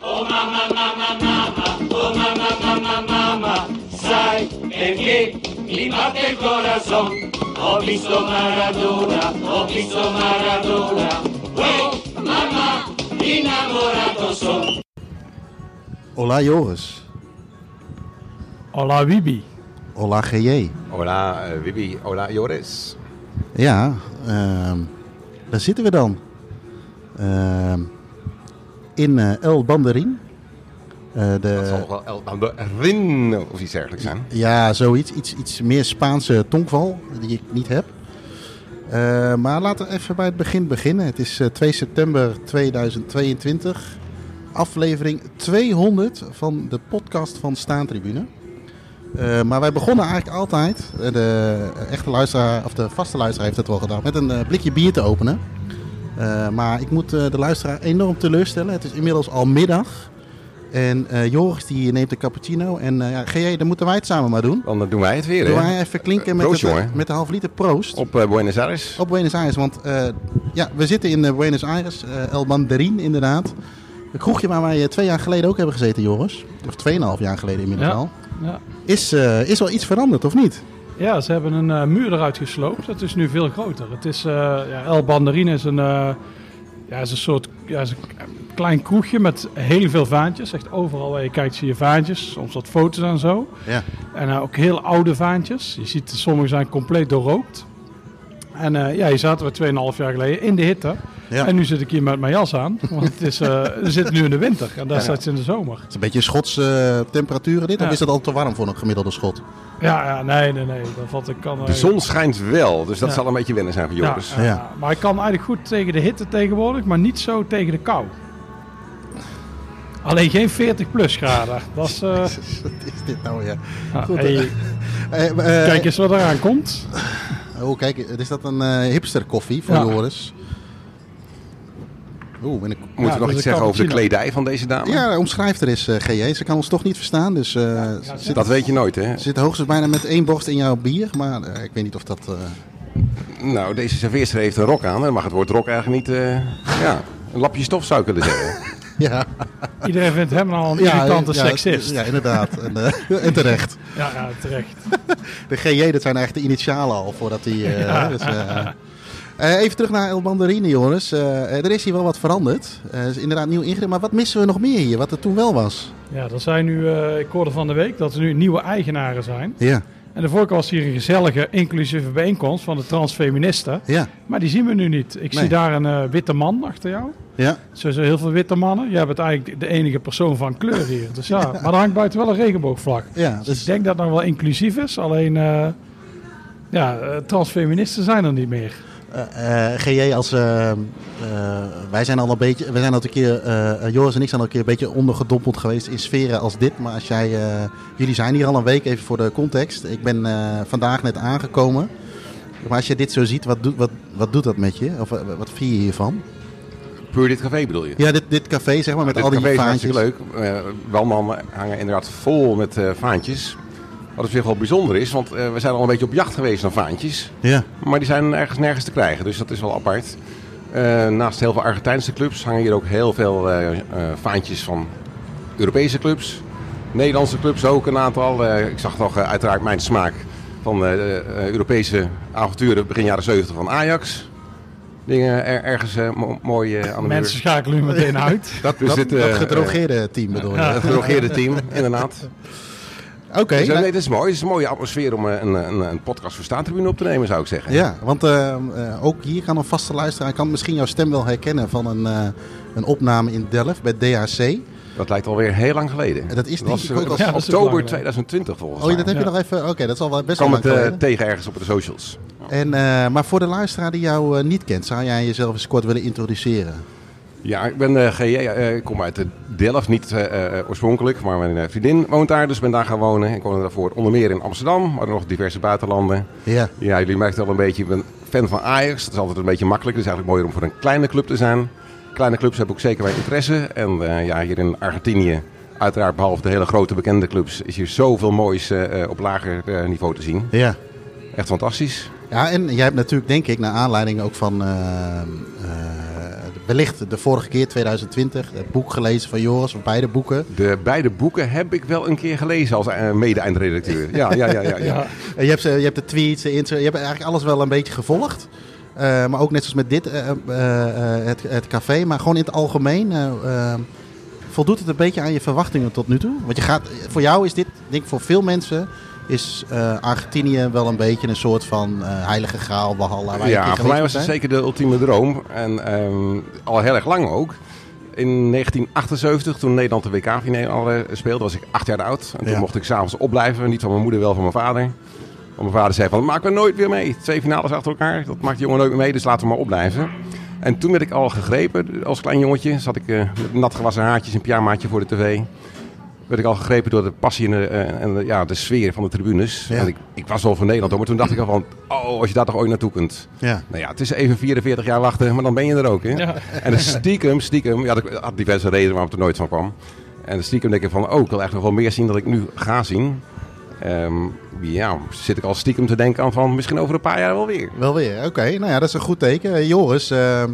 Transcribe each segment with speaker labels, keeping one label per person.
Speaker 1: mama, mama, mama, oh mama, mama, mama, sai perché mi batte il corazón. Ho visto Maradona, ho visto Maradona, oh mamma, innamorato son.
Speaker 2: Hola Joris.
Speaker 3: Hola Wibi.
Speaker 2: Hola GJ.
Speaker 4: Hola eh, Wibi, hola Joris.
Speaker 2: Ja, ehm, daar zitten we dan. Ehm, in eh, El Banderin. Eh,
Speaker 4: Dat
Speaker 2: de,
Speaker 4: zal wel El Banderin of iets dergelijks zijn.
Speaker 2: ja, zoiets. Iets, iets meer Spaanse tongval die ik niet heb. Eh, maar laten we even bij het begin beginnen. Het is eh, 2 september 2022. Aflevering 200 van de podcast van Staantribune. Eh, maar wij begonnen eigenlijk altijd, eh, de echte luisteraar, of de vaste luisteraar heeft het wel gedaan, met een eh, blikje bier te openen. Eh, maar ik moet eh, de luisteraar enorm teleurstellen. Het is inmiddels al middag. En eh, Joris die neemt de cappuccino. En eh ja, GJ, dan moeten wij het samen maar doen.
Speaker 4: Want dan doen wij het weer.
Speaker 2: Doe
Speaker 4: hè?
Speaker 2: wij even klinken met,
Speaker 4: Proost,
Speaker 2: het, eh,
Speaker 4: jongen.
Speaker 2: met de half liter proost
Speaker 4: Op eh, Buenos Aires.
Speaker 2: op Buenos Aires. Want eh, ja, we zitten in eh, Buenos Aires, eh, El Banderin inderdaad. Een kroegje waar wij eh, twee jaar geleden ook hebben gezeten, Joris. Of tweeënhalf jaar geleden inmiddels
Speaker 3: Ja.
Speaker 2: al.
Speaker 3: Ja.
Speaker 2: Is, eh, is wel iets veranderd, of niet?
Speaker 3: ja, ze hebben een eh, muur eruit gesloopt. Het is nu veel groter. Het is, eh, ja, El Banderin is een, eh, ja, is een soort ja, is een klein kroegje met heel veel vaantjes. Echt overal waar je kijkt zie je vaantjes. Soms wat foto's en zo.
Speaker 2: Ja.
Speaker 3: En eh, ook heel oude vaantjes. Je ziet, sommige zijn compleet doorrookt. En eh, ja, hier zaten we 2,5 jaar geleden in de hitte.
Speaker 2: Ja.
Speaker 3: En nu zit ik hier met mijn jas aan. Want het is, eh, we zitten nu in de winter. En daar
Speaker 4: Ja.
Speaker 3: staat ze in de zomer.
Speaker 2: Het is een beetje Schotse eh, temperaturen dit. Of
Speaker 3: Ja.
Speaker 2: is dat al te warm voor een gemiddelde Schot?
Speaker 3: Ja, ja nee, nee, nee. Dat valt ik kan. eh,
Speaker 4: De zon schijnt wel, dus dat
Speaker 3: Ja.
Speaker 4: zal een beetje wennen zijn voor
Speaker 3: Ja,
Speaker 4: Joris.
Speaker 3: ja,
Speaker 2: Ja.
Speaker 3: maar ik kan eigenlijk goed tegen de hitte tegenwoordig, maar niet zo tegen de kou. Alleen geen 40 plus graden. Dat is, eh,
Speaker 2: Wat is dit nou weer?
Speaker 3: nou,
Speaker 2: Goed,
Speaker 3: hey,
Speaker 2: Eh, eh,
Speaker 3: kijk eens wat eraan komt.
Speaker 2: Oh, kijk, is dat een eh, hipster koffie van
Speaker 3: Ja.
Speaker 2: Joris? Oeh, ben ik...
Speaker 4: Moeten
Speaker 3: Ja,
Speaker 4: we nog
Speaker 3: dus
Speaker 4: iets
Speaker 3: een
Speaker 4: zeggen over de
Speaker 3: cappuccino.
Speaker 4: kledij van deze dame?
Speaker 2: Ja, omschrijf er eens, eh, GJ. Ze kan ons toch niet verstaan, dus eh, ze zit,
Speaker 4: Dat weet je nooit, hè?
Speaker 2: ze zit hoogstens bijna met één borst in jouw bier. Maar eh, ik weet niet of dat... eh,
Speaker 4: Nou, deze serveerster heeft een rok aan. Dan mag het woord rok eigenlijk niet... eh, ja, een lapje stof zou ik willen zeggen.
Speaker 2: ja,
Speaker 3: Iedereen vindt hem al een irritante
Speaker 2: ja,
Speaker 3: seksist.
Speaker 2: Ja,
Speaker 3: Ja,
Speaker 2: inderdaad. en, eh, en terecht.
Speaker 3: ja, terecht.
Speaker 2: De GJ, dat zijn eigenlijk de initialen al voordat hij... eh, dus, eh, eh, even terug naar El Banderine, Joris. Eh, eh, er is hier wel wat veranderd. Eh, Er is inderdaad nieuw ingericht. Maar wat missen we nog meer hier, wat er toen wel was?
Speaker 3: Ja, dat zijn nu, eh, ik hoorde van de week dat er nu nieuwe eigenaren zijn.
Speaker 2: Ja,
Speaker 3: En de vorige was hier een gezellige, inclusieve bijeenkomst van de transfeministen.
Speaker 2: ja,
Speaker 3: Maar die zien we nu niet. Ik
Speaker 2: Nee.
Speaker 3: zie daar een eh, witte man achter jou.
Speaker 2: ja.
Speaker 3: Sowieso heel veel witte mannen. Jij bent eigenlijk de enige persoon van kleur hier. Dus ja, maar er hangt buiten wel een regenboogvlag.
Speaker 2: Ja,
Speaker 3: Dus
Speaker 2: dus,
Speaker 3: ik denk dat het nog wel inclusief is. Alleen, eh, ja, eh, transfeministen zijn er niet meer.
Speaker 2: eh, eh, GJ als... eh, eh, wij zijn al een beetje... Wij zijn al een keer... eh, eh, Joris en ik zijn al een keer een beetje ondergedompeld geweest in sferen als dit. Maar als jij... eh, jullie zijn hier al een week, even voor de context. Ik ben eh, vandaag net aangekomen. Maar als je dit zo ziet, wat, doet wat, wat doet dat met je? Of eh, wat vier je hiervan?
Speaker 4: Puur dit café bedoel je?
Speaker 2: Ja, dit, dit café zeg maar, met
Speaker 4: Dit
Speaker 2: al die
Speaker 4: café is
Speaker 2: vaantjes.
Speaker 4: hartstikke leuk. Eh Walman hangen inderdaad vol met eh, vaantjes. Wat op zich wel bijzonder is, want eh, we zijn al een beetje op jacht geweest naar vaantjes.
Speaker 2: Ja,
Speaker 4: Maar die zijn ergens nergens te krijgen, dus dat is wel apart. Eh, naast heel veel Argentijnse clubs hangen hier ook heel veel eh eh, vaantjes van Europese clubs. Nederlandse clubs ook een aantal. Eh, ik zag toch eh, uiteraard mijn smaak van eh, eh, Europese avonturen begin jaren 70 van Ajax. Dingen er- ergens eh, mo- mooi eh, aan de muur.
Speaker 3: Mensen schakelen nu meteen uit.
Speaker 2: dat,
Speaker 4: Dus
Speaker 2: dat,
Speaker 4: dit, eh,
Speaker 2: dat gedrogeerde team bedoel je?
Speaker 4: Het gedrogeerde team, inderdaad.
Speaker 2: Oké.
Speaker 4: Dus, eh,
Speaker 2: nou-
Speaker 4: nee, dat is mooi. Het is een mooie atmosfeer om eh, een, een, een podcast voor Staantribune op te nemen, zou ik zeggen.
Speaker 2: Ja, want eh, eh, ook hier kan een vaste luisteraar kan misschien jouw stem wel herkennen van een, eh, een opname in Delft bij DHC.
Speaker 4: Dat lijkt alweer heel lang geleden.
Speaker 2: Dat is
Speaker 4: Dat
Speaker 2: denk
Speaker 4: was,
Speaker 2: ik
Speaker 4: eh,
Speaker 2: ook
Speaker 4: dat was
Speaker 2: al-
Speaker 3: Ja, dat is ook lang
Speaker 4: oktober
Speaker 3: geleden.
Speaker 4: 2020 volgens
Speaker 2: Oh,
Speaker 4: mij.
Speaker 2: dat heb je
Speaker 3: Ja.
Speaker 2: nog even. Oké, dat is al wel best wel
Speaker 4: kwam
Speaker 2: lang
Speaker 4: het eh,
Speaker 2: geleden.
Speaker 4: tegen ergens op de socials.
Speaker 2: En, eh, maar voor de luisteraar die jou eh, niet kent, zou jij jezelf eens kort willen introduceren?
Speaker 4: Ja, ik ben eh, GJ, eh, ik kom uit eh, Delft, niet eh, eh, oorspronkelijk, maar mijn eh, vriendin woont daar, dus ben daar gaan wonen. Ik woonde daarvoor onder meer in Amsterdam, maar nog diverse buitenlanden.
Speaker 2: Ja,
Speaker 4: Ja, jullie merken wel een beetje, ik ben fan van Ajax. Dat is altijd een beetje makkelijk. Het is eigenlijk mooier om voor een kleine club te zijn. Kleine clubs hebben ook zeker mijn interesse. En eh, ja, hier in Argentinië, uiteraard behalve de hele grote bekende clubs, is hier zoveel moois eh, eh, op lager eh, niveau te zien.
Speaker 2: ja.
Speaker 4: Echt fantastisch.
Speaker 2: Ja, en jij hebt natuurlijk, denk ik, naar aanleiding ook van ehm, eh, eh, de wellicht de vorige keer, 2020, het boek gelezen van Joris, of beide boeken.
Speaker 4: De beide boeken heb ik wel een keer gelezen als eh, mede-eindredacteur. Ja, ja, ja, ja. ja.
Speaker 3: Ja.
Speaker 2: En Eh, je, hebt, ze- je hebt de tweets, de Insta, je hebt eigenlijk alles wel een beetje gevolgd. Eh, maar ook net zoals met dit, eh, eh, eh, het, het café, maar gewoon in het algemeen. eh, eh, voldoet het een beetje aan je verwachtingen tot nu toe? Want je gaat, eh, voor jou is dit, denk ik voor veel mensen, is eh, Argentinië wel een beetje een soort van eh, heilige graal, Walhalla. waar je een
Speaker 4: Ja,
Speaker 2: keer
Speaker 4: voor mij was
Speaker 2: geweest
Speaker 4: het
Speaker 2: bent.
Speaker 4: zeker de ultieme droom. En ehm, al heel erg lang ook. In 1978, toen Nederland de WK-finale speelde, was ik acht jaar oud. En toen
Speaker 2: Ja.
Speaker 4: mocht ik s'avonds opblijven. Niet van mijn moeder, wel van mijn vader. Want mijn vader zei van, dat maken we nooit weer mee. Twee finales achter elkaar, dat maakt de jongen nooit meer mee. Dus laten we maar opblijven. En toen werd ik al gegrepen als klein jongetje. Zat ik eh, met nat gewassen haartjes en pyjamaatje voor de tv. Werd ik al gegrepen door de passie en de, eh, en de- ja, de sfeer van de tribunes.
Speaker 2: Ja.
Speaker 4: En ik, ik was wel van Nederland, hoor, maar toen dacht ik al van... Oh, als je daar toch ooit naartoe kunt.
Speaker 2: Ja.
Speaker 4: Nou ja, het is even 44 jaar wachten, maar dan ben je er ook. Hè?
Speaker 3: Ja.
Speaker 4: En dan stiekem, stiekem, ja, ik had diverse redenen waarom ik er nooit van kwam. En stiekem denk ik van, oh, ik wil echt nog wel meer zien dan ik nu ga zien. Ehm, ja, zit ik al stiekem te denken aan van, misschien over een paar jaar wel weer.
Speaker 2: Wel weer, oké. Nou ja, dat is een goed teken. Eh, Joris, eh,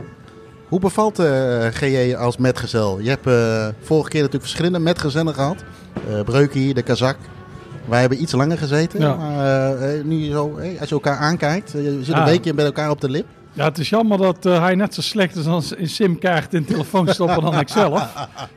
Speaker 2: hoe bevalt eh GJ als metgezel? Je hebt eh, vorige keer natuurlijk verschillende metgezellen gehad. Eh Breukie, de Kazak. Wij hebben iets langer gezeten.
Speaker 3: Ja.
Speaker 2: Maar eh, eh, nu zo, eh, als je elkaar aankijkt, eh, je zit een
Speaker 3: Ja.
Speaker 2: weekje met elkaar op de lip.
Speaker 3: Ja, het is jammer dat eh, hij net zo slecht is als in simkaart in telefoon stoppen dan ik zelf.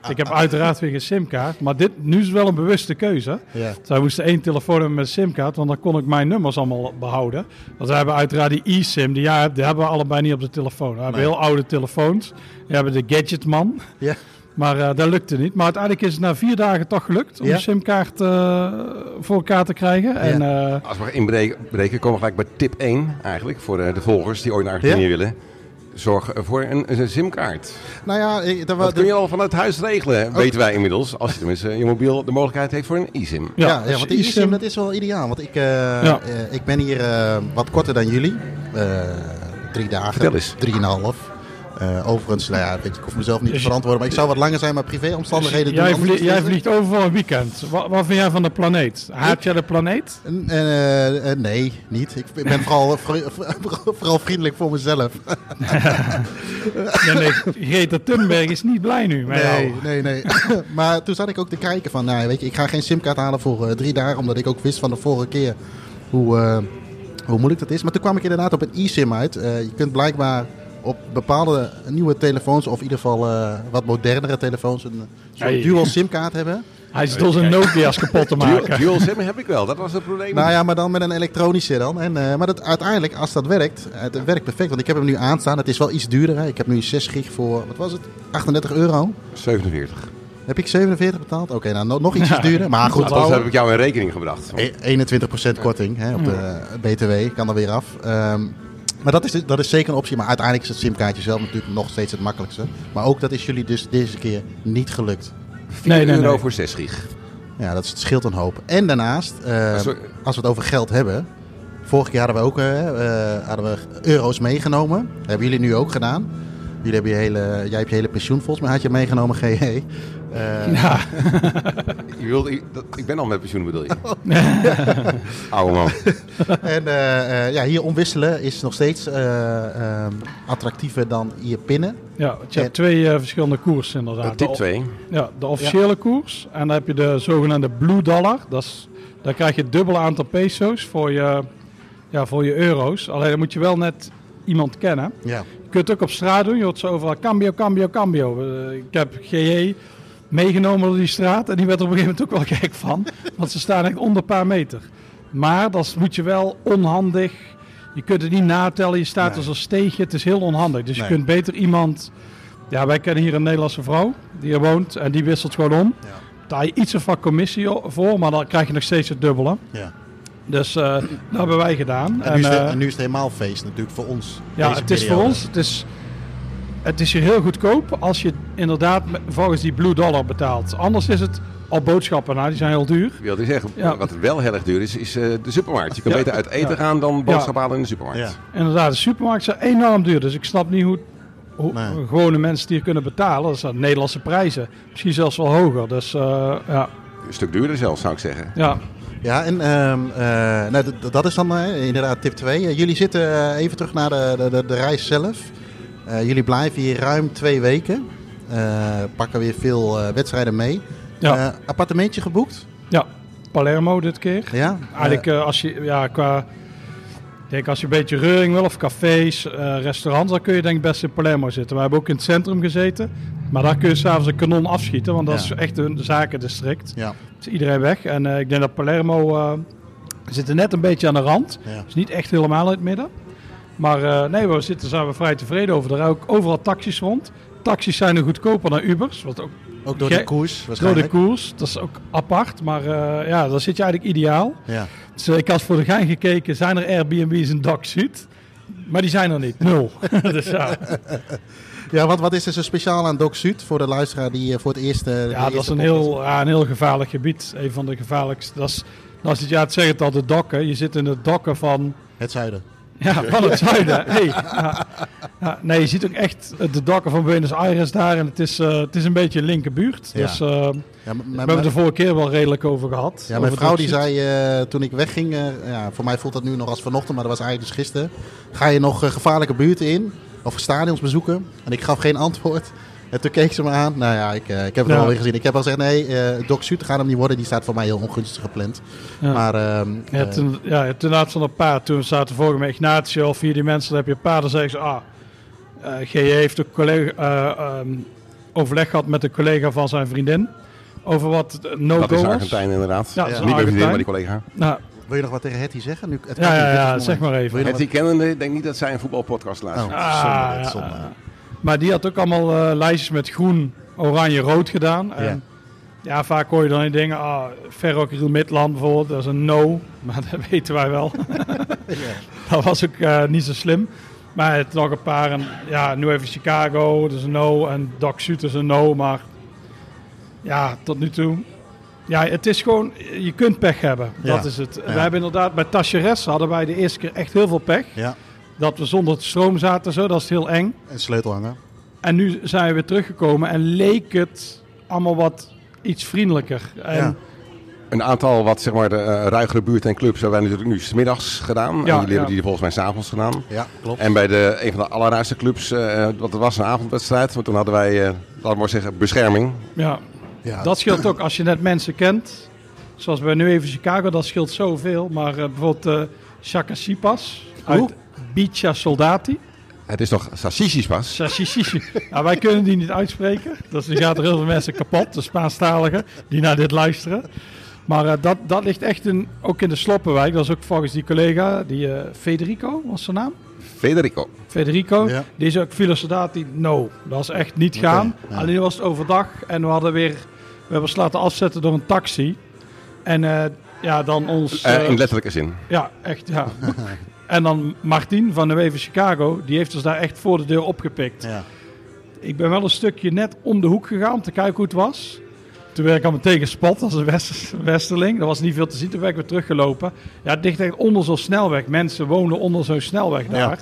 Speaker 3: Ik heb uiteraard weer geen simkaart, maar dit, nu is wel een bewuste keuze.
Speaker 2: Ja.
Speaker 3: Zij moesten één telefoon hebben met een simkaart, want dan kon ik mijn nummers allemaal behouden. Want wij hebben uiteraard die e-sim, die, ja, die hebben we allebei niet op de telefoon. We hebben heel oude telefoons. We hebben de gadgetman,
Speaker 2: Ja.
Speaker 3: maar eh, dat lukte niet. Maar uiteindelijk is het na vier dagen toch gelukt om
Speaker 2: Ja.
Speaker 3: de simkaart eh, voor elkaar te krijgen. En, eh,
Speaker 4: Als we inbreken, komen we gelijk bij tip 1 eigenlijk. Voor eh, de volgers die ooit naar Argentinië
Speaker 2: Ja.
Speaker 4: willen. Zorg voor een, een simkaart.
Speaker 2: Nou ja, eh, dat, wa-
Speaker 4: Dat kun je al vanuit huis regelen,
Speaker 2: Oh.
Speaker 4: weten wij inmiddels. Als je tenminste je mobiel de mogelijkheid heeft voor een e-sim.
Speaker 2: Ja,
Speaker 3: ja,
Speaker 2: ja,
Speaker 3: dus
Speaker 2: want die
Speaker 3: e-sim-
Speaker 2: eSIM dat is wel ideaal. Want ik, eh,
Speaker 3: Ja.
Speaker 2: eh, ik ben hier eh, wat korter dan jullie. Eh, drie dagen.
Speaker 4: Vertel eens.
Speaker 2: Drieënhalf. Eh overigens, nou ja, weet je, ik hoef mezelf niet te
Speaker 3: Dus-
Speaker 2: verantwoorden. Maar ik zou wat langer zijn, maar privéomstandigheden doen
Speaker 3: Jij,
Speaker 2: anders
Speaker 3: vlie- jij
Speaker 2: beslissen.
Speaker 3: vliegt overal een weekend. Wat, wat vind jij van de planeet? Haat jij de planeet?
Speaker 2: En, eh, eh, nee, niet. Ik ben vooral, eh, vri- vooral vriendelijk voor mezelf.
Speaker 3: Ja, nee, Greta Thunberg is niet blij nu. met
Speaker 2: Nee,
Speaker 3: jou.
Speaker 2: nee, nee. maar toen zat ik ook te kijken van, nou weet je, ik ga geen simkaart halen voor eh, drie dagen. Omdat ik ook wist van de vorige keer hoe, eh, hoe moeilijk dat is. Maar toen kwam ik inderdaad op een e-sim uit. Eh, je kunt blijkbaar op bepaalde nieuwe telefoons, of in ieder geval eh, wat modernere telefoons, een soort
Speaker 3: Hey.
Speaker 2: dual simkaart hebben.
Speaker 3: Hij is door zijn Nokia's kapot te
Speaker 4: Dual,
Speaker 3: maken.
Speaker 4: dual sim heb ik wel, dat was het probleem.
Speaker 2: Nou ja, maar dan met een elektronische dan. En, eh, maar dat, uiteindelijk, als dat werkt, eh, het werkt perfect. Want ik heb hem nu aanstaan. Het is wel iets duurder. Hè. Ik heb nu 6 gig voor, wat was het, 38 euro.
Speaker 4: 47.
Speaker 2: Heb ik 47 betaald? Oké, nou no- nog iets duurder. Maar goed,
Speaker 4: Althans, Nou, dat heb ik jou in rekening gebracht.
Speaker 3: Eh,
Speaker 2: E- 21% korting hè, op de BTW, kan er weer af. Ehm, maar dat is, dus, dat is zeker een optie. Maar uiteindelijk is het simkaartje zelf natuurlijk nog steeds het makkelijkste. Maar ook dat is jullie dus deze keer niet gelukt.
Speaker 4: 4
Speaker 3: Nee, nee,
Speaker 4: euro
Speaker 3: nee.
Speaker 4: voor 6 gig.
Speaker 2: Ja, dat is- het scheelt een hoop. En daarnaast, ehm,
Speaker 4: Sorry.
Speaker 2: als we het over geld hebben. Vorig jaar hadden we ook eh, eh, hadden we euro's meegenomen. Dat hebben jullie nu ook gedaan. Jullie hebben je hele, jij hebt je hele pensioen volgens mij had je meegenomen, GE. Eh,
Speaker 3: Ja,
Speaker 4: Je wilde, je- dat, ik ben al met pensioen, bedoel
Speaker 3: Oh.
Speaker 4: je? Oude man.
Speaker 2: En eh, eh, ja, hier omwisselen is nog steeds eh, ehm, attractiever dan hier pinnen.
Speaker 3: ja want je hebt twee eh, verschillende koersen inderdaad.
Speaker 4: Tip
Speaker 3: De-
Speaker 4: 2.
Speaker 3: Ja, de officiële koers. En dan heb je de zogenaamde blue dollar. Dat is, daar krijg je het dubbele aantal peso's voor je, ja, voor je euro's. Alleen dan moet je wel net iemand kennen.
Speaker 2: Ja.
Speaker 3: Je kunt het ook op straat doen. Je hoort zo overal cambio, cambio, cambio. Eh, ik heb GE meegenomen door die straat. En die werd er op een gegeven moment ook wel gek van. Want ze staan echt onder een paar meter. Maar dat moet je wel onhandig. Je kunt het niet natellen. Je staat dus als steegje. Het is heel onhandig. Dus
Speaker 2: Nee.
Speaker 3: je kunt beter iemand... Ja, wij kennen hier een Nederlandse vrouw. Die er woont. En die wisselt gewoon om.
Speaker 2: Ja.
Speaker 3: Daar je iets of wat commissie o- voor. Maar dan krijg je nog steeds het dubbele.
Speaker 2: ja.
Speaker 3: Dus eh, dat hebben wij gedaan.
Speaker 2: En, nu is het,
Speaker 3: eh,
Speaker 2: en nu is het helemaal feest natuurlijk voor ons.
Speaker 3: ja,
Speaker 2: deze
Speaker 3: het is voor
Speaker 2: periode.
Speaker 3: ons. Het is, het is hier heel goedkoop als je inderdaad me- volgens die Blue Dollar betaalt. Anders is het al boodschappen, nou, die zijn heel duur.
Speaker 4: Ik wilde zeggen,
Speaker 3: Ja.
Speaker 4: wat wel heel erg duur is, is eh, de supermarkt. Je kan
Speaker 3: Ja.
Speaker 4: beter uit eten
Speaker 3: Ja.
Speaker 4: gaan dan boodschappen halen in de
Speaker 2: Ja.
Speaker 4: supermarkt.
Speaker 3: Inderdaad, de supermarkten zijn enorm duur. Dus ik snap niet hoe, hoe
Speaker 2: Nee.
Speaker 3: gewone mensen die hier kunnen betalen. Dat zijn Nederlandse prijzen. Misschien zelfs wel hoger. Dus eh, ja,
Speaker 4: Een stuk duurder zelfs, zou ik zeggen.
Speaker 3: ja.
Speaker 2: Ja, en ehm, eh, nou, eh, d- d- dat is dan eh, inderdaad tip 2. jullie zitten eh, even terug naar de, de, de, de reis zelf. Eh, jullie blijven hier ruim twee weken. Eh, pakken weer veel eh, wedstrijden mee.
Speaker 3: Ja.
Speaker 2: Eh, appartementje geboekt?
Speaker 3: Ja, Palermo dit keer.
Speaker 2: Ja.
Speaker 3: Eigenlijk
Speaker 2: Eh,
Speaker 3: eh, als je, ja, qua, ik denk als je een beetje reuring wil of cafés, eh, restaurants, dan kun je denk ik best in Palermo zitten. We hebben ook in het centrum gezeten, maar daar kun je s'avonds een kanon afschieten, want dat
Speaker 2: Ja.
Speaker 3: is echt een zakendistrict.
Speaker 2: ja.
Speaker 3: is iedereen weg en eh, ik denk dat Palermo eh, we zitten net een beetje aan de rand.
Speaker 2: Ja.
Speaker 3: Dus niet echt helemaal in het midden. Maar eh, nee, we zitten, zijn we vrij tevreden over. Er rijden ook overal taxis rond. Taxis zijn er goedkoper dan Ubers, wat ook
Speaker 2: Ook door de
Speaker 3: Ge-
Speaker 2: koers
Speaker 3: door de
Speaker 2: waarschijnlijk.
Speaker 3: koers. Dat is ook apart, maar eh, ja, daar zit je eigenlijk ideaal.
Speaker 2: Ja.
Speaker 3: Dus eh, ik had voor de gein gekeken, zijn er Airbnb's in Docksuit? Maar die zijn er niet, nul. dus ja,
Speaker 2: ja, want wat is er zo speciaal aan Doc Zuid voor de luisteraar die eh, voor het eerst... eh, de
Speaker 3: ja dat is
Speaker 2: eerste
Speaker 3: een
Speaker 2: podcast-
Speaker 3: heel, ja, een heel gevaarlijk gebied. Een van de gevaarlijkste. Dat is, dat is het, ja, het zegt het al, de dokken. Je zit in de dokken van
Speaker 2: Het zuiden.
Speaker 3: Ja, van het zuiden. Hey, ja. Ja, nee, je ziet ook echt de dakken van Buenos Aires daar. En het is, eh, het is een beetje een linkerbuurt.
Speaker 2: Ja.
Speaker 3: Dus eh, we
Speaker 2: Ja, maar- maar-
Speaker 3: hebben het de vorige keer wel redelijk over gehad.
Speaker 2: Ja, mijn
Speaker 3: Over
Speaker 2: vrouw
Speaker 3: het
Speaker 2: die
Speaker 3: opzicht.
Speaker 2: zei eh, toen ik wegging, eh, ja, voor mij voelt dat nu nog als vanochtend, maar dat was eigenlijk dus gisteren. Ga je nog eh, gevaarlijke buurten in of stadions bezoeken? En ik gaf geen antwoord. En toen keek ze me aan. Nou ja, ik, eh, ik heb het
Speaker 3: Ja.
Speaker 2: wel weer gezien. Ik heb al gezegd, nee, eh Doc Zuid gaat hem niet worden. Die staat voor mij heel ongunstig gepland.
Speaker 3: Ja.
Speaker 2: Maar ehm,
Speaker 3: Je hebt,
Speaker 2: eh,
Speaker 3: een, ja, je hebt inderdaad van een paar. Toen zaten vorige met Ignacio of vier die mensen. Dan heb je een paar. Dan zeggen ze, ah, eh GJ heeft ook collega, eh, ehm, overleg gehad met een collega van zijn vriendin. Over wat eh,
Speaker 4: dat
Speaker 3: no-go
Speaker 4: is
Speaker 3: was.
Speaker 4: Argentijn inderdaad.
Speaker 3: Ja, dat
Speaker 2: Ja.
Speaker 3: is een
Speaker 4: Niet mijn vriendin,
Speaker 3: Argentijn.
Speaker 4: maar die collega.
Speaker 3: Nou,
Speaker 2: wil je nog wat tegen Hetty zeggen? Nu, het kan
Speaker 3: ja,
Speaker 2: niet,
Speaker 3: ja,
Speaker 2: dit is het
Speaker 3: ja,
Speaker 2: moment.
Speaker 3: zeg maar even.
Speaker 2: Wil je
Speaker 4: Het
Speaker 2: nog
Speaker 4: die kennen, ik denk niet dat zij een voetbalpodcast
Speaker 2: Oh,
Speaker 4: luisteren.
Speaker 3: Ah,
Speaker 2: zonde, dit,
Speaker 3: ja.
Speaker 2: zonde.
Speaker 3: Maar die had ook allemaal eh, lijstjes met groen, oranje, rood gedaan. En
Speaker 2: Ja.
Speaker 3: ja. vaak hoor je dan in dingen, ah, Ferrocarril Midland bijvoorbeeld, dat is een no. Maar dat weten wij wel. Dat was ook eh, niet zo slim. Maar het nog een paar, en, ja, nu even Chicago, dat is een no. En Doc Sud is een no, maar ja, tot nu toe. Ja, het is gewoon, je kunt pech hebben.
Speaker 2: Ja.
Speaker 3: Dat is het.
Speaker 2: Ja.
Speaker 3: We hebben inderdaad, bij Tacheres hadden wij de eerste keer echt heel veel pech.
Speaker 2: Ja,
Speaker 3: Dat we zonder stroom zaten, zo, dat is heel eng.
Speaker 2: een sleutelhanger.
Speaker 3: En nu zijn we weer teruggekomen en leek het allemaal wat iets vriendelijker. En
Speaker 2: Ja.
Speaker 4: Een aantal wat zeg maar de eh, ruigere buurten en clubs hebben wij natuurlijk nu smiddags gedaan.
Speaker 3: Ja,
Speaker 4: en jullie
Speaker 3: ja.
Speaker 4: hebben die volgens mij s'avonds gedaan.
Speaker 2: Ja, klopt.
Speaker 4: En bij de, een van de allerruimste clubs, eh want het was een avondwedstrijd, maar toen hadden wij, eh, laten we maar zeggen, bescherming.
Speaker 3: ja,
Speaker 2: ja.
Speaker 3: dat scheelt ook als je net mensen kent. Zoals bij nu even Chicago, dat scheelt zoveel. Maar eh, bijvoorbeeld eh Chaka Sipas
Speaker 2: Hoe?
Speaker 3: uit Bicha Soldati.
Speaker 4: Het is nog Sassisis pas.
Speaker 3: Sashishi. Nou, wij kunnen die niet uitspreken. Dus die gaat er heel veel mensen kapot. De Spaanstaligen die naar dit luisteren. Maar eh, dat, dat ligt echt in, ook in de Sloppenwijk. Dat is ook volgens die collega, die eh, Federico was zijn naam.
Speaker 4: Federico.
Speaker 3: Federico,
Speaker 2: Ja.
Speaker 3: die is ook Filosodati. No, dat is echt niet gaan.
Speaker 2: ja.
Speaker 3: Alleen was het overdag en we hadden weer, we hebben ons laten afzetten door een taxi. En eh, ja, dan ons.
Speaker 4: Eh,
Speaker 3: eh,
Speaker 4: in letterlijke zin.
Speaker 3: ja, echt, ja. en dan Martin van de Weven Chicago, die heeft ons daar echt voor de deur opgepikt.
Speaker 2: Ja.
Speaker 3: Ik ben wel een stukje net om de hoek gegaan om te kijken hoe het was. Toen werd ik al meteen gespot als een west- westerling. Er was niet veel te zien. Toen ben ik weer teruggelopen. Ja, het ligt echt onder zo'n snelweg. Mensen wonen onder zo'n snelweg daar.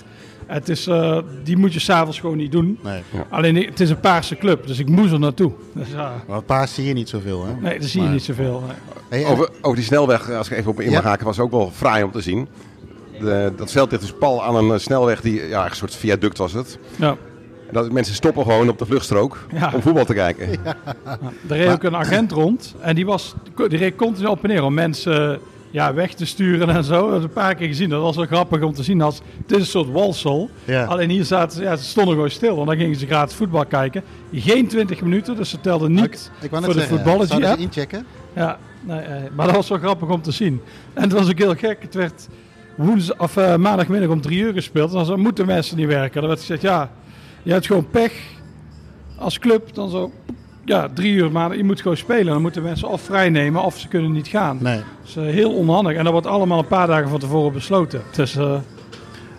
Speaker 3: Het is, eh, die moet je s'avonds gewoon niet doen.
Speaker 2: Nee.
Speaker 3: Alleen het is een paarse club, dus ik moest er naartoe. Dus, ja,
Speaker 2: Maar paars zie je niet zoveel, hè?
Speaker 3: nee, daar zie je
Speaker 2: Maar-
Speaker 3: niet zoveel. nee.
Speaker 2: Hey, en-
Speaker 4: Over, over die snelweg, eh, als ik even op in mag
Speaker 2: Ja.
Speaker 4: haken, was ook wel fraai om te zien. De, dat veld ligt dus pal aan een eh, snelweg, die, ja, een soort viaduct was het.
Speaker 3: Ja.
Speaker 4: Dat mensen stoppen gewoon op de vluchtstrook
Speaker 3: Ja.
Speaker 4: om voetbal te kijken.
Speaker 3: Er reed ook een agent rond en die, was, die reed continu op en neer om mensen eh, ja, weg te sturen en zo. Dat hebben we een paar keer gezien. Dat was wel grappig om te zien. Als, het is een soort walsel.
Speaker 2: Ja.
Speaker 3: Alleen hier zaten ze, ja, ze stonden gewoon stil. Want dan gingen ze gratis voetbal kijken. Geen 20 minuten, dus ze telden
Speaker 2: Nou,
Speaker 3: niet
Speaker 2: ik wou net
Speaker 3: voor de
Speaker 2: zeggen,
Speaker 3: voetballetje.
Speaker 2: zouden ze
Speaker 3: app.
Speaker 2: inchecken?
Speaker 3: Ja, nee, eh, maar dat was wel grappig om te zien. En het was ook heel gek. Het werd woensdag, of, eh, maandagmiddag om drie uur gespeeld. En dan zo, moeten mensen niet werken. Dan werd gezegd, ja, je hebt gewoon pech als club. Dan zo, ja, drie uur maandag. Je moet gewoon spelen. Dan moeten mensen of vrij nemen of ze kunnen niet gaan.
Speaker 2: Nee.
Speaker 3: Dat is eh, heel onhandig. En dat wordt allemaal een paar dagen van tevoren besloten. Dus eh,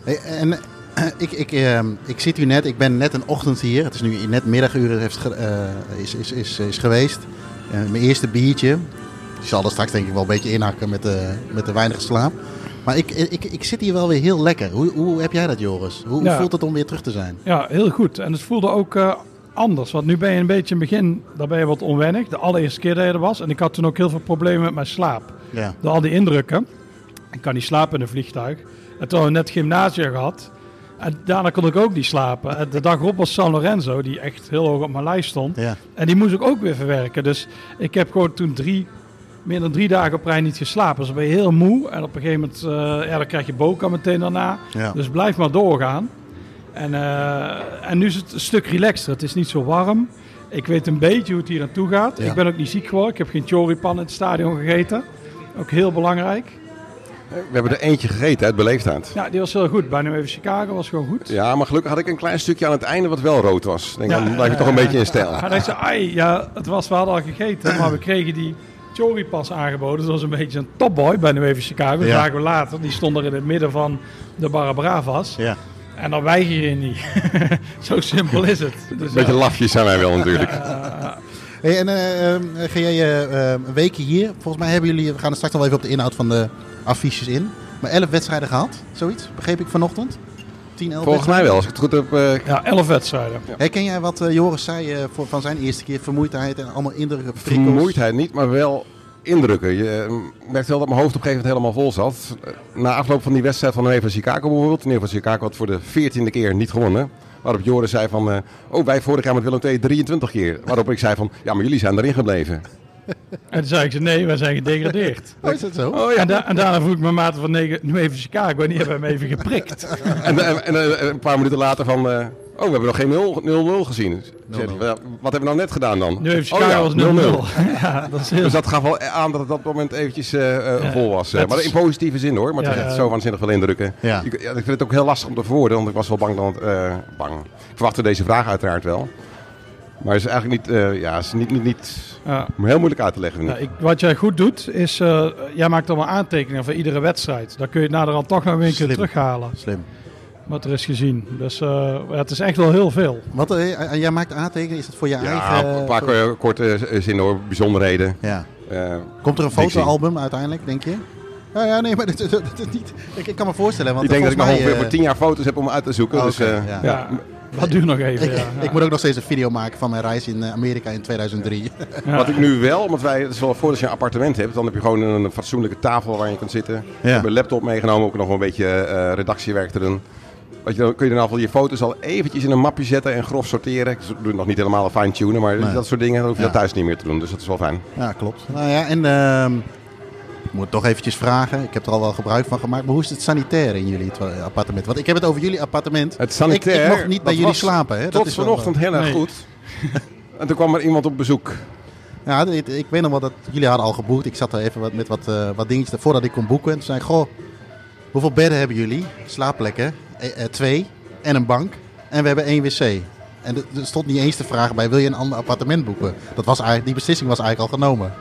Speaker 2: Hey, En eh, ik, ik, ehm, ik zit hier net, ik ben net een ochtend hier. Het is nu net middaguren heeft ge- eh, is, is, is, is geweest. Eh, mijn eerste biertje. Ik zal er straks denk ik wel een beetje inhakken met de, met de weinige slaap. Maar ik, ik, ik zit hier wel weer heel lekker. Hoe, hoe heb jij dat, Joris? Hoe, hoe
Speaker 3: Ja.
Speaker 2: voelt het om weer terug te zijn?
Speaker 3: Ja, heel goed. En het voelde ook eh, anders. Want nu ben je een beetje in het begin, daar ben je wat onwennig. De allereerste keer dat je er was. En ik had toen ook heel veel problemen met mijn slaap.
Speaker 2: Ja.
Speaker 3: Door al die indrukken. Ik kan niet slapen in een vliegtuig. En toen hadden we net gymnasium gehad. En daarna kon ik ook niet slapen. En de dag erop was San Lorenzo, die echt heel hoog op mijn lijst stond.
Speaker 2: Ja.
Speaker 3: En die moest ik ook weer verwerken. Dus ik heb gewoon toen drie, meer dan drie dagen op rij niet geslapen. Dus dan ben je heel moe. En op een gegeven moment, eh, ja, dan krijg je boka meteen daarna.
Speaker 2: Ja.
Speaker 3: Dus blijf maar doorgaan. En, eh, en nu is het een stuk relaxter. Het is niet zo warm. Ik weet een beetje hoe het hier naartoe gaat.
Speaker 2: Ja.
Speaker 3: Ik ben ook niet ziek geworden. Ik heb geen choripan in het stadion gegeten. Ook heel belangrijk.
Speaker 4: We hebben er eentje gegeten uit beleefdheid.
Speaker 3: Ja, die was heel goed. Bijna even Chicago was gewoon goed.
Speaker 4: Ja, maar gelukkig had ik een klein stukje aan het einde wat wel rood was. Ik Denk,
Speaker 3: Ja,
Speaker 4: dan blijf je toch een
Speaker 3: eh,
Speaker 4: beetje in stijl.
Speaker 3: Hij dacht zo, ai, ja, het was, we hadden al gegeten, maar we kregen die choripas aangeboden. Dat was een beetje een topboy bij nu even Chicago. Dat
Speaker 2: Ja.
Speaker 3: zagen we later. Die stond er in het midden van de Barra Bravas.
Speaker 2: Ja.
Speaker 3: En dan weiger je niet. zo simpel is het. Dus
Speaker 4: Beetje
Speaker 3: ja,
Speaker 4: lafjes zijn wij wel natuurlijk.
Speaker 2: Hey, en eh, ehm, ga jij eh, ehm, een weekje hier? Volgens mij hebben jullie, we gaan er straks nog wel even op de inhoud van de affiches in. Maar 11 wedstrijden gehad, zoiets, begreep ik vanochtend. 10, 11
Speaker 4: Volgens mij wel, als ik het goed heb. eh,
Speaker 3: ja, elf wedstrijden.
Speaker 2: Herken jij wat eh, Joris zei eh, voor, van zijn eerste keer? Vermoeidheid en allemaal indrukken, prikkels?
Speaker 4: vermoeidheid niet, maar wel indrukken. Je eh, merkt wel dat mijn hoofd op een gegeven moment helemaal vol zat. Eh, Na afloop van die wedstrijd van UEFA Chicago bijvoorbeeld. UEFA Chicago had voor de veertiende keer niet gewonnen. Waarop Joris zei van, eh, oh wij vorig jaar met Willem II 23 keer. Waarop ik zei van, ja maar jullie zijn erin gebleven.
Speaker 3: En toen zei ik ze, nee, wij zijn gedegradeerd.
Speaker 2: Oh, is dat zo?
Speaker 4: Oh
Speaker 3: En, da- en daarna vroeg ik mijn maat van negen, nu even Chicago en die hebben hem even geprikt.
Speaker 4: En, en, en, eh, een paar minuten later van... eh, Oh, we hebben nog geen 0 0-0 gezien. Zeg, ja, wat hebben we nou net gedaan dan?
Speaker 3: Nu even
Speaker 4: Oh
Speaker 3: Chicago
Speaker 4: ja,
Speaker 3: was 0-0. Ja, dat is heel
Speaker 4: Dus dat gaf wel aan dat het op dat moment eventjes eh, eh,
Speaker 3: Ja,
Speaker 4: vol was. eh.
Speaker 3: dat
Speaker 4: maar
Speaker 3: is-
Speaker 4: in positieve zin hoor. Maar het
Speaker 3: Ja,
Speaker 4: is echt
Speaker 3: ja.
Speaker 4: zo waanzinnig veel indrukken.
Speaker 2: Ja.
Speaker 4: Ik, ja, ik vind het ook heel lastig om te verwoorden. Want ik was wel bang. Dan, eh, bang. Ik verwachtte deze vraag uiteraard wel. Maar het is eigenlijk niet, eh, ja, het is niet, niet, niet
Speaker 3: Ja.
Speaker 4: heel moeilijk uit te leggen. vind
Speaker 3: Ja,
Speaker 4: ik.
Speaker 3: ik- wat jij goed doet, is eh, jij maakt allemaal aantekeningen van iedere wedstrijd. Dan kun je het naderhand toch nog een keer
Speaker 2: Slim.
Speaker 3: terughalen,
Speaker 2: Slim.
Speaker 3: wat er is gezien. Dus eh, ja, het is echt wel heel veel.
Speaker 2: Wat, eh, jij maakt aantekeningen, is dat voor je
Speaker 4: ja,
Speaker 2: eigen...
Speaker 4: een paar
Speaker 2: voor-
Speaker 4: eh, korte eh, zinnen hoor. Bijzonderheden.
Speaker 2: Ja.
Speaker 4: Eh,
Speaker 2: Komt er een
Speaker 4: Dixie.
Speaker 2: fotoalbum uiteindelijk, denk je? Ja, ja nee, maar dat, dat, dat- dat niet. Ik, ik kan me voorstellen, want
Speaker 4: ik denk dat ik nog
Speaker 2: volgens
Speaker 4: ongeveer
Speaker 2: mij,
Speaker 4: voor
Speaker 2: eh,
Speaker 4: tien jaar foto's heb om uit te zoeken.
Speaker 2: Oh,
Speaker 4: dus,
Speaker 2: oké,
Speaker 4: eh,
Speaker 2: ja.
Speaker 3: Ja. dat duurt nog even. ja.
Speaker 2: Ik moet ook nog steeds een video maken van mijn reis in eh, Amerika in 2003.
Speaker 3: Ja.
Speaker 4: Wat ik nu wel, want wij, het is wel voor als je een appartement hebt, dan heb je gewoon een fatsoenlijke tafel waar je kunt zitten. We hebben een laptop meegenomen, ook nog wel een beetje eh, redactiewerk te doen. Wat je, dan kun je dan al je foto's al eventjes in een mapje zetten en grof sorteren. Ik doe het nog niet helemaal fine-tunen, maar
Speaker 2: Nee.
Speaker 4: dat soort dingen dan hoef je
Speaker 2: Ja.
Speaker 4: dat thuis niet meer te doen. Dus dat is wel fijn.
Speaker 2: Ja, klopt. Nou ja, en ehm, ik moet toch eventjes vragen. Ik heb er al wel gebruik van gemaakt. Maar hoe is het sanitair in jullie twa- eh, appartement? Want ik heb het over jullie appartement.
Speaker 4: Het sanitair.
Speaker 2: Ik, ik mocht niet bij
Speaker 4: dat
Speaker 2: jullie
Speaker 4: was
Speaker 2: slapen. Hè?
Speaker 4: Tot
Speaker 2: wel-
Speaker 4: vanochtend heel erg
Speaker 3: Nee.
Speaker 4: goed. en toen kwam er iemand op bezoek.
Speaker 2: ja, dit- ik weet nog wel dat jullie hadden al geboekt. Ik zat er even wat, met wat, eh, wat dingetjes voordat ik kon boeken. En toen zei ik, goh, hoeveel bedden hebben jullie? Slaapplekken? Eh, eh, twee. En een bank. En we hebben één wc. En er er stond niet eens te vragen bij, wil je een ander appartement boeken? Dat was eigenlijk, die beslissing was eigenlijk al genomen.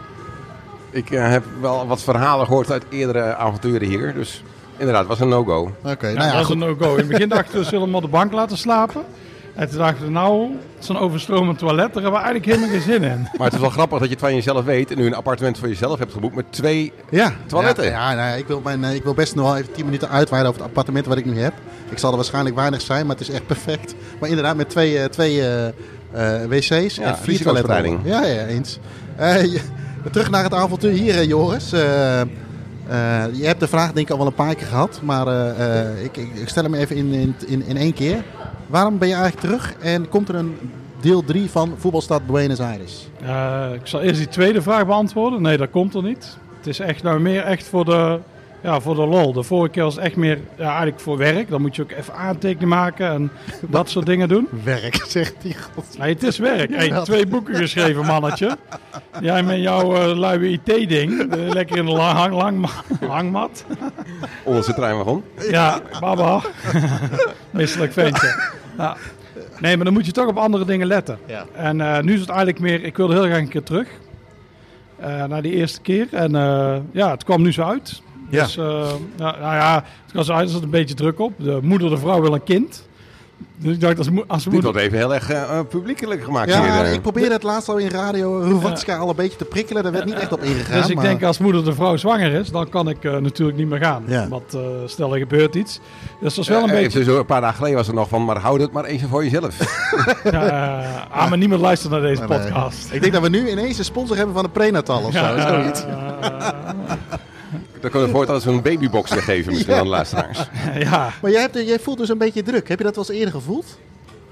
Speaker 4: Ik eh, heb wel wat verhalen gehoord uit eerdere avonturen hier. Dus inderdaad, het was een no-go.
Speaker 2: Oké, nou
Speaker 3: Ja,
Speaker 2: ja,
Speaker 3: dat was
Speaker 2: goed.
Speaker 3: een no-go. In het begin dachten we, zullen we hem op de bank laten slapen? En toen dachten we, nou, zo'n overstromend toilet, daar hebben we eigenlijk helemaal geen zin in.
Speaker 4: Maar het is wel grappig dat je het van jezelf weet en nu een appartement voor jezelf hebt geboekt met twee
Speaker 2: Ja.
Speaker 4: Toiletten.
Speaker 2: Ja, ja, nou ja, ik, wil mijn, eh, ik wil best nog wel even 10 minuten uitweiden over het appartement wat ik nu heb. Ik zal er waarschijnlijk weinig zijn, maar het is echt perfect. Maar inderdaad, met twee, eh, twee eh, eh, wc's en vier toiletten.
Speaker 4: risicoverspreiding.
Speaker 2: Ja, ja, eens. Eh, je- terug naar het avontuur hier, eh, Joris. Eh, eh, je hebt de vraag denk ik al wel een paar keer gehad, maar eh, eh, ik, ik, ik stel hem even in, in, in, in één keer. Waarom ben je eigenlijk terug en komt er een deel 3 van Voetbalstad Buenos Aires?
Speaker 3: Eh, ik zal eerst die tweede vraag beantwoorden. Nee, dat komt er niet. Het is echt nou meer echt voor de, ja, voor de lol. De vorige keer was het echt meer ja, eigenlijk voor werk. Dan moet je ook even aantekeningen maken en dat soort dingen doen.
Speaker 2: Werk, zegt die god.
Speaker 3: Nee, het is werk. Hey, twee boeken geschreven, mannetje. Jij met jouw eh, luie IT-ding. eh, lekker in de la- hang, lang, hangmat.
Speaker 4: Onze treinwagon.
Speaker 3: Ja, baba. Misselijk ventje. Ja. Nee, maar dan moet je toch op andere dingen letten.
Speaker 2: Ja.
Speaker 3: En eh, nu is het eigenlijk meer, ik wilde heel graag een keer terug. eh, naar die eerste keer. En eh, ja, het kwam nu zo uit.
Speaker 2: Ja.
Speaker 3: Dus eh, nou, nou ja, het kwam zo uit, er zat een beetje druk op. De moeder, de vrouw wil een kind. Dus ik dacht, als, mo- als
Speaker 4: Dit
Speaker 3: moeder...
Speaker 4: wordt even heel erg eh, eh, publiekelijk gemaakt.
Speaker 2: Ja,
Speaker 4: hier, eh.
Speaker 2: ik probeerde het laatst al in radio Ruvatska al een beetje te prikkelen. Daar werd niet echt op ingegaan.
Speaker 3: Dus ik
Speaker 2: maar-
Speaker 3: denk als moeder de vrouw zwanger is, dan kan ik eh, natuurlijk niet meer gaan.
Speaker 2: Ja.
Speaker 3: Want eh, stel er gebeurt iets. Dus dat is wel een
Speaker 4: Eh,
Speaker 3: beetje...
Speaker 4: even zo, een paar dagen geleden was er nog van, maar houd het maar even voor jezelf.
Speaker 3: Ja, eh, ah, maar niemand luistert naar deze
Speaker 2: Nee.
Speaker 3: podcast.
Speaker 2: Ik denk dat we nu ineens een sponsor hebben van de prenatal of zo.
Speaker 3: Ja,
Speaker 2: zoiets.
Speaker 3: eh,
Speaker 4: Dan kunnen we voortaan zo'n babybox weer geven misschien
Speaker 2: Ja.
Speaker 4: aan de luisteraars.
Speaker 3: ja.
Speaker 2: Maar jij, hebt, jij voelt dus een beetje druk. Heb je dat wel eens eerder gevoeld?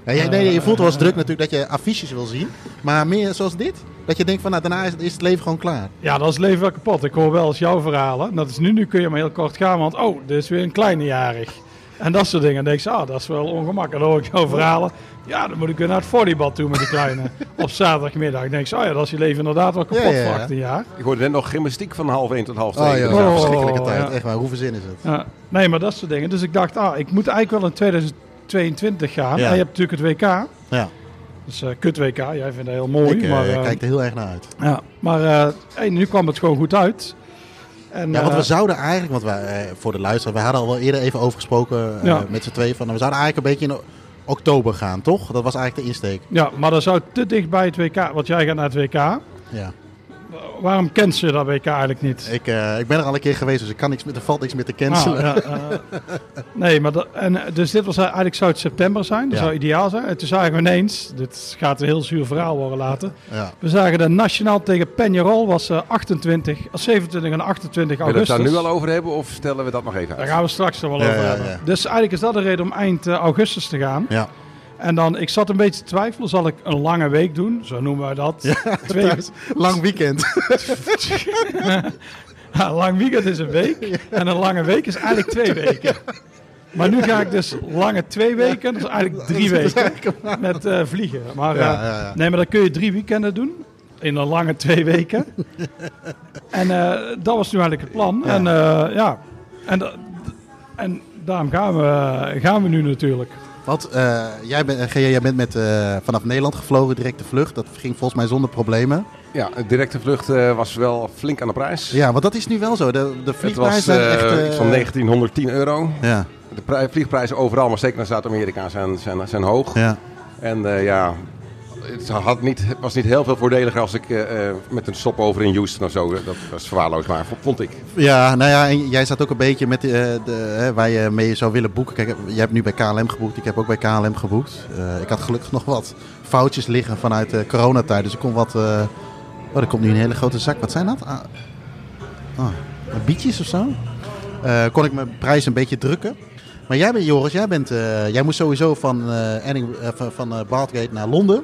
Speaker 2: Ja, jij, nee, nee, je voelt wel eens druk natuurlijk dat je affiches wil zien. Maar meer zoals dit? Dat je denkt van nou, daarna is, is het leven gewoon klaar.
Speaker 3: Ja, dat is leven wel kapot. Ik hoor wel eens jouw verhalen. Dat is nu, nu kun je maar heel kort gaan, want oh, dit is weer een kleinejarig. En dat soort dingen. Dan denk ik, ah, dat is wel ongemakkelijk. En dan hoor ik jouw verhalen. Ja, dan moet ik weer naar het volleybal toe met die kleine. Op zaterdagmiddag. Dan denk ik, oh ja, dat is je leven inderdaad wel kapot
Speaker 2: Ja, ja, ja.
Speaker 3: voor 18 jaar.
Speaker 4: Ik hoorde net nog gymnastiek van half 1 tot half 2.
Speaker 2: Oh ja,
Speaker 3: Oh,
Speaker 2: verschrikkelijke tijd.
Speaker 3: ja.
Speaker 2: Echt waar, hoe verzin is het?
Speaker 3: Ja, nee, maar dat soort dingen. Dus ik dacht, ah, ik moet eigenlijk wel in 2022 gaan.
Speaker 2: Ja.
Speaker 3: En je hebt natuurlijk het WK.
Speaker 2: Ja,
Speaker 3: Dus eh kut WK, jij vindt dat heel mooi.
Speaker 2: ik eh,
Speaker 3: maar eh,
Speaker 2: kijk er heel erg naar uit.
Speaker 3: ja, maar eh, hey, nu kwam het gewoon goed uit. En,
Speaker 2: Ja, want
Speaker 3: eh,
Speaker 2: we zouden eigenlijk, want wij, eh, voor de luisteraar, we hadden al wel eerder even over gesproken eh,
Speaker 3: Ja.
Speaker 2: met z'n tweeën. Van, we zouden eigenlijk een beetje in o- oktober gaan, toch? Dat was eigenlijk de insteek.
Speaker 3: ja, maar dat zou te dicht bij het WK, want jij gaat naar het WK.
Speaker 2: Ja.
Speaker 3: Waarom kent ze dat WK eigenlijk niet?
Speaker 2: Ik, eh, ik ben er al een keer geweest, dus ik kan niks, meer- er valt niks meer te cancelen.
Speaker 3: Ah, ja, eh, nee, maar dat, en, eh, dus dit was eigenlijk zou het september zijn. Dat
Speaker 2: Ja.
Speaker 3: zou ideaal zijn. En toen zagen we ineens, dit gaat een heel zuur verhaal worden later.
Speaker 2: Ja.
Speaker 3: We zagen dat Nationaal tegen Peñarol was eh, 28, eh, 27 en 28
Speaker 4: Wil je het
Speaker 3: augustus.
Speaker 4: daar nu al over hebben of stellen we dat nog even
Speaker 3: Daar
Speaker 4: uit?
Speaker 3: gaan we straks nog wel
Speaker 2: Ja,
Speaker 3: over
Speaker 2: ja,
Speaker 3: hebben.
Speaker 2: ja.
Speaker 3: Dus eigenlijk is dat de reden om eind eh, augustus te gaan.
Speaker 2: Ja.
Speaker 3: En dan, ik zat een beetje te twijfelen, zal ik een lange week doen? Zo noemen wij dat. Twee,
Speaker 2: Lang weekend.
Speaker 3: Ja, een lang weekend is een week. En een lange week is eigenlijk twee weken. Maar nu ga ik dus lange twee weken, dat is eigenlijk drie
Speaker 2: Dat is
Speaker 3: weken.
Speaker 2: eigenlijk-
Speaker 3: Met eh, vliegen. Maar,
Speaker 2: Ja,
Speaker 3: eh,
Speaker 2: ja, ja.
Speaker 3: Nee, maar dan kun je drie weekenden doen. In een lange twee weken. en eh, dat was nu eigenlijk het plan. En, eh, ja. en, da- en daarom gaan we, eh, gaan we nu natuurlijk.
Speaker 2: Want eh, jij, bent, eh, GJ, jij bent met, eh, vanaf Nederland gevlogen, directe vlucht. Dat ging volgens mij zonder problemen.
Speaker 4: Ja, de directe vlucht eh, was wel flink aan de prijs.
Speaker 2: Ja, want dat is nu wel zo. De, de
Speaker 4: het
Speaker 2: vliegprijzen
Speaker 4: was
Speaker 2: zijn
Speaker 4: eh,
Speaker 2: echt... eh,
Speaker 4: iets van 1910 euro.
Speaker 2: Ja,
Speaker 4: De pri- vliegprijzen overal, maar zeker naar Zuid-Amerika, zijn, zijn, zijn hoog.
Speaker 2: ja.
Speaker 4: En eh, ja, het, had niet, het was niet heel veel voordeliger als ik eh, eh, met een stopover in Houston of zo. eh, Dat was verwaarloosbaar, v- vond ik.
Speaker 2: Ja, nou ja, en jij zat ook een beetje met eh, de, hè, waar je mee zou willen boeken. Kijk, jij hebt nu bij KLM geboekt, ik heb ook bij KLM geboekt. Eh, ik had gelukkig nog wat foutjes liggen vanuit de coronatijd, dus ik kon wat... eh, oh, er komt nu een hele grote zak. Wat zijn dat? Ah, ah, bietjes of zo? Eh, kon ik mijn prijs een beetje drukken. Maar jij bent, Joris, jij, bent, eh, jij moest sowieso van, eh Anning- eh, van- van eh, Bathgate naar Londen.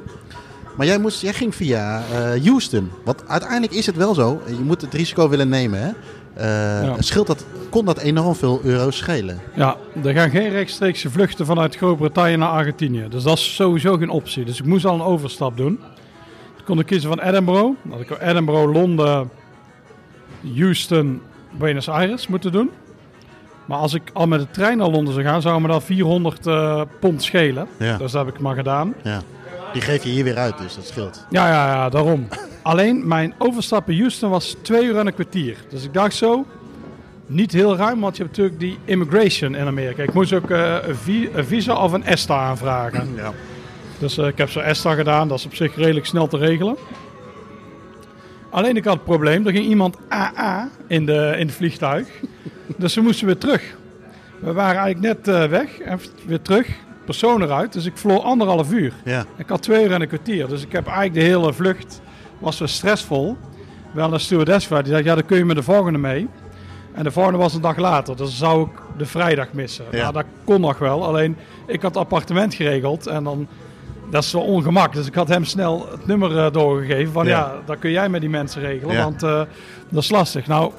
Speaker 2: Maar jij, moest, jij ging via eh, Houston. Want uiteindelijk is het wel zo. Je moet het risico willen nemen. Hè? Eh,
Speaker 3: Ja.
Speaker 2: scheelt dat, kon dat enorm veel euro's schelen.
Speaker 3: Ja, er gaan geen rechtstreekse vluchten vanuit Groot-Brittannië naar Argentinië. Dus dat is sowieso geen optie. Dus ik moest al een overstap doen. Ik kon ik kiezen van Edinburgh. Dan had ik Edinburgh, Londen, Houston, Buenos Aires moeten doen. Maar als ik al met de trein naar Londen zou gaan, zou me dat 400 eh, pond schelen.
Speaker 2: Ja.
Speaker 3: Dus dat heb ik maar gedaan.
Speaker 2: Ja. Die geef je hier weer uit, dus dat scheelt.
Speaker 3: Ja, ja, ja, daarom. Alleen mijn overstap in Houston was twee uur en een kwartier. Dus ik dacht zo, niet heel ruim, want je hebt natuurlijk die immigration in Amerika. Ik moest ook eh, een, vi- een visa of een ESTA aanvragen.
Speaker 2: Ja.
Speaker 3: Dus eh, ik heb zo'n ESTA gedaan, dat is op zich redelijk snel te regelen. Alleen ik had het probleem, er ging iemand AA in, de, in het vliegtuig. Dus we moesten weer terug. We waren eigenlijk net eh, weg en weer terug. Persoon eruit, dus ik vloor anderhalf uur.
Speaker 2: Ja.
Speaker 3: Ik had twee uur en een kwartier, dus ik heb eigenlijk de hele vlucht was zo stressvol. Wel een stewardess waar die zei, ja, dan kun je met de volgende mee. En de volgende was een dag later, dus dan zou ik de vrijdag missen.
Speaker 2: Ja.
Speaker 3: Ja, dat kon nog wel, alleen ik had appartement geregeld en dan, dat is wel ongemak. Dus ik had hem snel het nummer eh, doorgegeven van,
Speaker 2: Ja.
Speaker 3: ja, dat kun jij met die mensen regelen,
Speaker 2: Ja.
Speaker 3: want eh, dat is lastig. Nou,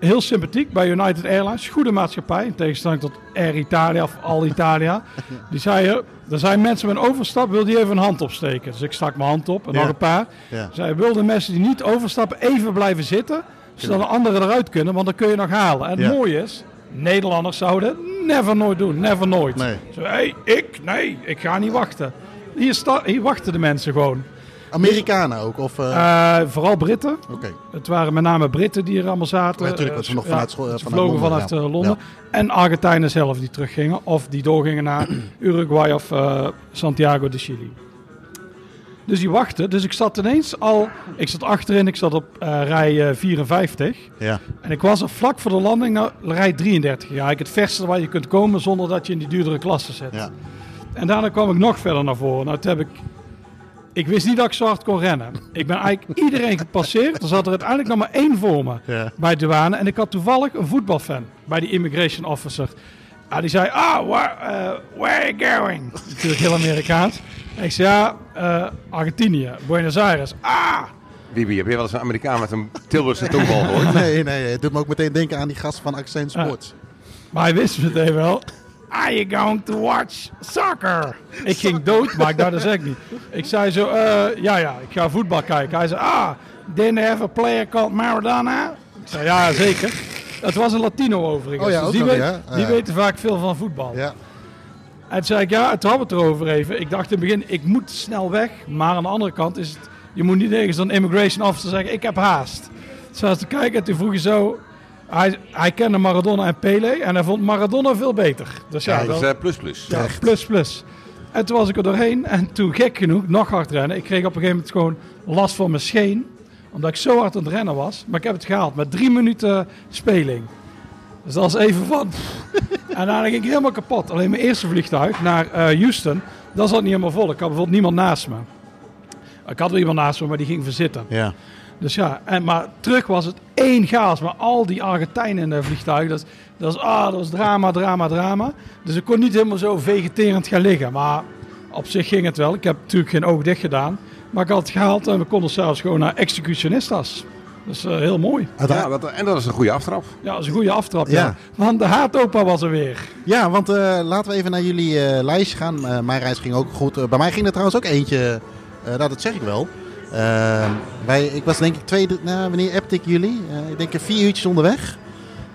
Speaker 3: heel sympathiek bij United Airlines. Goede maatschappij, in tegenstelling tot Air Italia of Al Italia. Die zeiden, er zijn mensen met een overstap, wil die even een hand opsteken? Dus ik stak mijn hand op en
Speaker 2: Ja.
Speaker 3: nog een paar.
Speaker 2: Ja.
Speaker 3: Zij wilden mensen die niet overstappen even blijven zitten, zodat de anderen eruit kunnen, want dan kun je nog halen. En het
Speaker 2: Ja.
Speaker 3: mooie is, Nederlanders zouden het never nooit doen, never nooit.
Speaker 2: Nee.
Speaker 3: Zo, hey, ik, nee, ik ga niet wachten. Hier, sta, hier wachten de mensen gewoon.
Speaker 2: Amerikanen ook? Of, eh,
Speaker 3: Eh, vooral Britten.
Speaker 2: Oké.
Speaker 3: Het waren met name Britten die er allemaal zaten.
Speaker 2: Ja, natuurlijk, want ze
Speaker 3: Eh,
Speaker 2: nog vanuit school- eh,
Speaker 3: ze
Speaker 2: vanuit
Speaker 3: vlogen
Speaker 2: Londen,
Speaker 3: vanuit
Speaker 2: ja.
Speaker 3: eh, Londen. En Argentijnen zelf die teruggingen. Of die doorgingen naar Uruguay of eh, Santiago de Chili. Dus die wachten. Dus ik zat ineens al... Ik zat achterin, ik zat op eh, rij eh, 54.
Speaker 2: Ja.
Speaker 3: En ik was er vlak voor de landing naar rij 33. Ja, ik het verste waar je kunt komen zonder dat je in die duurdere klasse zit.
Speaker 2: Ja.
Speaker 3: En daarna kwam ik nog verder naar voren. Nou, toen heb ik Ik wist niet dat ik zo hard kon rennen. Ik ben eigenlijk iedereen gepasseerd. Er zat er uiteindelijk nog maar één voor me
Speaker 2: Ja.
Speaker 3: bij de douane. En ik had toevallig een voetbalfan bij die immigration officer. Ah, die zei, ah, where, eh, where are you going? Natuurlijk heel Amerikaans. En ik zei, ja, eh, Argentinië, Buenos Aires. Ah,
Speaker 4: Bibi, heb je wel eens een Amerikaan met een Tilburgse toombal gehoord?
Speaker 2: Nee, nee, het doet me ook meteen denken aan die gast van Accent Sports.
Speaker 3: maar hij wist het meteen wel. Are you going to watch soccer? Ik ging dood, maar ik dacht, dat zeg ik niet. Ik zei zo, eh, ja, ja, ik ga voetbal kijken. Hij zei, ah, didn't they have a player called Maradona? Ik zei, ja, zeker. Het was een Latino overigens.
Speaker 2: Oh ja,
Speaker 3: dus
Speaker 2: ook
Speaker 3: die,
Speaker 2: nog,
Speaker 3: weet-
Speaker 2: ja. Ah,
Speaker 3: die
Speaker 2: ja.
Speaker 3: weten vaak veel van voetbal.
Speaker 2: Ja.
Speaker 3: En toen zei ik, ja, het hadden we het erover even. Ik dacht in het begin, ik moet snel weg. Maar aan de andere kant is het, je moet niet tegen zo'n immigration officer zeggen, ik heb haast. Dus hij was te kijken en toen vroeg je zo, hij, hij kende Maradona en Pele en hij vond Maradona veel beter. Dus ja,
Speaker 4: Ja, dat
Speaker 3: dat-
Speaker 4: is eh, plus plus.
Speaker 3: ja, plus plus. En toen was ik er doorheen en toen gek genoeg, nog hard rennen. Ik kreeg op een gegeven moment gewoon last van mijn scheen. Omdat ik zo hard aan het rennen was. Maar ik heb het gehaald met drie minuten speling. Dus dat was even van. en daarna ging ik helemaal kapot. Alleen mijn eerste vliegtuig naar eh, Houston, dat zat niet helemaal vol. Ik had bijvoorbeeld niemand naast me. Ik had wel iemand naast me, maar die ging verzitten.
Speaker 2: Ja.
Speaker 3: Dus ja, en, maar terug was het één chaos. Maar al die Argentijnen in de vliegtuig, dat, is- dat, is, ah, dat was drama, drama, drama. Dus ik kon niet helemaal zo vegeterend gaan liggen. Maar op zich ging het wel. Ik heb natuurlijk geen oog dicht gedaan. Maar ik had het gehaald en we konden zelfs gewoon naar executionistas. Dus eh, heel mooi.
Speaker 4: Ja,
Speaker 2: Uiteindelijk-
Speaker 4: dat, en dat is een goede aftrap.
Speaker 3: Ja, dat is een goede aftrap. Ja.
Speaker 2: Ja.
Speaker 3: Want de haatopa was er weer.
Speaker 2: Ja, want eh, laten we even naar jullie eh, lijstje gaan. Eh, mijn reis ging ook goed. Eh, bij mij ging er trouwens ook eentje. eh, nou, dat zeg ik wel. Eh, wij, ik was denk ik twee, drie- nou, wanneer appte ik jullie? Eh, ik denk vier uurtjes onderweg.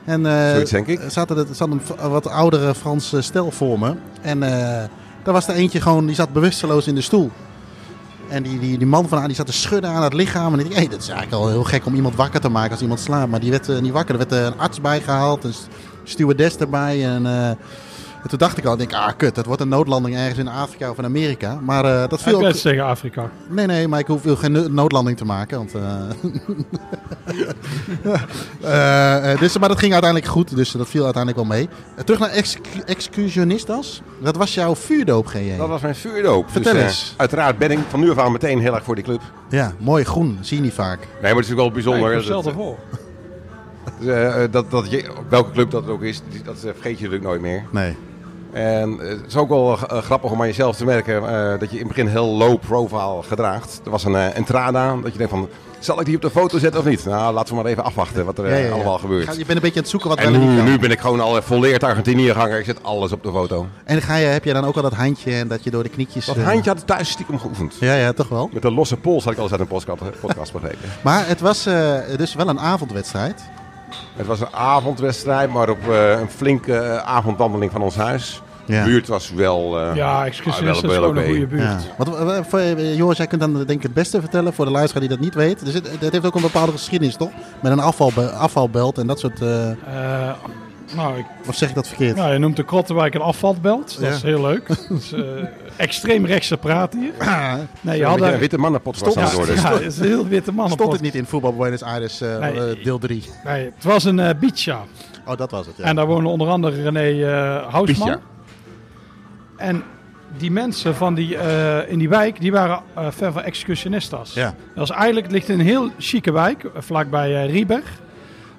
Speaker 2: En eh,
Speaker 4: Zoiets, denk ik.
Speaker 2: Zaten er zat een v- wat oudere Franse stel voor me. En eh, daar was er eentje gewoon, die zat bewusteloos in de stoel. En die, die, die man van haar die zat te schudden aan het lichaam. En ik dacht, hey, dat is eigenlijk al heel gek om iemand wakker te maken als iemand slaapt. Maar die werd eh, niet wakker. Er werd eh, een arts bijgehaald, een s- stewardess erbij. En, eh, en toen dacht ik al, ik denk, ah kut, dat wordt een noodlanding ergens in Afrika of in Amerika. Maar eh, dat
Speaker 3: Ik
Speaker 2: viel ook...
Speaker 3: best tegen Afrika.
Speaker 2: Nee, nee, maar ik hoef wil geen no- noodlanding te maken. Want, eh, Eh, eh, dus, maar dat ging uiteindelijk goed, dus dat viel uiteindelijk wel mee. Eh, terug naar excu- Excusionistas. Dat was jouw vuurdoop, GJ.
Speaker 4: Dat was mijn vuurdoop.
Speaker 2: Vertel
Speaker 4: eh,
Speaker 2: eens.
Speaker 4: uiteraard ben ik van nu af aan meteen heel erg voor die club. Nee,
Speaker 2: Ja, mooi groen, zie je niet vaak.
Speaker 4: maar het is ook wel bijzonder.
Speaker 3: Nee,
Speaker 4: hè,
Speaker 3: ik stel
Speaker 4: dat,
Speaker 3: ervoor.
Speaker 4: eh, eh, dat, dat je, welke club dat het ook is, die- dat eh, vergeet je natuurlijk nooit meer.
Speaker 2: Nee.
Speaker 4: En eh, het is ook wel eh, grappig om aan jezelf te merken eh, dat je in het begin heel low profile gedraagt. Er was een eh, entrada, dat je denkt van, zal ik die op de foto zetten of niet? Nou, laten we maar even afwachten wat er eh,
Speaker 2: Ja, ja, ja.
Speaker 4: allemaal
Speaker 2: Ga-
Speaker 4: gebeurt.
Speaker 2: Je bent een beetje aan het zoeken wat wel
Speaker 4: En
Speaker 2: en niet
Speaker 4: nu,
Speaker 2: kan.
Speaker 4: nu ben ik gewoon al eh, volleerd Argentinië-ganger. Ik zet alles op de foto.
Speaker 2: En ga je, heb je dan ook al dat handje en dat je door de knietjes...
Speaker 4: Dat
Speaker 2: eh,
Speaker 4: handje had ik thuis stiekem geoefend.
Speaker 2: Ja, ja, toch wel.
Speaker 4: Met een losse pols had ik alles uit een podcast, podcast begrepen.
Speaker 2: Maar het was eh, dus wel een avondwedstrijd.
Speaker 4: Het was een avondwedstrijd, maar op eh, een flinke eh, avondwandeling van ons huis.
Speaker 2: Ja.
Speaker 4: De buurt was wel... eh,
Speaker 3: Ja,
Speaker 4: ah, wel-
Speaker 3: excuseer, dat is
Speaker 4: wel
Speaker 3: gewoon een
Speaker 4: oké.
Speaker 3: goede buurt.
Speaker 2: Ja. Wat, wat- voor, eh, Joris, jij kunt dan denk ik het beste vertellen voor de luisteraar die dat niet weet. Dus het, het heeft ook een bepaalde geschiedenis, toch? Met een afvalbe- afvalbelt en dat soort... eh,
Speaker 3: Eh, nou, ik
Speaker 2: of zeg ik dat verkeerd?
Speaker 3: Nou, je noemt de Krottenwijk een afvalbelt. Dat
Speaker 2: Ja.
Speaker 3: is heel leuk. Dat is, eh, extreem rechtse praat hier. Nee, je
Speaker 4: Een
Speaker 3: had
Speaker 4: beetje een
Speaker 3: daar...
Speaker 4: witte mannenpot
Speaker 3: Ja,
Speaker 4: aan het worden.
Speaker 3: ja, het is een heel witte man.
Speaker 2: Stond het niet in Voetbal Buenos Aires eh,
Speaker 3: Nee.
Speaker 2: eh, deel 3?
Speaker 3: Nee, het was een eh Bicha.
Speaker 2: Oh, dat was het, ja.
Speaker 3: En daar woonde onder andere René eh Houtman.
Speaker 4: Bicha.
Speaker 3: En die mensen van die, eh, in die wijk, die waren eh fan van excursionistas.
Speaker 2: Ja.
Speaker 3: Dat was eigenlijk, het ligt in een heel chique wijk, eh, vlakbij eh Rieberg.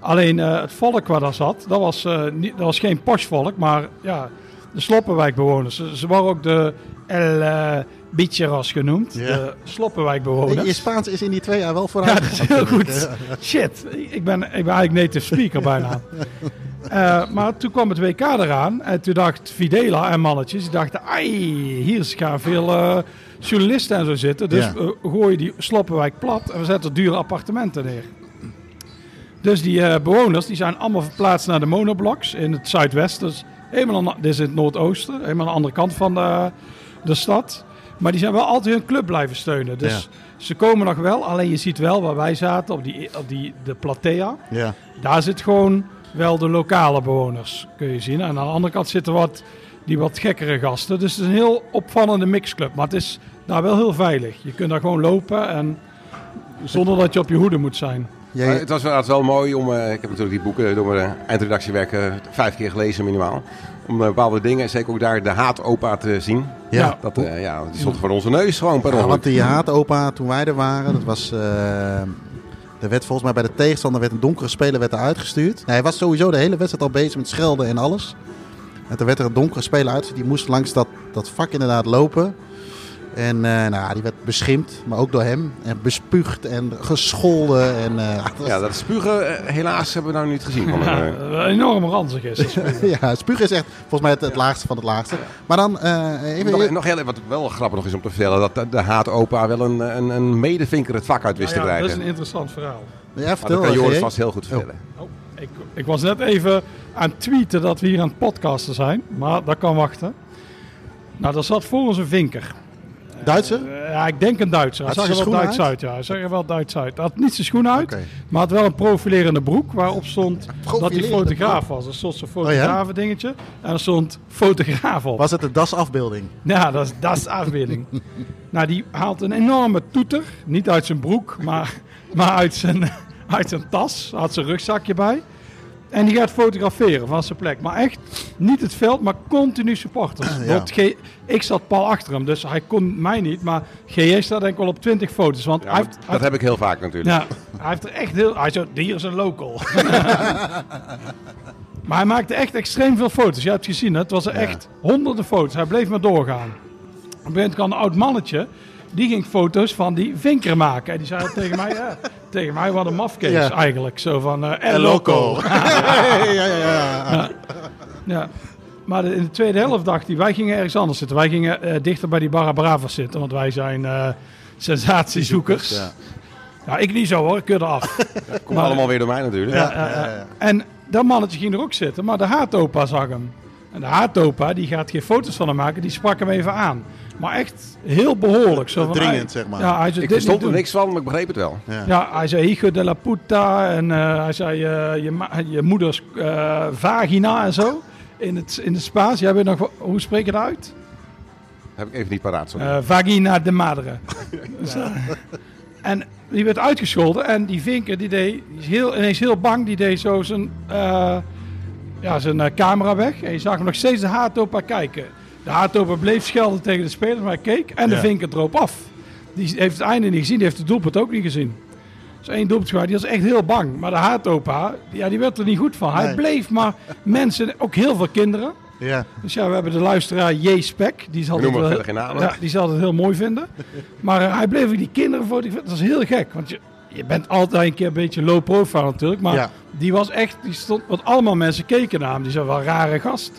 Speaker 3: Alleen eh, het volk waar dat zat, dat was, eh, niet, dat was geen postvolk, maar ja, de sloppenwijkbewoners. Ze, ze waren ook de El eh Bicheros genoemd,
Speaker 2: Ja.
Speaker 3: de
Speaker 2: Je- Je
Speaker 3: sloppenwijkbewoners.
Speaker 2: Spaans Oh, is in die twee jaar wel
Speaker 3: Ja,
Speaker 2: vooruit.
Speaker 3: dat is heel goed. Shit, ik ben, ik ben eigenlijk native speaker bijna. Eh, maar toen kwam het WK eraan en toen dacht Videla en mannetjes, die dachten, ai, hier gaan veel eh, journalisten en zo zitten. Dus
Speaker 2: Ja.
Speaker 3: we gooien die Sloppenwijk plat en we zetten dure appartementen neer. Dus die eh, bewoners die zijn allemaal verplaatst naar de monoblocks in het zuidwesten. Dus helemaal aan, de- dit is in het noordoosten, helemaal aan de andere kant van de, de stad. Maar die zijn wel altijd hun club blijven steunen. Dus ze komen nog wel, alleen je ziet wel waar wij zaten, op, die, op die, de platea.
Speaker 2: Ja.
Speaker 3: Daar zit gewoon wel de lokale bewoners, kun je zien. En aan de andere kant zitten wat, die wat gekkere gasten. Dus het is een heel opvallende mixclub. Maar het is daar wel heel veilig. Je kunt daar gewoon lopen en zonder dat je op je hoede moet zijn.
Speaker 2: Jij-
Speaker 4: Maar het was wel, het was wel mooi om. eh, ik heb natuurlijk die boeken door mijn eindredactiewerk eh, vijf keer gelezen, minimaal. Om eh, bepaalde dingen, zeker ook daar de haatopa te zien.
Speaker 2: ja.
Speaker 4: Dat, eh, ja, die stond voor onze neus gewoon per
Speaker 2: Ja, want
Speaker 4: ongeluk.
Speaker 2: die haatopa, toen wij er waren, dat was... eh, er werd volgens mij bij de tegenstander werd een donkere speler werd er uitgestuurd. Nee, hij was sowieso de hele wedstrijd al bezig met schelden en alles. En toen werd er een donkere speler uitgestuurd. Die moest langs dat, dat vak inderdaad lopen. En eh, nou, die werd beschimpt, maar ook door hem. En bespuugd en gescholden. En, eh, dat was-
Speaker 4: Ja, dat spugen eh, helaas hebben we nou niet gezien. Van,
Speaker 3: Ja,
Speaker 4: eh,
Speaker 3: een enorm ranzig is. dat spel.
Speaker 2: ja, spugen is echt volgens mij het, het laagste van het laagste. Maar dan eh, even...
Speaker 4: nog, nog heel even, wat wel grappig nog is om te vertellen, dat de, de haatopa wel een, een, een medevinker het vak uit wist
Speaker 3: Nou
Speaker 4: te
Speaker 3: ja, dat
Speaker 4: krijgen.
Speaker 3: is een interessant verhaal.
Speaker 2: ja,
Speaker 4: Maar
Speaker 2: vertel,
Speaker 4: dat kan Joris
Speaker 2: G.J.
Speaker 4: vast heel goed vertellen.
Speaker 3: Oh, ik, ik was net even aan het tweeten dat we hier aan het podcasten zijn, maar dat kan wachten. Nou, daar zat voor ons een vinker.
Speaker 2: Oh, Duitser?
Speaker 3: Eh, ja, ik denk een Duitser. Hij
Speaker 2: Had
Speaker 3: zag
Speaker 2: hij
Speaker 4: zijn
Speaker 3: er
Speaker 2: schoenen
Speaker 3: wel Duits uit?
Speaker 2: uit?
Speaker 3: ja. Hij zag er wel Duits uit. Hij had niet zijn schoen uit,
Speaker 2: Oké.
Speaker 3: maar had wel een profilerende broek waarop stond dat hij
Speaker 2: Profilerende Oh
Speaker 3: fotograaf was. Er stond zo'n fotografen dingetje en er stond fotograaf op.
Speaker 2: Was het de dasafbeelding?
Speaker 3: Ja, dat is, dat is de afbeelding. nou, die haalt een enorme toeter. Niet uit zijn broek, maar, maar uit, zijn, uit zijn tas. Hij Had zijn rugzakje bij. En die gaat fotograferen van zijn plek. Maar echt niet het veld, maar continu supporters.
Speaker 2: Ja.
Speaker 3: Want G- ik zat pal achter hem, dus hij kon mij niet. Maar GJ staat denk ik wel op 20 foto's. Want
Speaker 4: Ja,
Speaker 3: hij,
Speaker 4: maar
Speaker 3: heeft- hij
Speaker 4: dat heb ik heel vaak natuurlijk.
Speaker 3: ja, hij heeft er echt heel... Hij zo, hier is een local. maar hij maakte echt extreem veel foto's. Je hebt gezien, hè? het was er echt honderden foto's. Hij bleef maar doorgaan. Op een gegeven moment kwam een oud mannetje... Die ging foto's van die vinker maken. En die zei tegen mij, ja, tegen mij wat een mafkees
Speaker 2: Ja.
Speaker 3: eigenlijk. Zo van, eh El
Speaker 2: El
Speaker 3: Loco.
Speaker 2: Loco. ja, ja, ja.
Speaker 3: Ja. Maar de- in de tweede helft dacht hij, wij gingen ergens anders zitten. Wij gingen eh, dichter bij die Barra Bravas zitten, want wij zijn eh, sensatiezoekers.
Speaker 2: Ja.
Speaker 3: Ja, ik niet zo hoor, ik keur eraf.
Speaker 4: Komt allemaal weer door mij natuurlijk.
Speaker 3: Ja, eh, eh, En dat mannetje ging er ook zitten, maar de haatopa zag hem. En de haatopa die gaat geen foto's van hem maken, die sprak hem even aan. Maar echt heel behoorlijk. Zo van,
Speaker 2: Dringend,
Speaker 3: hij-
Speaker 2: zeg maar.
Speaker 3: Ja, hij zei,
Speaker 4: Ik
Speaker 3: dit niet
Speaker 4: verstond er
Speaker 3: doen.
Speaker 4: niks van, maar ik begreep het wel.
Speaker 3: Ja, hij zei hijo de la puta en eh, hij zei eh, je, ma- je moeders eh, vagina en zo. In het, in het Spaans. Jij weet nog, wel- hoe spreek je dat uit?
Speaker 4: Heb ik even niet paraat. sorry.
Speaker 3: Eh, vagina de madre. Dus, eh, en die werd uitgescholden en die vinker die deed die is heel, ineens heel bang. Die deed zo zijn, eh, ja, zijn eh, camera weg. En je zag hem nog steeds de haatopa kijken. De haatopa bleef schelden tegen de spelers, maar hij keek en de
Speaker 2: Ja.
Speaker 3: vinker droop af. Die heeft het einde niet gezien, die heeft het doelpunt ook niet gezien. Dus één doelpunt gemaakt, die was echt heel bang. Maar de haatopa, ja, die werd er niet goed van. Hij
Speaker 2: Nee.
Speaker 3: bleef maar mensen, ook heel veel kinderen.
Speaker 2: ja.
Speaker 3: Dus ja, we hebben de luisteraar J. Spek. Die zal,
Speaker 4: We
Speaker 3: het,
Speaker 4: noemen
Speaker 3: wel-
Speaker 4: verder geen namen.
Speaker 3: Ja, die zal het heel mooi vinden. Maar eh, hij bleef ook die kinderen fotograferen. Dat is heel gek. Want je, je bent altijd een keer een beetje low profile natuurlijk. Maar
Speaker 2: Ja.
Speaker 3: die was echt... Die stond, want allemaal mensen keken naar hem. Die zei, wel een rare gast.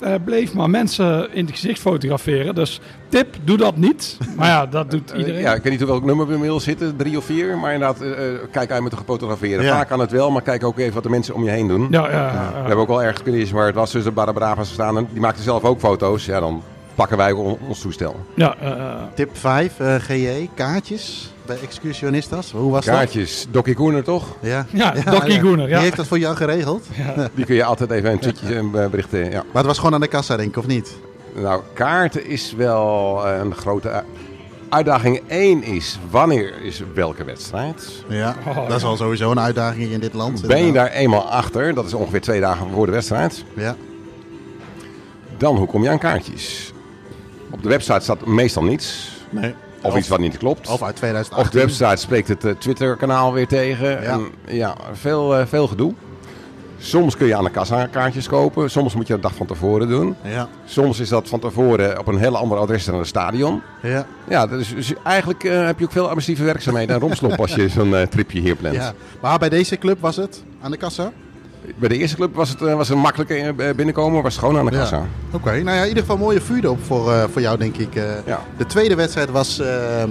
Speaker 3: Eh, bleef maar mensen in het gezicht fotograferen. Dus tip, doe dat niet. Maar ja, dat doet
Speaker 4: Eh,
Speaker 3: iedereen.
Speaker 4: Ja, ik weet niet hoe welk nummer we inmiddels zitten, drie of vier. Maar inderdaad, eh, eh, kijk uit met te fotograferen.
Speaker 2: Ja.
Speaker 4: Vaak kan het wel, maar kijk ook even wat de mensen om je heen doen.
Speaker 3: Ja, ja, ja.
Speaker 4: We hebben ook wel ergens kunnen waar het was tussen Barra Bravas staan. En die maakten zelf ook foto's. Ja, dan pakken wij on- ons toestel.
Speaker 3: Ja, eh, eh.
Speaker 2: Tip 5, eh GJ, kaartjes bij excursionistas. Hoe was
Speaker 4: Kaartjes, Dokkie Koener toch?
Speaker 2: dat? Ja,
Speaker 3: Ja, Dokkie Goener, ja.
Speaker 2: Die heeft dat voor jou geregeld.
Speaker 4: Die kun je altijd even een tweetje en berichten. Ja.
Speaker 2: Maar het was gewoon aan de kassa, denk ik, of niet?
Speaker 4: Nou, kaarten is wel eh, een grote u- uitdaging. Eén is, wanneer is welke wedstrijd?
Speaker 2: Ja,
Speaker 3: Oh,
Speaker 2: dat is al sowieso een uitdaging in dit land.
Speaker 4: Ben je
Speaker 2: inderdaad.
Speaker 4: daar eenmaal achter, dat is ongeveer twee dagen voor de wedstrijd,
Speaker 2: Ja.
Speaker 4: dan hoe kom je aan kaartjes? Op de website staat meestal niets.
Speaker 2: Nee.
Speaker 4: Of, iets wat niet klopt.
Speaker 2: Of uit
Speaker 4: Of de
Speaker 2: 2018.
Speaker 4: website spreekt het eh, Twitter-kanaal weer tegen. Ja, ja veel, eh, veel gedoe. Soms kun je aan de kassa kaartjes kopen. Soms moet je dat de dag van tevoren doen.
Speaker 2: Ja,
Speaker 4: Soms is dat van tevoren op een heel ander adres dan het stadion.
Speaker 2: ja,
Speaker 4: Ja, dus, dus eigenlijk eh, heb je ook veel administratieve werkzaamheden en romslomp als je zo'n eh, tripje hier plant.
Speaker 2: ja. Maar bij deze club was het aan de kassa?
Speaker 4: Bij de eerste club was het eh, was een makkelijke eh, binnenkomen, was gewoon aan de kassa.
Speaker 2: Ja. Oké, nou ja, in ieder geval mooie vuurdoop voor, eh, voor jou, denk ik. eh.
Speaker 4: Ja.
Speaker 2: De tweede wedstrijd was eh, eh,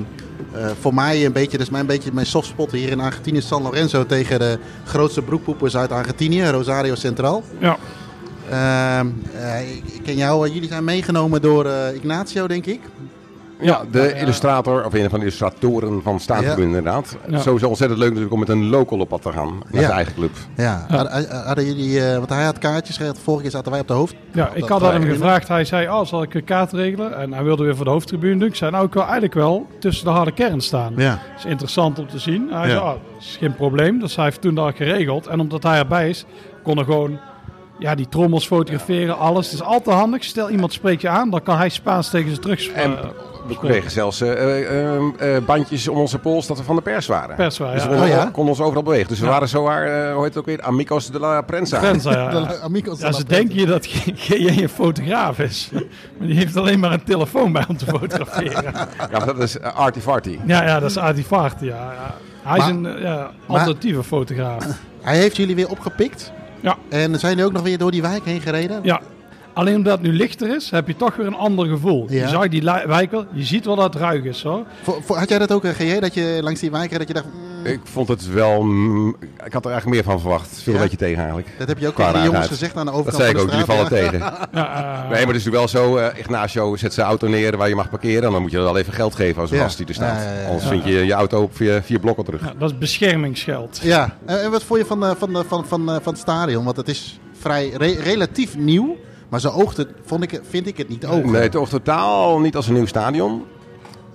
Speaker 2: voor mij een beetje, dus mijn, beetje mijn softspot hier in Argentinië. San Lorenzo tegen de grootste broekpoepers uit Argentinië, Rosario Central.
Speaker 3: ja.
Speaker 2: Ehm, eh, ik ik ken jou, eh, jullie zijn meegenomen door eh, Ignacio, denk ik.
Speaker 4: Ja, Ja, de
Speaker 3: ja, ja.
Speaker 4: illustrator, of een van de illustratoren van Staantribune
Speaker 2: Ja.
Speaker 4: inderdaad.
Speaker 3: Ja.
Speaker 4: Sowieso ontzettend leuk natuurlijk om met een local op pad te gaan. Naar
Speaker 2: Ja.
Speaker 4: zijn eigen club.
Speaker 2: Ja, Hadden- hadden jullie, eh, want hij had kaartjes geregeld. Vorige keer zaten wij op de hoofd.
Speaker 3: Ja,
Speaker 2: op
Speaker 3: ik
Speaker 2: dat-
Speaker 3: had aan hem
Speaker 2: eh,
Speaker 3: gevraagd. Hij zei, oh, zal ik een kaart regelen? En hij wilde weer voor de hoofdtribune. doen. Ik zei, nou, ik wil eigenlijk wel tussen de harde kern staan.
Speaker 2: Ja.
Speaker 3: Dat is interessant om te zien. Hij
Speaker 2: Ja.
Speaker 3: zei, oh, dat is geen probleem. Dus hij heeft toen dat geregeld. En omdat hij erbij is, kon er gewoon ja, die trommels fotograferen, alles. Het is altijd handig. Stel, iemand spreekt je aan, dan kan hij Spaans tegen ze terug
Speaker 4: En
Speaker 3: eh,
Speaker 4: we
Speaker 3: spreken.
Speaker 4: kregen zelfs eh, eh, eh, bandjes om onze pols dat we van de pers waren.
Speaker 3: Pers waren,
Speaker 4: dus we
Speaker 3: ja.
Speaker 4: konden,
Speaker 2: Oh, ja?
Speaker 4: konden ons overal bewegen. Dus we waren zo waar, eh, hoe heet het ook weer, amigos de la prensa.
Speaker 3: Frenza, ja.
Speaker 2: de Amigos
Speaker 3: eh, Ja, ze denken je dat GJ een fotograaf is. Maar die heeft alleen maar een telefoon bij om te fotograferen.
Speaker 4: Ja, dat is eh, arty-farty.
Speaker 3: Ja, ja dat is Adivart, ja. ja. Hij is
Speaker 2: Maar-
Speaker 3: een eh, ja, alternatieve fotograaf.
Speaker 2: Hij heeft jullie weer opgepikt.
Speaker 3: Ja.
Speaker 2: En zijn jullie ook nog weer door die wijk heen gereden?
Speaker 3: Ja. Alleen omdat het nu lichter is, heb je toch weer een ander gevoel.
Speaker 2: Ja.
Speaker 3: Je zag die li- wijk wel, je ziet wel dat het ruig is hoor.
Speaker 2: Voor- voor- had jij dat ook, eh, GJ, dat je langs die wijk reed, dat je dacht... mm,
Speaker 4: Ik vond het wel... mm, ik had er eigenlijk meer van verwacht.
Speaker 2: Ja?
Speaker 4: Viel een beetje tegen eigenlijk.
Speaker 2: dat heb je ook
Speaker 4: Qua
Speaker 2: tegen die jongens
Speaker 4: raarheid.
Speaker 2: gezegd aan de
Speaker 4: Dat
Speaker 2: overkant
Speaker 4: zei ik
Speaker 2: van
Speaker 4: ook,
Speaker 2: de
Speaker 4: jullie
Speaker 2: straat.
Speaker 4: vallen tegen.
Speaker 3: Ja, eh,
Speaker 4: Nee, maar het is nu wel zo. eh Ignacio zet zijn auto neer waar je mag parkeren. En dan moet je wel even geld geven als een
Speaker 2: Ja.
Speaker 4: gast die er staat.
Speaker 2: Ja, ja, ja.
Speaker 4: Anders vind je je auto op vier, vier blokken terug.
Speaker 3: ja, dat is beschermingsgeld.
Speaker 2: Ja, en en wat vond je van, eh, van, eh, van, van, eh, van het stadion? Want het is vrij re- relatief nieuw, maar zo oogt het, vond ik, het- vind ik het niet ogen.
Speaker 4: Nee, het oogt totaal niet als een nieuw stadion.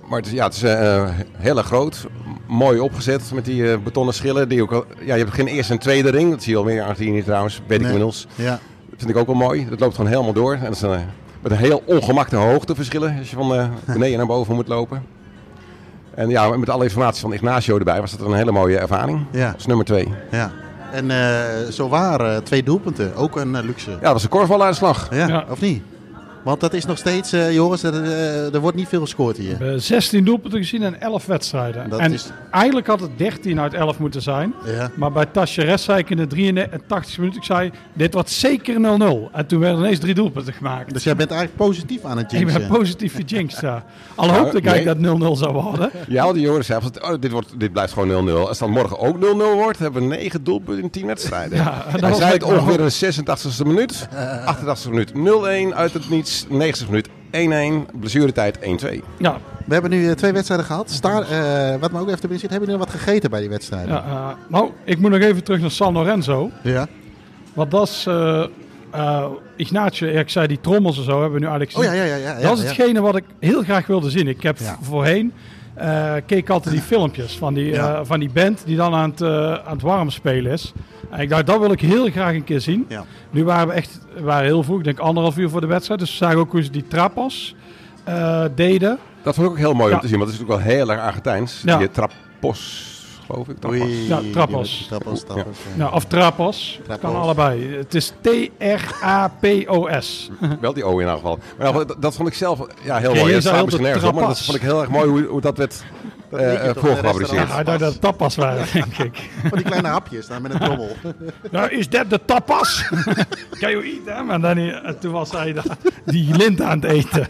Speaker 4: Maar het is, ja, het is eh, heel erg groot. m- Mooi opgezet met die eh, betonnen schillen. Die ook, al- ja, je hebt geen eerste en tweede ring. Dat zie je alweer in Argentinië trouwens. Weet ik
Speaker 2: Nee.
Speaker 4: inmiddels.
Speaker 2: Ja.
Speaker 4: Dat vind ik ook wel mooi. Dat loopt gewoon helemaal door. En dat is een, eh, met een heel ongemakte hoogteverschillen als je van eh, beneden naar boven moet lopen. En ja, met alle informatie van Ignacio erbij was dat een hele mooie ervaring.
Speaker 2: Ja.
Speaker 4: Dat is nummer twee.
Speaker 2: ja. En eh, zo waren twee doelpunten, ook een eh, luxe.
Speaker 4: Ja, dat was een korfbaluitslag.
Speaker 2: Ja,
Speaker 3: Ja.
Speaker 2: of niet? Want dat is nog steeds, eh, Joris, dat, eh, er wordt niet veel gescoord
Speaker 3: We
Speaker 2: hier.
Speaker 3: hebben 16 doelpunten gezien en 11 wedstrijden.
Speaker 2: Dat
Speaker 3: en
Speaker 2: is-
Speaker 3: eigenlijk had het 13 uit 11 moeten zijn.
Speaker 2: Ja.
Speaker 3: Maar bij Tacheres zei ik in de 83 minuten, ik zei, dit wordt zeker 0-0. En toen werden ineens drie doelpunten gemaakt.
Speaker 2: Dus jij bent eigenlijk positief aan het
Speaker 3: ik ben
Speaker 2: jinxen.
Speaker 3: positief gejinxed, ja. Al
Speaker 2: Nou,
Speaker 3: hoopte ik
Speaker 4: nee.
Speaker 3: eigenlijk dat 0-0 zou worden.
Speaker 4: Ja, want die jongens zei, altijd, oh, dit, wordt, dit blijft gewoon 0-0. Als dan morgen ook 0-0 wordt, hebben we 9 doelpunten in 10 wedstrijden.
Speaker 3: Ja, en dat
Speaker 4: Hij
Speaker 3: was
Speaker 4: zei het
Speaker 3: lekker. Eh.
Speaker 4: ongeveer in de 86e minuut. 88e minuut 0-1 uit het niets. 90e minuut 1-1. Blessuretijd 1-2.
Speaker 3: Ja,
Speaker 2: We hebben nu eh, twee wedstrijden gehad. Sta- eh, wat me ook even te binnen zit, hebben jullie nog wat gegeten bij die wedstrijden?
Speaker 3: ja eh, nou, ik moet nog even terug naar San Lorenzo.
Speaker 2: Ja.
Speaker 3: Want dat is... eh, eh, Ignacio, ja, ik zei die trommels en zo hebben we nu eigenlijk
Speaker 2: Oh ja,
Speaker 3: gezien.
Speaker 2: ja, ja. ja, ja
Speaker 3: dat is
Speaker 2: ja.
Speaker 3: hetgene wat ik heel graag wilde zien. Ik heb
Speaker 2: Ja.
Speaker 3: v- voorheen eh, keek ik altijd die filmpjes van die,
Speaker 2: Ja.
Speaker 3: eh, van die band die dan aan het, eh, aan het warm spelen is. En ik dacht, dat wil ik heel graag een keer zien.
Speaker 2: Ja.
Speaker 3: Nu waren we echt we waren heel vroeg, ik denk anderhalf uur voor de wedstrijd. Dus we zagen ook hoe ze die trappas eh, deden.
Speaker 4: Dat vond ik ook heel mooi
Speaker 3: Ja.
Speaker 4: om te zien, want het is natuurlijk wel heel erg Argentijns.
Speaker 3: Ja.
Speaker 4: Die Trapos, geloof ik. Trapos.
Speaker 2: Oei.
Speaker 3: Ja, trappels.
Speaker 2: Trappels, trappels. ja.
Speaker 3: Nou, of trapos.
Speaker 2: Trapos.
Speaker 3: Kan allebei. Het is T-R-A-P-O-S.
Speaker 4: Wel die O in elk geval. Maar nou, dat, dat vond ik zelf ja, heel
Speaker 3: Ja,
Speaker 4: mooi.
Speaker 3: je zei
Speaker 4: Dat staat misschien
Speaker 3: heel
Speaker 4: nergens op, maar dat
Speaker 3: trapas.
Speaker 4: vond ik heel erg mooi hoe, hoe dat werd
Speaker 2: Dat
Speaker 4: eh,
Speaker 2: weet je
Speaker 4: eh,
Speaker 2: toch, de
Speaker 4: voorgefabriceerd.
Speaker 3: Ja,
Speaker 2: restaurants.
Speaker 3: ik dacht dat het tapas waren, denk ik.
Speaker 2: Van die kleine hapjes daar met een trommel.
Speaker 3: Nou, is dat de tapas? Can you eat them? En, dan, eh, en toen was hij da- die lint aan het eten.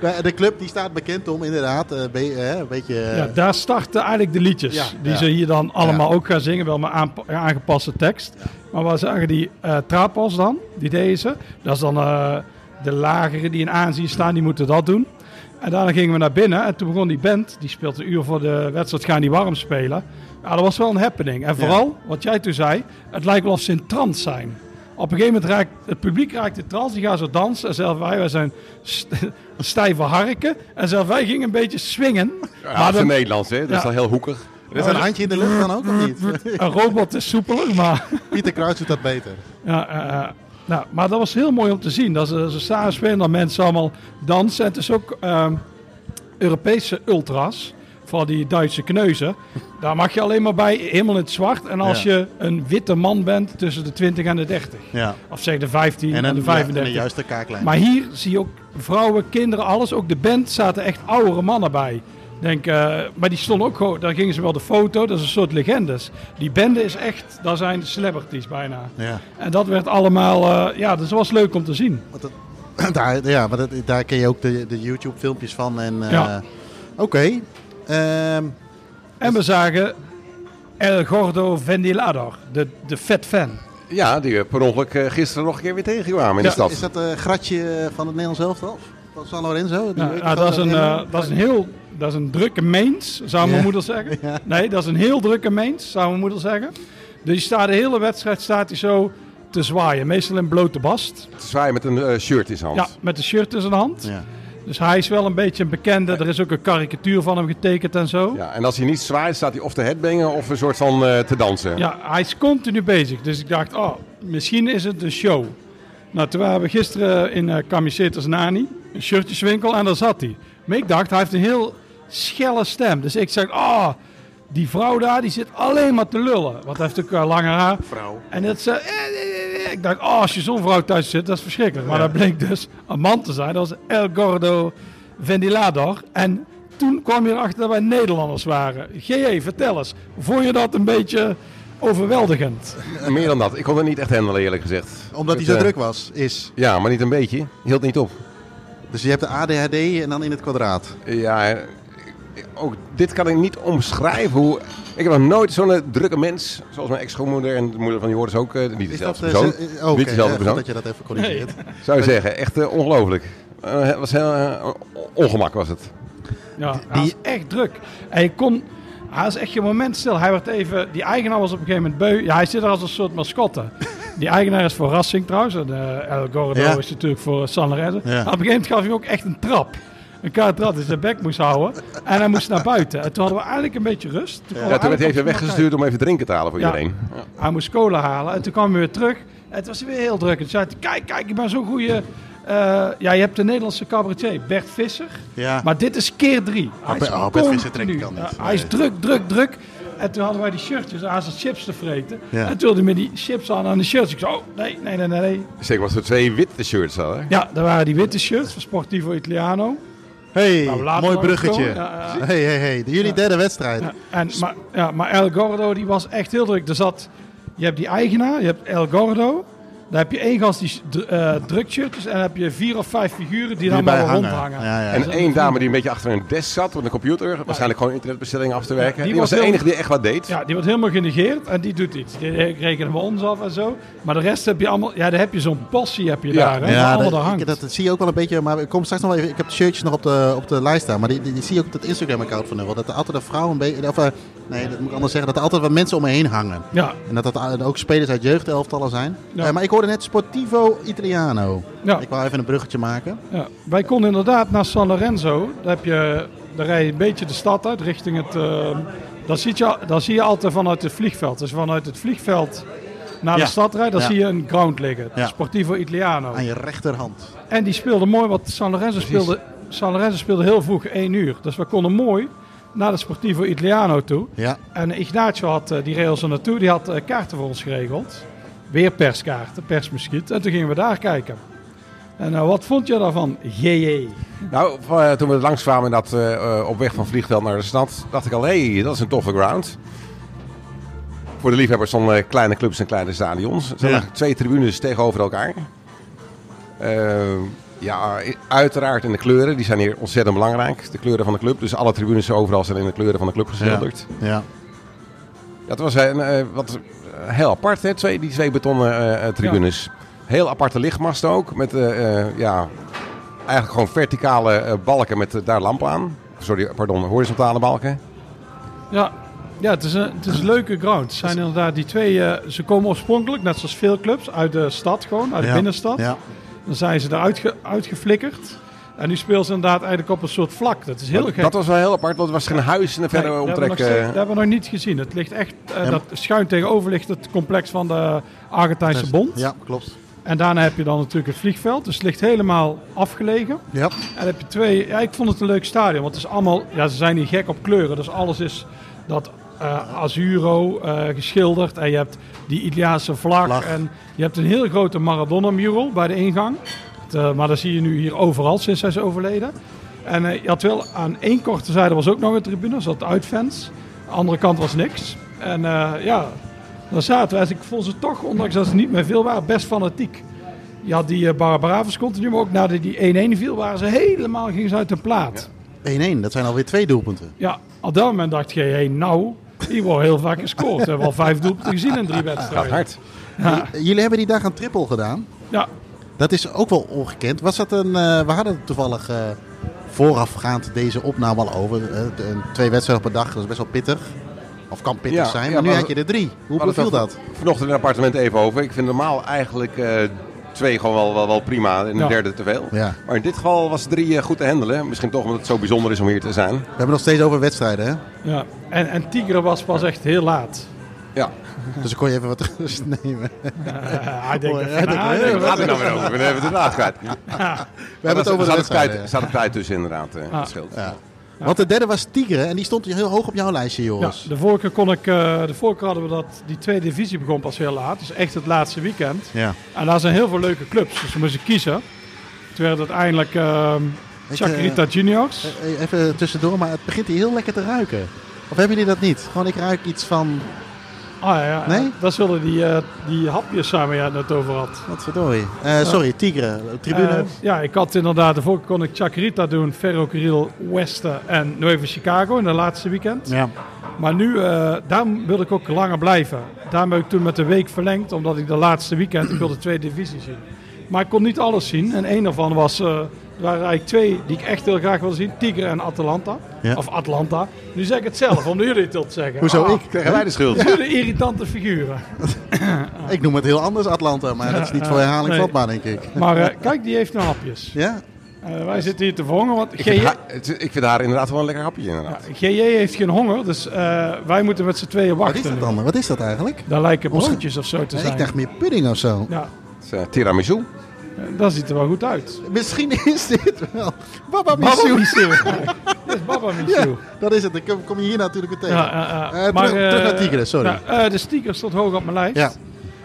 Speaker 2: Ja, De club die staat bekend om inderdaad eh, be- eh, een beetje... eh,
Speaker 3: Ja, daar starten eigenlijk de liedjes.
Speaker 2: Ja,
Speaker 3: die
Speaker 2: ja.
Speaker 3: ze hier dan allemaal ook gaan zingen. Wel met aanpa- aangepaste tekst. Maar waar zagen die eh trapas dan? Die deze. Dat is dan eh, de lagere die in aanzien staan. Die moeten dat doen. En daarna gingen we naar binnen. En toen begon die band. Die speelt een uur voor de wedstrijd. Gaan die warm spelen. Ja, dat was wel een happening. En vooral, wat jij toen zei. Het lijkt wel of ze in trance zijn. Op een gegeven moment raakt het publiek raakt de trance, die gaan zo dansen. En zelf wij, wij zijn st- stijve harken. En zelf wij gingen een beetje swingen.
Speaker 4: Ja, het is
Speaker 3: dan-
Speaker 4: Nederlands, hè? Dat is
Speaker 3: Ja.
Speaker 4: dan heel hoekig.
Speaker 2: Er is een handje in de lucht dan ook, of niet?
Speaker 3: Een robot is soepeler, maar,
Speaker 2: Pieter Kruijs doet dat beter.
Speaker 3: ja, eh, eh, nou, maar dat was heel mooi om te zien. Dat ze, ze samen spelen, dat mensen allemaal dansen. En het is ook ehm, Europese ultras, vooral die Duitse kneuzen. Daar mag je alleen maar bij, helemaal in het zwart. En als
Speaker 2: Ja.
Speaker 3: je een witte man bent tussen de 20 en de 30.
Speaker 2: Ja.
Speaker 3: Of zeg de 15 en,
Speaker 2: En
Speaker 3: de
Speaker 2: een, ja, en
Speaker 3: 35.
Speaker 2: een juiste kaaklijn.
Speaker 3: Maar hier zie je ook vrouwen, kinderen, alles. Ook de band zaten echt oudere mannen bij. Denk, eh, maar die stonden ook gewoon, daar gingen ze wel de foto, dat is een soort legendes. Die bende is echt, daar zijn celebrities bijna.
Speaker 2: Ja.
Speaker 3: En dat werd allemaal, eh, ja, dus dat was leuk om te zien.
Speaker 2: Want dat, daar, ja, maar dat, daar ken je ook de, de YouTube-filmpjes van. En, eh,
Speaker 3: Ja.
Speaker 2: Oké. Ehm,
Speaker 3: En we zagen El Gordo Ventilador, de, de fat fan.
Speaker 4: eh, Ja, die we per ongeluk eh, gisteren nog een keer weer tegenkwamen in
Speaker 3: Ja,
Speaker 4: de stad.
Speaker 2: is dat een gratje van het Nederlands elftal? Van San Lorenzo? Die
Speaker 3: Ja,
Speaker 2: weet
Speaker 3: nou,
Speaker 2: wel
Speaker 3: dat, is een,
Speaker 2: rennen.
Speaker 3: eh, dat is een heel dat is een drukke meens, zou mijn
Speaker 2: Ja.
Speaker 3: moeder zeggen. Nee, dat is een heel drukke meens, zou mijn moeder zeggen. Dus je staat de hele wedstrijd staat hij zo te zwaaien. Meestal in blote bast.
Speaker 4: Te zwaaien met een eh, shirt in zijn hand.
Speaker 3: Ja, met de shirt in zijn hand.
Speaker 2: Ja.
Speaker 3: Dus hij is wel een beetje een bekende. Er is ook een karikatuur van hem getekend en zo. Ja,
Speaker 4: Ja, en als hij niet zwaait, staat hij of te headbangen of een soort van eh, te dansen.
Speaker 3: hij is continu bezig. Dus ik dacht, oh, misschien is het een show. Nou, toen waren we gisteren in eh Camisetas Nani, een shirtjeswinkel, en daar zat hij. Maar ik dacht, hij heeft een heel schelle stem. Dus ik zeg, oh, die vrouw daar, die zit alleen maar te lullen. Want hij heeft ook eh, langer haar.
Speaker 4: Vrouw.
Speaker 3: En dat ze, eh, eh, eh, eh. ik dacht, oh, als je zo'n vrouw thuis zit, dat is verschrikkelijk. Maar dat bleek dus een man te zijn. Dat was El Gordo Ventilador. En toen kwam je erachter dat wij Nederlanders waren. GE, vertel eens, vond je dat een beetje overweldigend?
Speaker 4: Meer dan dat. Ik kon het niet echt handelen, eerlijk gezegd.
Speaker 2: Omdat hij zo
Speaker 4: Dus, eh,
Speaker 2: druk was, is.
Speaker 4: Ja, maar niet een beetje. Hield niet op.
Speaker 2: Dus je hebt de ADHD en dan in het kwadraat.
Speaker 4: Ja, eh, ook dit kan ik niet omschrijven. Hoe... Ik heb nog nooit zo'n eh, drukke mens, zoals mijn ex-schoonmoeder en de moeder van Joris ook, eh, niet dezelfde
Speaker 2: eh,
Speaker 4: persoon.
Speaker 2: ze- eh, Oké,
Speaker 4: niet dezelfde
Speaker 2: eh, goed
Speaker 4: persoon.
Speaker 2: dat je dat even corrigeert.
Speaker 4: Zou je zeggen, echt eh, ongelooflijk. Eh, het was heel eh, o- ongemak was het.
Speaker 3: Ja, hij was echt druk. En je kon, hij was echt geen moment stil. Hij werd even, die eigenaar was op een gegeven moment beu. Ja, hij zit er als een soort mascotte. Die eigenaar is voor Racing trouwens. En eh, El Gordo
Speaker 2: Ja.
Speaker 3: is natuurlijk voor San Lorenzo.
Speaker 2: Ja.
Speaker 3: Maar Op een gegeven moment gaf hij ook echt een trap. Een kaart trap, dus zijn bek moest houden. En hij moest naar buiten. En toen hadden we eigenlijk een beetje rust. Toen
Speaker 4: Ja, toen werd hij even weggestuurd om even drinken te halen voor
Speaker 3: Ja.
Speaker 4: iedereen.
Speaker 3: Hij moest cola halen. En toen kwam hij weer terug. En het was weer heel druk. En toen zei hij, kijk, kijk, ik ben zo'n goede... eh, ja, je hebt de Nederlandse cabaretier Bert Visser.
Speaker 2: Ja.
Speaker 3: Maar dit is keer drie. Hij
Speaker 2: Bert-
Speaker 3: is
Speaker 2: oh, Bert Visser
Speaker 3: continu.
Speaker 2: trekt die kan niet.
Speaker 3: Ja, hij is druk, druk, druk. En toen hadden wij die shirtjes. Hij zat chips te vreten.
Speaker 2: Ja.
Speaker 3: En toen wilde hij met die chips aan aan de shirts. Ik zei, oh, nee, nee, nee, nee, nee.
Speaker 4: Zeker was er twee witte shirts hadden.
Speaker 3: Ja, daar waren die witte shirts van Sportivo Italiano.
Speaker 2: Hey,
Speaker 3: Nou, laten we
Speaker 2: mooi
Speaker 3: maar
Speaker 2: bruggetje.
Speaker 3: komen. Ja, ja.
Speaker 2: Hey, hey, hey. Jullie derde wedstrijd.
Speaker 3: En,
Speaker 2: Dus-
Speaker 3: maar, ja, maar El Gordo die was echt heel druk. Er zat, je hebt die eigenaar, je hebt El Gordo. Dan heb je één gast die dr- eh druk shirtjes. En dan heb je vier of vijf figuren die dan maar
Speaker 2: erbij
Speaker 3: wel
Speaker 2: hangen.
Speaker 3: rondhangen.
Speaker 2: Ja, ja.
Speaker 4: En één dame die een beetje achter een desk zat met een computer, waarschijnlijk gewoon internetbestellingen af te werken.
Speaker 3: die
Speaker 4: die,
Speaker 3: was
Speaker 4: was de
Speaker 3: heel-
Speaker 4: enige die echt wat deed.
Speaker 3: Ja, die wordt helemaal genegeerd en die doet iets. Die rekenen we ons af en zo. Maar de rest heb je allemaal... Ja, dan heb je zo'n possie heb je
Speaker 4: Ja.
Speaker 3: daar. Hè,
Speaker 2: Ja,
Speaker 3: waar allemaal
Speaker 2: dat,
Speaker 3: daar hangt.
Speaker 2: ik- dat zie je ook wel een beetje. Maar ik kom straks nog wel even. Ik heb de shirtjes nog op de, op de lijst staan. Maar die, die, die zie je ook op het Instagram-account van Nul. Dat er altijd een vrouw een beetje. Of, eh, nee, dat moet ik anders zeggen. Dat er altijd wat mensen om me heen hangen.
Speaker 3: Ja,
Speaker 2: En dat dat a- ook spelers uit jeugdelftallen zijn.
Speaker 3: Ja.
Speaker 2: Eh, maar ik hoorde net Sportivo Italiano.
Speaker 3: Ja.
Speaker 2: Ik wou even een bruggetje maken.
Speaker 3: ja. Wij konden inderdaad naar San Lorenzo. Daar, heb je, daar rij je een beetje de stad uit richting het... eh dat, zie je, al- dat zie je altijd vanuit het vliegveld. Dus vanuit het vliegveld naar
Speaker 2: Ja.
Speaker 3: de stad rijden, dan
Speaker 2: Ja.
Speaker 3: zie je een ground liggen.
Speaker 2: Ja. Ah,
Speaker 3: Sportivo Italiano.
Speaker 2: Aan je rechterhand.
Speaker 3: En die speelde mooi, want San Lorenzo speelde, San Lorenzo speelde heel vroeg 1 uur. Dus we konden mooi naar de Sportivo Italiano toe.
Speaker 2: Ja.
Speaker 3: En Ignacio had, eh, die rails er naartoe, die had eh, kaarten voor ons geregeld. Weer perskaarten, persmuskiet. En toen gingen we daar kijken. En eh, wat vond je daarvan, GE?
Speaker 4: Nou, v- eh, toen we langs kwamen in dat, eh, eh, op weg van vliegveld naar de stad, dacht ik al, hé, dat is een toffe ground. Voor de liefhebbers van eh, kleine clubs en kleine stadions. Er zijn eigenlijk twee tribunes tegenover elkaar. Eh, ja, i- uiteraard in de kleuren, die zijn hier ontzettend belangrijk. De kleuren van de club, dus alle tribunes overal zijn in de kleuren van de club geschilderd.
Speaker 2: Ja.
Speaker 4: Dat was een, eh, wat, eh, heel apart, hè? Twee, die twee betonnen eh, eh, tribunes. Heel aparte lichtmasten ook. Met eh, eh, ja, eigenlijk gewoon verticale eh, balken met eh, daar lampen aan. Sorry, pardon, horizontale balken.
Speaker 3: Ja, ja het, is een, het is een leuke ground. Het zijn inderdaad die twee, eh, ze komen oorspronkelijk, net zoals veel clubs, uit de stad gewoon, uit de
Speaker 2: Ja.
Speaker 3: binnenstad.
Speaker 2: Ja.
Speaker 3: Dan zijn ze eruit ge- uitgeflikkerd. En nu speelden ze inderdaad eigenlijk op een soort vlak. Dat is heel
Speaker 4: Want
Speaker 3: gek.
Speaker 4: Dat was wel heel apart, want er was geen huis in de verre
Speaker 3: Nee, Dat
Speaker 4: omtrek.
Speaker 3: hebben, we nog steeds-
Speaker 4: eh,
Speaker 3: dat hebben we nog niet gezien. Het ligt echt, eh,
Speaker 2: Ja.
Speaker 3: dat schuin tegenover ligt het complex van de Argentijnse Bond.
Speaker 2: Ja, klopt.
Speaker 3: En daarna heb je dan natuurlijk het vliegveld. Dus het ligt helemaal afgelegen.
Speaker 2: Ja.
Speaker 3: En heb je twee. Ja, ik vond het een leuk stadion. Want het is allemaal. Ja, ze zijn hier gek op kleuren. Dus alles is dat eh, Azuro eh, geschilderd. En je hebt die Italiaanse vlag,
Speaker 2: Vlag.
Speaker 3: En je hebt een heel grote Maradona-mural bij de ingang. Het, eh, maar dat zie je nu hier overal sinds hij is overleden. En eh, je had wel aan één korte zijde was ook nog een tribune. Dat zat uitfans. Aan de andere kant was niks. En eh, ja, daar zaten we. Dus ik vond ze toch, ondanks dat ze niet meer veel waren, best fanatiek. Je had die eh, Barbaravas continu, maar ook nadat die 1-1 viel, waren ze helemaal gingen ze uit de plaat.
Speaker 2: 1-1. Dat zijn alweer twee doelpunten.
Speaker 3: Ja, op dat moment dacht je, hey, nou, die wordt heel vaak gescoord. We hebben al vijf doelpunten gezien in drie
Speaker 4: gaat
Speaker 3: wedstrijden.
Speaker 2: Eh,
Speaker 4: hard.
Speaker 2: Jullie hebben die dag een triple gedaan.
Speaker 3: Ja,
Speaker 2: Dat is ook wel ongekend. Was dat een, eh, we hadden het toevallig eh, voorafgaand deze opname al over. eh, de- een- twee wedstrijden per dag, dat is best wel pittig. Of kan pittig
Speaker 4: Ja,
Speaker 2: zijn,
Speaker 4: ja,
Speaker 2: maar nu
Speaker 4: maar-
Speaker 2: had je er drie. Hoe
Speaker 4: hadden
Speaker 2: beviel
Speaker 4: het
Speaker 2: dat?
Speaker 4: Vanochtend in het appartement even over. Ik vind normaal eigenlijk eh, twee gewoon wel, wel, wel prima en de
Speaker 3: Ja.
Speaker 4: derde te veel.
Speaker 2: Ja.
Speaker 4: Maar in dit geval was drie eh, goed te handelen. Misschien toch omdat het zo bijzonder is om hier te zijn.
Speaker 2: We hebben nog steeds over wedstrijden, hè?
Speaker 3: Ja. En, en Tigre was pas echt heel laat.
Speaker 4: Ja,
Speaker 2: Dus ik kon je even wat rust nemen.
Speaker 3: Eh, ik denk
Speaker 2: Oh,
Speaker 3: dat
Speaker 2: ja,
Speaker 3: van,
Speaker 2: dat-
Speaker 3: ah,
Speaker 2: ja,
Speaker 4: daar
Speaker 3: nee,
Speaker 4: gaat het nou weer over. We hebben het inderdaad kwijt.
Speaker 2: We hebben het over de
Speaker 4: er zat
Speaker 2: wedstrijden.
Speaker 4: tijd, er zat een tijd tussen inderdaad. eh,
Speaker 3: Ah.
Speaker 4: dat scheelt.
Speaker 2: Ja. Want de derde was Tigre en die stond heel hoog op jouw lijstje,
Speaker 3: Ja,
Speaker 2: Joris.
Speaker 3: de vorige keer kon ik, eh, de vorige keer hadden we dat die tweede divisie begon pas heel laat. Dus echt het laatste weekend.
Speaker 2: Ja.
Speaker 3: En daar zijn heel veel leuke clubs. Dus we moesten kiezen. Toen werd het uiteindelijk ehm
Speaker 2: Ik,
Speaker 3: Chacarita Juniors.
Speaker 2: Eh, Even tussendoor, maar het begint hier heel lekker te ruiken. Of hebben jullie dat niet? Gewoon, ik ruik iets van...
Speaker 3: Ah ja,
Speaker 2: Nee?
Speaker 3: dat zullen die, eh, die hapjes samen ja, net over had.
Speaker 2: Wat verdorie. Eh, sorry, Tigre. Tribune.
Speaker 3: Eh, ja, ik had inderdaad, de vorige keer kon ik Chacarita doen, Ferrocarril, Westen en Nueva Chicago in de laatste weekend.
Speaker 2: ja.
Speaker 3: Maar nu, eh, daar wilde ik ook langer blijven. Daarom heb ik toen met de week verlengd, omdat ik de laatste weekend, ik wilde twee divisies zien. Maar ik kon niet alles zien. En één daarvan was, eh, er waren eigenlijk twee die ik echt heel graag wilde zien. Tigre en Atalanta.
Speaker 2: Ja.
Speaker 3: Of Atlanta. Nu zeg ik het zelf, om jullie het te zeggen.
Speaker 2: Hoezo
Speaker 3: Ah,
Speaker 2: ik?
Speaker 4: Krijgen wij de schuld?
Speaker 3: Jullie irritante figuren.
Speaker 2: Ik noem het heel anders, Atlanta. Maar dat is niet voor herhaling
Speaker 3: nee.
Speaker 2: vatbaar, denk ik.
Speaker 3: Maar eh, kijk, die heeft nou hapjes.
Speaker 2: Ja?
Speaker 3: Eh, wij zitten hier te vongen, want
Speaker 4: Ik
Speaker 3: GJ,
Speaker 4: vind, haar, het- ik vind haar inderdaad wel een lekker hapje inderdaad.
Speaker 3: GJ heeft geen honger, dus eh, wij moeten met z'n tweeën
Speaker 2: Wat
Speaker 3: wachten.
Speaker 2: is dat
Speaker 3: nu.
Speaker 2: dan? Wat is dat eigenlijk?
Speaker 3: Daar lijken
Speaker 2: Ons-
Speaker 3: broodjes of zo te
Speaker 2: Nee,
Speaker 3: zijn.
Speaker 2: ik dacht meer pudding of zo.
Speaker 3: Ja,
Speaker 4: Het is, eh, tiramisu.
Speaker 3: eh, dat ziet er wel goed uit.
Speaker 2: Misschien is dit wel... Baba
Speaker 3: Baba
Speaker 2: Missou.
Speaker 3: Missieu. Dat is Baba
Speaker 2: Ja,
Speaker 3: Missieu.
Speaker 2: dat is het. Dan kom- kom je hier natuurlijk weer tegen.
Speaker 3: Ja, eh, eh,
Speaker 2: Eh, terug- terug naar
Speaker 3: eh,
Speaker 2: Tigre, sorry.
Speaker 3: nou, eh, de sticker stond hoog op mijn lijst.
Speaker 2: Ja.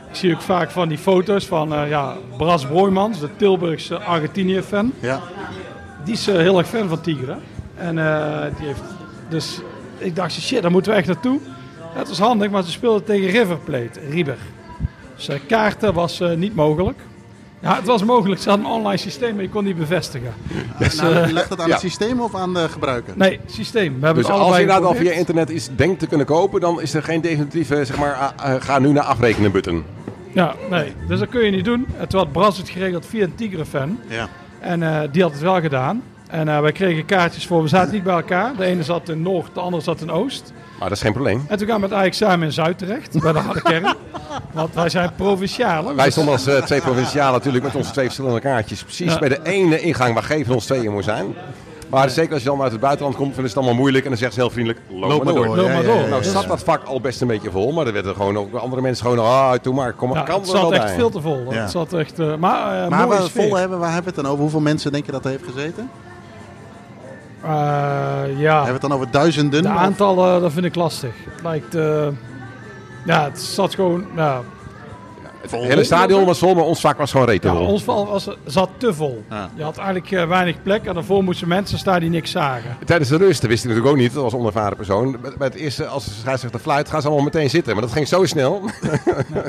Speaker 3: Ik zie ook vaak van die foto's van eh, ja, Bras Broijmans, de Tilburgse Argentinië-fan.
Speaker 2: Ja.
Speaker 3: Die is eh, heel erg fan van Tigre. En eh, die heeft... Dus ik dacht, shit, daar moeten we echt naartoe. Dat was handig, maar ze speelden tegen River Plate, Rieber. Dus eh, kaarten was eh, niet mogelijk. Ja, het was mogelijk. Ze hadden een online systeem, maar je kon niet bevestigen. Dus, eh,
Speaker 2: Nou, legt dat aan
Speaker 4: ja.
Speaker 2: het systeem of aan de gebruiker?
Speaker 3: Nee, systeem. We hebben het
Speaker 4: Dus als je
Speaker 3: allebei
Speaker 4: inderdaad al via
Speaker 3: geprobeerd.
Speaker 4: internet iets denkt te kunnen kopen, dan is er geen definitieve, zeg maar, ah, eh, ga nu naar afrekenen button.
Speaker 3: Ja, nee. Dus dat kun je niet doen. En toen had Bras het geregeld via een Tigre-fan.
Speaker 2: Ja.
Speaker 3: En eh, die had het wel gedaan. En eh, wij kregen kaartjes voor. We zaten niet bij elkaar. De ene zat in Noord, de andere zat in Oost.
Speaker 4: Maar dat is geen probleem.
Speaker 3: En toen kwamen we het eigenlijk samen in Zuid terecht, bij de harde kern. Want wij zijn provincialen.
Speaker 4: Wij stonden als eh, twee provincialen natuurlijk met onze twee verschillende kaartjes. Precies
Speaker 3: Ja.
Speaker 4: bij de ene ingang waar geen van ons tweeën moet zijn. Maar zeker als je dan uit het buitenland komt, vinden ze het allemaal moeilijk. En dan zegt ze heel vriendelijk, loop, maar door.
Speaker 3: door. Loop maar door.
Speaker 4: Nou zat dat vak al best een beetje vol, maar er werden gewoon ook andere mensen gewoon... Ah, doe maar, kom maar,
Speaker 3: Ja,
Speaker 4: kan
Speaker 3: het
Speaker 4: er wel
Speaker 3: zat echt
Speaker 4: bij.
Speaker 3: veel te vol.
Speaker 2: Ja.
Speaker 3: Het zat echt, eh, maar eh
Speaker 2: Maar
Speaker 3: mooie
Speaker 2: waar we het
Speaker 3: sfeer.
Speaker 2: vol hebben, waar hebben we het dan over? Hoeveel mensen denk je dat er heeft gezeten?
Speaker 3: Eh, ja,
Speaker 2: Hebben we het dan over duizenden?
Speaker 3: de
Speaker 2: Of-
Speaker 3: aantallen, eh, dat vind ik lastig. Het lijkt... eh, ja, het zat gewoon... Ja,
Speaker 4: Het hele stadion was vol, maar ons vak was gewoon rete
Speaker 3: Ja,
Speaker 4: vol.
Speaker 3: ons val was, zat te vol.
Speaker 2: Ja.
Speaker 3: Je had eigenlijk eh, weinig plek en daarvoor moesten mensen staan die niks zagen.
Speaker 4: Tijdens de rust, dat wist ik natuurlijk ook niet, dat was een onervaren persoon. Bij bij het eerste, als de scheidsrechter fluit, gaan ze allemaal meteen zitten. Maar dat ging zo snel,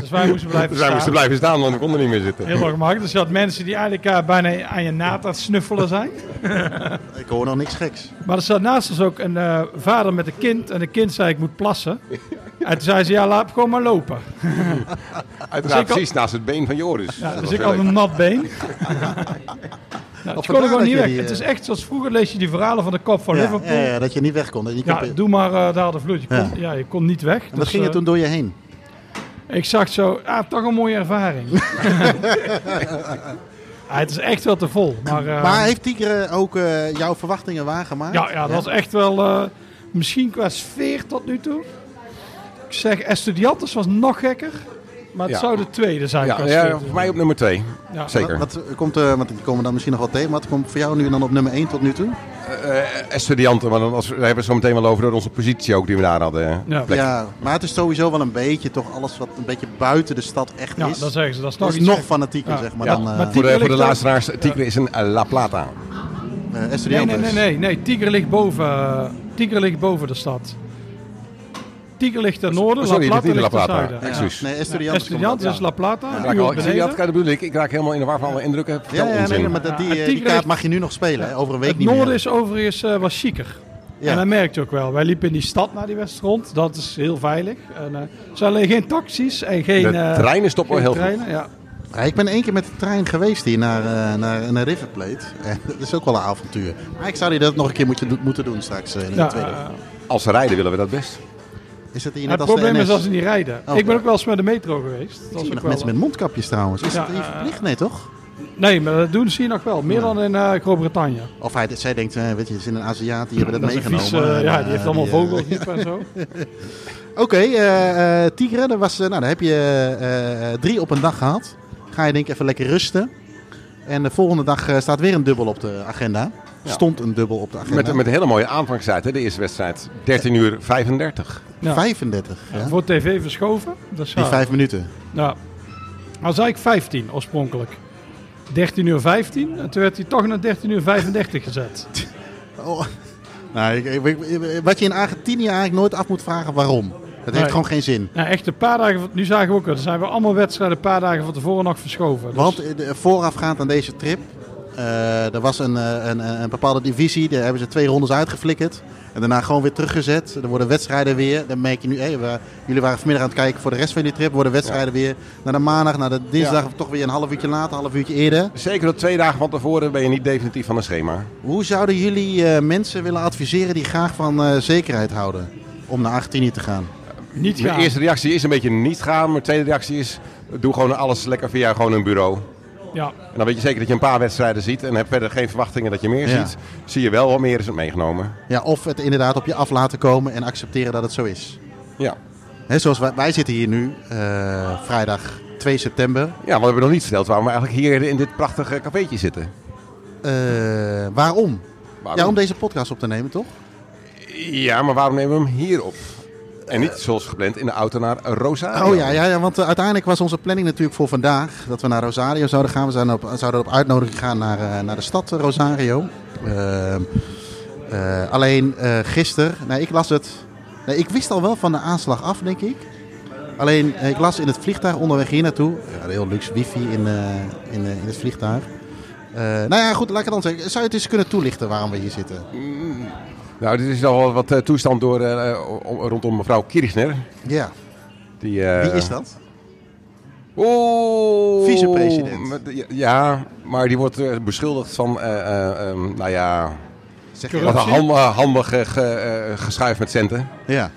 Speaker 3: Dus wij moesten blijven
Speaker 4: dus wij
Speaker 3: staan.
Speaker 4: moesten blijven staan, want we konden niet meer zitten.
Speaker 3: Heel ongemakkelijk. Dus je had mensen die eigenlijk eh, bijna aan je naad aan het snuffelen zijn.
Speaker 2: Ik hoor nog niks geks.
Speaker 3: Maar er zat naast ons ook een eh, vader met een kind. En de kind zei, ik moet plassen. En toen zei ze, ja, laat gewoon maar lopen.
Speaker 4: Uiteraard
Speaker 3: Dus ik had-
Speaker 4: precies naast het been van Joris.
Speaker 3: Ja,
Speaker 4: Dat
Speaker 3: dus
Speaker 4: was
Speaker 3: ik
Speaker 4: heel
Speaker 3: had
Speaker 4: leuk.
Speaker 3: een nat been. nou, het kon
Speaker 2: vandaar
Speaker 3: er
Speaker 2: dat
Speaker 3: gewoon niet
Speaker 2: je
Speaker 3: weg.
Speaker 2: die, eh,
Speaker 3: Het is echt zoals vroeger lees je die verhalen van de kop van
Speaker 2: Ja,
Speaker 3: Liverpool.
Speaker 2: ja,
Speaker 3: Ja,
Speaker 2: ja, dat je niet weg kon. Dat je niet kon-
Speaker 3: doe dus, eh, maar eh, daar de vloed. Je kon,
Speaker 2: Ja.
Speaker 3: ja. je kon niet weg.
Speaker 2: en wat ging er toen door je heen?
Speaker 3: Ik zag zo, ah, toch een mooie ervaring. Ah, het is echt wel te vol. Maar, eh,
Speaker 2: maar heeft Tigre ook eh, jouw verwachtingen waargemaakt?
Speaker 3: ja, ja, dat was echt wel, eh, misschien qua sfeer tot nu toe. Ik zeg, Estudiantes was nog gekker. Maar het
Speaker 4: Ja.
Speaker 3: zou de tweede zijn.
Speaker 4: Ja,
Speaker 3: qua
Speaker 4: ja,
Speaker 3: sfeer.
Speaker 4: voor mij op nummer twee.
Speaker 3: Ja.
Speaker 4: Zeker.
Speaker 2: Wat, wat komt, eh, want die komen dan misschien nog wel tegen. maar Wat komt voor jou nu dan op nummer 1 tot nu toe?
Speaker 4: Eh, Estudianten, maar dan als, daar hebben we het zo meteen wel over door onze positie ook die we daar hadden.
Speaker 3: Ja.
Speaker 4: Plek.
Speaker 2: Ja, maar het is sowieso wel een beetje toch alles wat een beetje buiten de stad echt
Speaker 3: Ja,
Speaker 2: is.
Speaker 3: dat zeggen ze. Dat is nog
Speaker 2: Dat is
Speaker 3: iets
Speaker 2: nog
Speaker 3: gekker.
Speaker 2: fanatieker,
Speaker 3: Ja.
Speaker 2: zeg maar.
Speaker 4: Ja.
Speaker 2: Dan, eh
Speaker 3: Maar
Speaker 4: Voor
Speaker 3: Tigre
Speaker 4: de, voor
Speaker 3: ligt
Speaker 4: de
Speaker 3: daar-
Speaker 4: luisteraars, Tigre is een eh, La Plata.
Speaker 2: eh,
Speaker 3: Nee,
Speaker 2: Estudiantes.
Speaker 3: nee, nee, nee, nee. Tigre ligt boven, eh, Tigre ligt boven de stad. Tigre ligt ten noorden,
Speaker 4: Sorry,
Speaker 3: La
Speaker 4: dat is
Speaker 3: Plata
Speaker 4: niet La
Speaker 3: ligt ten
Speaker 4: Plata.
Speaker 3: zuiden. Ja.
Speaker 4: Excuus.
Speaker 2: Nee, Estudiantes.
Speaker 3: Estudiantes
Speaker 2: komt
Speaker 3: is La Plata,
Speaker 4: Ik
Speaker 3: een
Speaker 4: raak
Speaker 3: uur
Speaker 4: al- ik zie dat,
Speaker 3: beneden.
Speaker 4: dat bedoel ik. Ik raak helemaal in de war van alle indrukken.
Speaker 2: wel. Ja,
Speaker 4: Vertel
Speaker 2: ja,
Speaker 4: onzin.
Speaker 2: nee, maar dat, die,
Speaker 3: Ja,
Speaker 2: eh, die
Speaker 3: Tigre
Speaker 2: kaart
Speaker 3: heeft-
Speaker 2: mag je nu nog spelen. hè? Over een week
Speaker 3: Het
Speaker 2: niet meer.
Speaker 3: noorden is overigens eh was chiquer.
Speaker 2: Ja.
Speaker 3: En dat merk je ook wel. Wij liepen in die stad naar die west rond. Dat is heel veilig. En, eh, er zijn alleen geen taxis en geen,
Speaker 4: De
Speaker 3: eh,
Speaker 4: treinen stoppen
Speaker 3: geen
Speaker 4: wel heel
Speaker 3: treinen. Ja.
Speaker 2: Ja, ik ben één keer met de trein geweest hier naar, eh, naar, naar River Plate. En dat is ook wel een avontuur. Maar ik zou die dat nog een keer moeten, do- moeten doen straks eh, in de
Speaker 3: Ja,
Speaker 2: tweede.
Speaker 3: eh,
Speaker 4: Als ze rijden willen we dat best.
Speaker 2: is dat hier net
Speaker 3: het
Speaker 2: als
Speaker 3: probleem
Speaker 2: de NS?
Speaker 3: is als ze niet rijden.
Speaker 2: Oh.
Speaker 3: ik ben ook wel eens met de metro geweest. Dat
Speaker 2: Ik
Speaker 3: was
Speaker 2: zie
Speaker 3: ook
Speaker 2: nog
Speaker 3: wel-
Speaker 2: mensen met mondkapjes trouwens. Is
Speaker 3: Ja,
Speaker 2: dat hier
Speaker 3: eh,
Speaker 2: verplicht? Nee, toch?
Speaker 3: Nee, maar dat doen ze hier nog wel. Meer
Speaker 2: Ja.
Speaker 3: dan in eh, Groot-Brittannië.
Speaker 2: Of hij, zij denkt, eh, weet je, er is in een Aziat, die hebben dat,
Speaker 3: Dat is een
Speaker 2: meegenomen.
Speaker 3: vies, eh,
Speaker 2: En,
Speaker 3: ja,
Speaker 2: eh,
Speaker 3: die heeft allemaal
Speaker 2: eh,
Speaker 3: vogelgriep en zo.
Speaker 2: Oké, eh, eh, Tigre, daar, was, eh, nou, daar heb je eh, eh, drie op een dag gehad. Ga je denk ik even lekker rusten. En de volgende dag eh, staat weer een dubbel op de agenda.
Speaker 4: Ja.
Speaker 2: Stond een dubbel op de agenda.
Speaker 4: Met, met een hele mooie aanvangstijd, hè, de eerste wedstrijd. 13 uur 35.
Speaker 3: Ja.
Speaker 2: 35, ja.
Speaker 3: Voor tv verschoven. Dat is
Speaker 2: Die
Speaker 3: raar.
Speaker 2: vijf minuten.
Speaker 3: Ja. Als eigenlijk 15 oorspronkelijk. 13 uur 15. En toen werd hij toch naar 13 uur 35 gezet.
Speaker 2: Oh. Nou, ik- ik- ik- wat je in Argentinië eigenlijk nooit af moet vragen waarom. Dat heeft
Speaker 3: Nee.
Speaker 2: gewoon geen zin.
Speaker 3: Nou, echt een paar dagen. van- Nu zagen we ook al. Er zijn we allemaal wedstrijden een paar dagen van tevoren nog verschoven. Dus-
Speaker 2: Want eh, de- voorafgaand aan deze trip, eh, er was een, eh, een, een, een bepaalde divisie, daar hebben ze twee rondes uitgeflikkerd. En daarna gewoon weer teruggezet. Er worden wedstrijden weer. Dan merk je nu, hé, we- jullie waren vanmiddag aan het kijken voor de rest van jullie trip. Worden wedstrijden weer naar de maandag, naar de dinsdag,
Speaker 4: Ja.
Speaker 2: of toch weer een half uurtje later, een half uurtje eerder.
Speaker 4: Zeker dat twee dagen van tevoren ben je niet definitief van een schema.
Speaker 2: Hoe zouden jullie eh, mensen willen adviseren die graag van eh, zekerheid houden om naar Argentinië te gaan?
Speaker 3: Niet
Speaker 4: Mijn
Speaker 3: gaan.
Speaker 4: eerste reactie is een beetje niet gaan. Mijn tweede reactie is, doe gewoon alles lekker via gewoon een bureau.
Speaker 3: Ja.
Speaker 4: En dan weet je zeker dat je een paar wedstrijden ziet en heb verder geen verwachtingen dat je meer
Speaker 2: Ja.
Speaker 4: ziet. Zie je wel, wat meer is het meegenomen.
Speaker 2: Ja, of het inderdaad op je af laten komen en accepteren dat het zo is.
Speaker 4: Ja.
Speaker 2: Hè, zoals wij, wij zitten hier nu, eh, vrijdag 2 september.
Speaker 4: Ja, want we hebben nog niet verteld waarom we eigenlijk hier in dit prachtige cafeetje zitten.
Speaker 2: Eh, waarom?
Speaker 4: Waarom?
Speaker 2: Ja, om deze podcast op te nemen, toch?
Speaker 4: Ja, maar waarom nemen we hem hier op? En niet zoals gepland in de auto naar Rosario.
Speaker 2: Oh ja, ja, ja want eh, uiteindelijk was onze planning natuurlijk voor vandaag dat we naar Rosario zouden gaan. We zijn op, zouden op uitnodiging gaan naar, eh, naar de stad eh, Rosario. Ehm, eh, alleen eh gisteren, nee, ik las het. Nee, ik wist al wel van de aanslag af, denk ik. Alleen, eh, ik las in het vliegtuig onderweg hier naartoe. Ja, heel luxe wifi in, eh, in, eh, in het vliegtuig. Eh, nou ja, goed, laat ik het dan zeggen. Zou je het eens kunnen toelichten waarom we hier zitten?
Speaker 4: Nou, dit is al wel wat eh, toestand door, eh, om- rondom mevrouw Kirchner.
Speaker 2: Ja,
Speaker 4: Die, eh,
Speaker 2: wie is dat?
Speaker 4: Oeh.
Speaker 2: Vicepresident.
Speaker 4: Met- Ja, maar die wordt eh, beschuldigd van, eh, eh, ehm, nou ja,
Speaker 2: Zeg
Speaker 3: Corrupt.
Speaker 4: wat een
Speaker 3: Corruptie?
Speaker 4: handige, handige ge- eh, geschuif met centen.
Speaker 2: Ja.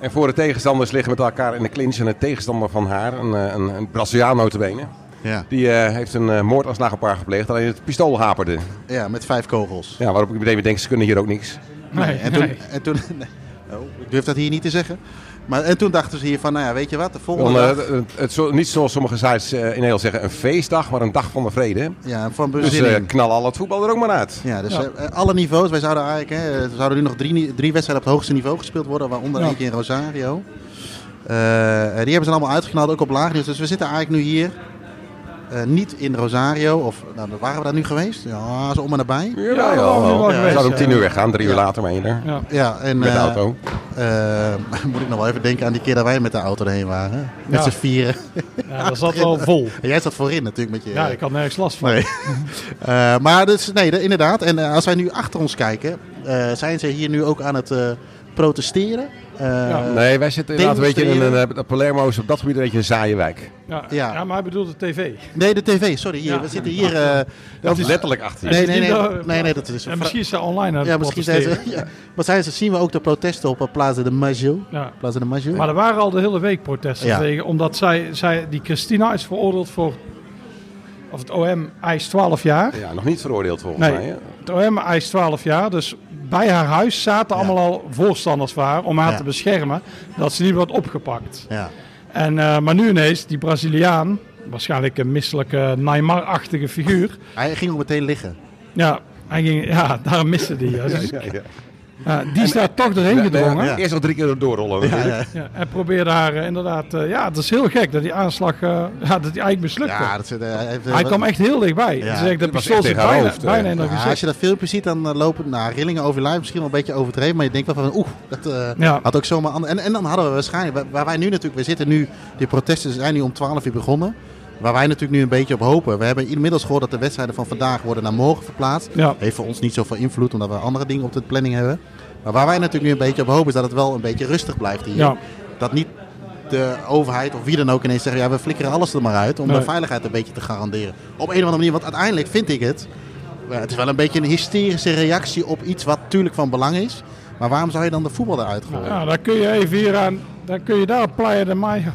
Speaker 4: En voor de tegenstanders liggen met elkaar in de clinch. En een tegenstander van haar, een, eh, een, een Braziliaan notabene,
Speaker 2: Ja.
Speaker 4: die eh, heeft een eh, moordaanslag op haar gepleegd. Alleen het pistool haperde.
Speaker 2: ja, met vijf kogels.
Speaker 4: Ja, waarop ik meteen weer denk, ze kunnen hier ook niks.
Speaker 3: Nee,
Speaker 2: En toen,
Speaker 3: nee.
Speaker 2: en toen nee. oh, ik durf dat hier niet te zeggen. Maar, en toen dachten ze hier van, nou ja, weet je wat, de volgende
Speaker 4: Dan, eh,
Speaker 2: dag,
Speaker 4: het, het zo- niet zoals sommige sites eh, in Nederland zeggen, een feestdag, maar een dag van de vrede.
Speaker 2: ja, van
Speaker 4: Dus
Speaker 2: bezinning.
Speaker 4: eh knal al het voetbal er ook maar uit.
Speaker 2: ja, dus
Speaker 3: Ja.
Speaker 2: eh, alle niveaus. Wij zouden eigenlijk, hè, er zouden nu nog drie, ni- drie wedstrijden op het hoogste niveau gespeeld worden, waaronder
Speaker 3: Ja.
Speaker 2: eentje in Rosario. Eh, eh, die hebben ze allemaal uitgeknald, ook op laag niveau. Dus we zitten eigenlijk nu hier, eh, niet in Rosario, of nou, waren we daar nu geweest? Ja, zo om en nabij.
Speaker 4: Ja,
Speaker 3: Ja, wel, wel
Speaker 4: wel.
Speaker 3: geweest,
Speaker 4: We zouden om
Speaker 3: eh.
Speaker 4: tien uur weggaan, drie uur later meen je er.
Speaker 3: Ja.
Speaker 2: Ja, en,
Speaker 4: Met de
Speaker 2: eh,
Speaker 4: auto.
Speaker 2: eh, moet ik nog wel even denken aan die keer dat wij met de auto erheen waren. Met
Speaker 3: Ja.
Speaker 2: z'n vieren.
Speaker 3: ja, dat zat wel vol.
Speaker 2: En jij zat voorin natuurlijk met je...
Speaker 3: Ja, ik had nergens last van.
Speaker 2: Nee. Eh, maar dus, nee, de- inderdaad. En eh, als wij nu achter ons kijken, eh, zijn ze hier nu ook aan het eh, protesteren? Eh,
Speaker 3: Ja.
Speaker 4: Nee, wij zitten inderdaad een beetje in een,
Speaker 2: demonstreren.
Speaker 4: eh, Palermo is op dat gebied een beetje een saaie wijk.
Speaker 3: Ja.
Speaker 2: Ja.
Speaker 3: Ja. maar hij bedoelde tv.
Speaker 2: Nee, de tv, sorry. Hier,
Speaker 3: Ja.
Speaker 2: We zitten hier... eh,
Speaker 4: Dat is letterlijk achter je.
Speaker 2: nee, nee, nee,
Speaker 3: Misschien wel-
Speaker 2: nee, nee, dat is...
Speaker 3: En misschien is hij online aan het
Speaker 2: ja, misschien zijn ze,
Speaker 3: protesteren.
Speaker 2: ja. Maar zijn ze, zien we ook de protesten op eh, Plaza de Maggio?
Speaker 3: Ja.
Speaker 2: Plaza de Maggio?
Speaker 3: Maar er waren al de hele week protesten
Speaker 2: Ja.
Speaker 3: tegen, omdat zij, zij, die Christina is veroordeeld voor, of het OM eist 12 jaar.
Speaker 4: Ja, nog niet veroordeeld volgens
Speaker 3: Nee,
Speaker 4: mij. hè?
Speaker 3: het OM eist 12 jaar, dus bij haar huis zaten
Speaker 2: Ja.
Speaker 3: allemaal al voorstanders van haar om haar
Speaker 2: Ja.
Speaker 3: te beschermen, dat ze niet wordt opgepakt.
Speaker 2: Ja.
Speaker 3: En, eh, maar nu ineens, die Braziliaan, waarschijnlijk een misselijke Neymar-achtige figuur,
Speaker 2: Hij ging ook meteen liggen.
Speaker 3: ja, hij ging, ja daarom miste die. Ja, dus-
Speaker 4: Ja, ja.
Speaker 3: ja, die is daar toch doorheen
Speaker 4: Nee, nee,
Speaker 3: gedrongen.
Speaker 4: ja. Eerst nog drie keer doorrollen. natuurlijk.
Speaker 3: Ja, en probeerde haar eh, inderdaad. eh, ja, het is heel gek dat die aanslag. eh, ja, dat die eigenlijk mislukte.
Speaker 2: Ja, dat, is- eh, hij heeft, eh,
Speaker 3: hij kwam echt heel dichtbij.
Speaker 2: Ja,
Speaker 3: dus ik, dat
Speaker 4: was
Speaker 3: pistool
Speaker 4: echt
Speaker 3: zit
Speaker 4: tegen haar
Speaker 3: bijna,
Speaker 4: hoofd, eh.
Speaker 3: bijna in haar
Speaker 2: Ja, als
Speaker 3: gezicht.
Speaker 2: je dat filmpje ziet, dan eh, lopen nou, rillingen over je lijf. Misschien wel een beetje overdreven. Maar je denkt wel van, oeh, dat eh,
Speaker 3: Ja.
Speaker 2: had ook zomaar... ander- En, en dan hadden we waarschijnlijk... waar- Waar wij nu natuurlijk... We zitten nu... Die protesten zijn nu om 12 uur begonnen. Waar wij natuurlijk nu een beetje op hopen. We hebben inmiddels gehoord dat de wedstrijden van vandaag worden naar morgen verplaatst.
Speaker 3: Ja.
Speaker 2: Heeft voor ons niet zoveel invloed, omdat we andere dingen op de planning hebben. Maar waar wij natuurlijk nu een beetje op hopen, is dat het wel een beetje rustig blijft hier.
Speaker 3: Ja.
Speaker 2: Dat niet de overheid of wie dan ook ineens zeggen... ja, we flikkeren alles er maar uit om
Speaker 3: Nee.
Speaker 2: de veiligheid een beetje te garanderen. Op een of andere manier, want uiteindelijk vind ik het... eh, het is wel een beetje een hysterische reactie op iets wat natuurlijk van belang is. Maar waarom zou je dan de voetbal eruit gooien?
Speaker 3: Ja, dan kun je even hier aan, dan kun je daar op Playa de Mayo.